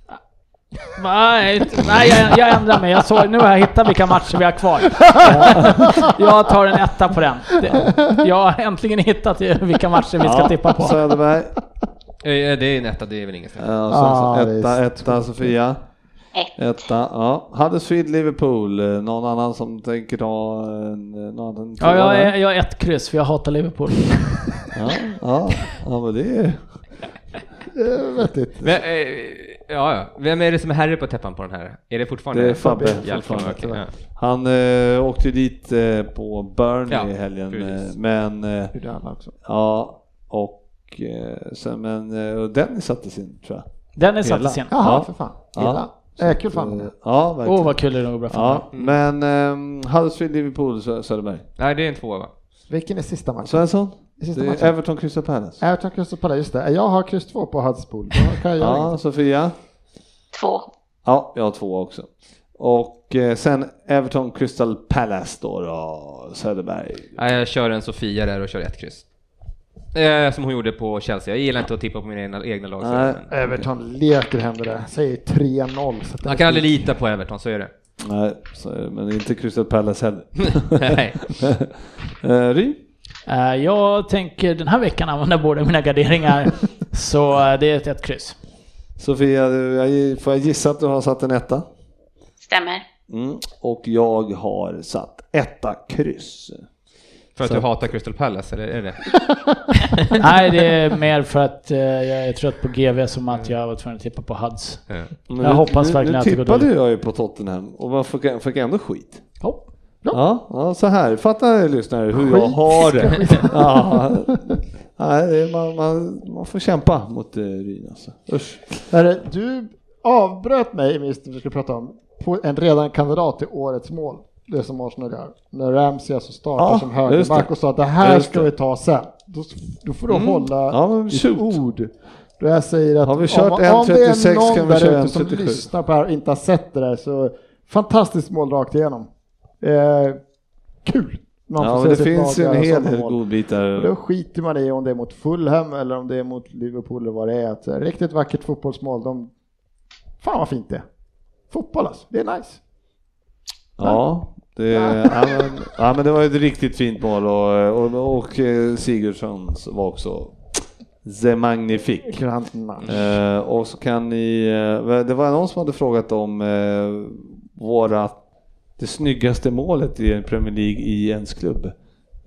Nej, inte- nej jag, jag ändrar mig. Jag såg, nu har jag hittat vilka matcher vi har kvar. Jag tar en etta på den. Det- Jag har äntligen hittat vilka matcher vi ska tippa på.
Söderberg.
Eh, Det är en etta, det är väl inget snack.
Ja, och sen så
Ah,
etta, etta Sofia.
Ett.
Etta, ja. Huddersfield, Liverpool. Eh, Någon annan som tänker ta en, eh, någon annan
Ja, eh, jag,
tvåa
är-
där?
jag är ett kryss för jag hatar Liverpool.
ja, ja, ja, men det är
Eh, vettigt.
Men, eh, ja, ja. Vem är det som är herre på täppan på den här? Är det fortfarande
Det är Fabbe
Hjälp,
fortfarande,
okej, ja.
Han eh, åkte ju dit eh, på Burnley
Ja,
i helgen.
precis.
eh, Men, eh,
Gjorde alla också.
ja, och eh, sen, men eh, och Dennis sattes in tror jag.
Dennis
Hela.
satte sin.
Jaha,
Ja.
för fan.
Ja.
Illa. Ja. Äh, kul fan.
Eh, Ja, verkligen.
Åh, vad kul Mm. det går bra för mig.
ja, men ehm, Huddersfield, Liverpool, Sö- Söderberg.
Nej, det är en tvåa va?
Vilken är sista matchen? Eh,
Svensson?
I sista
Det är
matchen.
Everton, Crystal Palace.
Everton, Crystal Palace, just det. Jag har kryss två på Hudderspool. Då kan jag göra
Ja,
inget.
Sofia?
Två.
Ja, jag har två också. Och eh, sen Everton, Crystal Palace då, då Söderberg.
Nej, jag kör en Sofia där och kör ett kryss. Eh, som hon gjorde på Chelsea. Jag gillar inte att tippa på mina egna, egna lag. så
Nej.
men-
Everton leker hem det där. Säger 3-0. så att det-
Man kan aldrig lita på Everton, så är det.
Nej, så, är det, men inte Crystal Palace heller.
Nej.
Eh, Ry?
Eh, Jag tänker den här veckan använda båda mina garderingar. Så eh, det är ett, ett kryss.
Sofia, du, jag, får jag gissa att du har satt en etta?
Stämmer.
Mm. Och jag har satt etta kryss.
För att
Så.
du hatar Crystal Palace, eller är det
Nej, det är mer för att eh, jag är trött på GV som att jag var tvungen att tippa på Huds.
Ja.
Men
Jag hoppas
nu,
verkligen
nu
att det går
tippade
dåligt.
jag ju på Tottenham och man fick, fick ändå skit.
Hopp.
Ja, ja så här. Fattar lyssnare hur jag har det. Ja. Nej, det är- man, man, man får kämpa mot eh, Ryn alltså. Usch.
Hörru, du avbröt mig minst det vi skulle prata om. På en redan kandidat till årets mål. Det som Arsenal gör. När Ramsey alltså startar
Ja,
som
just
högerback
det.
och sa att det här
Just
ska
det.
vi ta sen. Då, då får du
Mm.
hålla
Ja, men
ditt
shoot.
ord. Då jag säger att
Har vi kört
om,
en
om det
36
är
kan
någon
vi köra
där
en
ute som
37.
lyssnar på det här och inte har sett det där så fantastiskt mål rakt igenom. Eh, kul! Man
Ja,
får
men
se
det
sitt
finns
lag
ju en hel
göra sådana
del
mål. Och
godbitar.
då skiter man i om det är mot Fulham eller om det är mot Liverpool eller vad det är. Att, eh, riktigt vackert fotbollsmål. De... Fan vad fint det är. Fotboll alltså, det är nice.
Ja, det, ja, men, ja, men det var ju ett riktigt fint mål och, och, och eh, Sigurdssons var också the magnifik.
Granna.
Eh, och så kan ni, eh, det var någon som hade frågat om eh, våra, det snyggaste målet i en Premier League i ens klubb.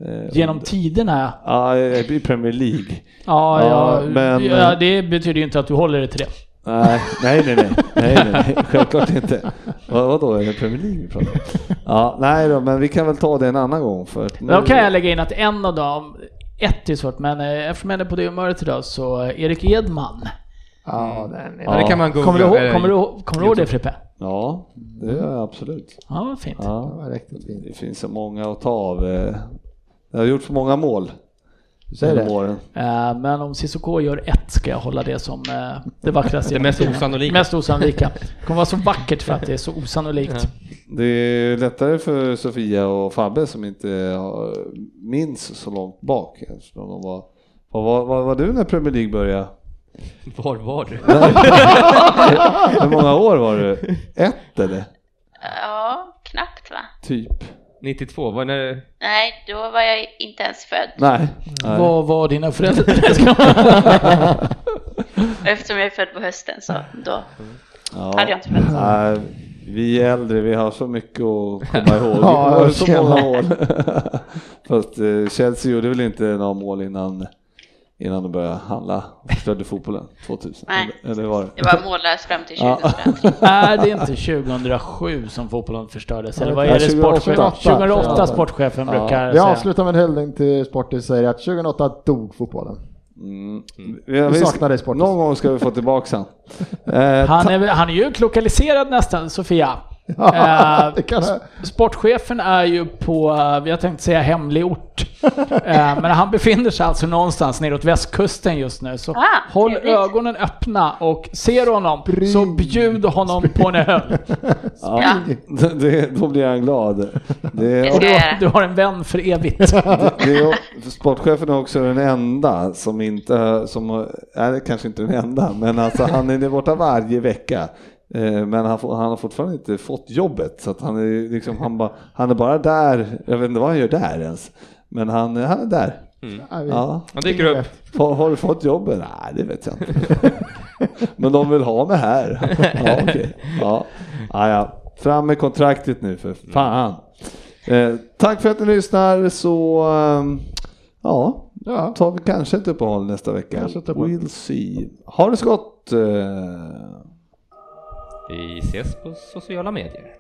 Eh,
Genom
och-
tiderna
Ja, eh, i Premier League.
Ja, eh,
Ja,
ja,
men-
ja, det betyder ju inte att du håller dig till det.
Nej, nej, nej, nej, nej, nej, nej. självklart inte. Vad, vadå, är det Premier League vi pratar om? Ja, nej då, men vi kan väl ta det en annan gång för att nu,
Då kan jag lägga in att en av dem, ett är svårt, men eh, eftersom jag är på det humöret idag så eh, Erik Edman.
Ja, den är...
Ja, det kan man googla.
Kommer du,
eller-
ihåg- kommer du, ihåg- kommer du ihåg det Frippe?
Ja, det gör jag absolut.
Ja, vad fint.
Det
Ja,
var riktigt fint.
det finns så många att ta av. eh. Jag har gjort så många mål.
Du säger
genom
det?
åren.
Eh, Men om Cissoko gör ett ska jag hålla det som eh, det vackraste.
Det
genom
mest
tiderna.
osannolika.
Mest osannolika. Det kommer vara så vackert för att det är så osannolikt.
Det är lättare för Sofia och Fabbe som inte har- minns så långt bak. eftersom De var, vad var, var, var du när Premier League började?
Var var du?
Hur många år var du? Ett eller?
Ja, knappt va?
Typ.
92, var när...
Nej, då var jag inte ens född.
Nej. Nej.
Vad var dina föräldrar?
Eftersom jag är född på hösten så då hade jag
Ja.
inte fötts.
Nej, vi är äldre, vi har så mycket att komma ihåg. Vi
Ja,
har så
tjena.
många år. Fast eh, Chelsea gjorde väl inte några mål innan innan de började handla och förstörde fotbollen 2000.
Nej.
Eller, eller var det?
Det var mållös fram till
Ja.
2003.
Är det inte 2007 som fotbollen förstördes? Eller vad
Ja,
är det
2008.
sportchefen? 2008 sportchefen
Ja.
brukar
Vi
säga.
avslutar med en hyllning till Sportis säger att 2008 dog fotbollen.
Mm. Vi,
saknar dig, Sportis.
Någon gång ska vi få tillbaka han. Eh,
Han är, väl- han är ju lokaliserad nästan, Sofia. Eh,
det kan jag.
Sportchefen är ju på, eh, jag tänkte säga hemlig ort. Eh, Men han befinner sig alltså någonstans neråt västkusten just nu. Så
Ah,
håll
trevligt.
ögonen öppna och ser du honom så bjud honom på en öl.
ja, det, det, då blir han glad.
Det
Det,
ska jag göra.
Du har en vän för evigt.
det är, sportchefen är också den enda som inte, som är kanske inte den enda, men alltså han är borta varje vecka. Eh, Men han, får- han har fortfarande inte fått jobbet så att han är liksom, han, bara han är bara där, jag vet inte vad han gör där ens. Men han, är- han är där.
Nej, vi-
Ja.
Han dyker upp.
Har, har du fått jobbet? Nej, det vet jag inte. Men de vill ha mig här. Ja, okej. Ja. Ja, ja. Fram med kontraktet nu för
Mm.
fan. Eh, tack för att ni lyssnar så ehm, ja,
Ja.
tar vi kanske ett uppehåll nästa vecka.
Kanske ett uppehåll.
We'll see. Ha det så gott. Eh,
Vi ses på sociala medier.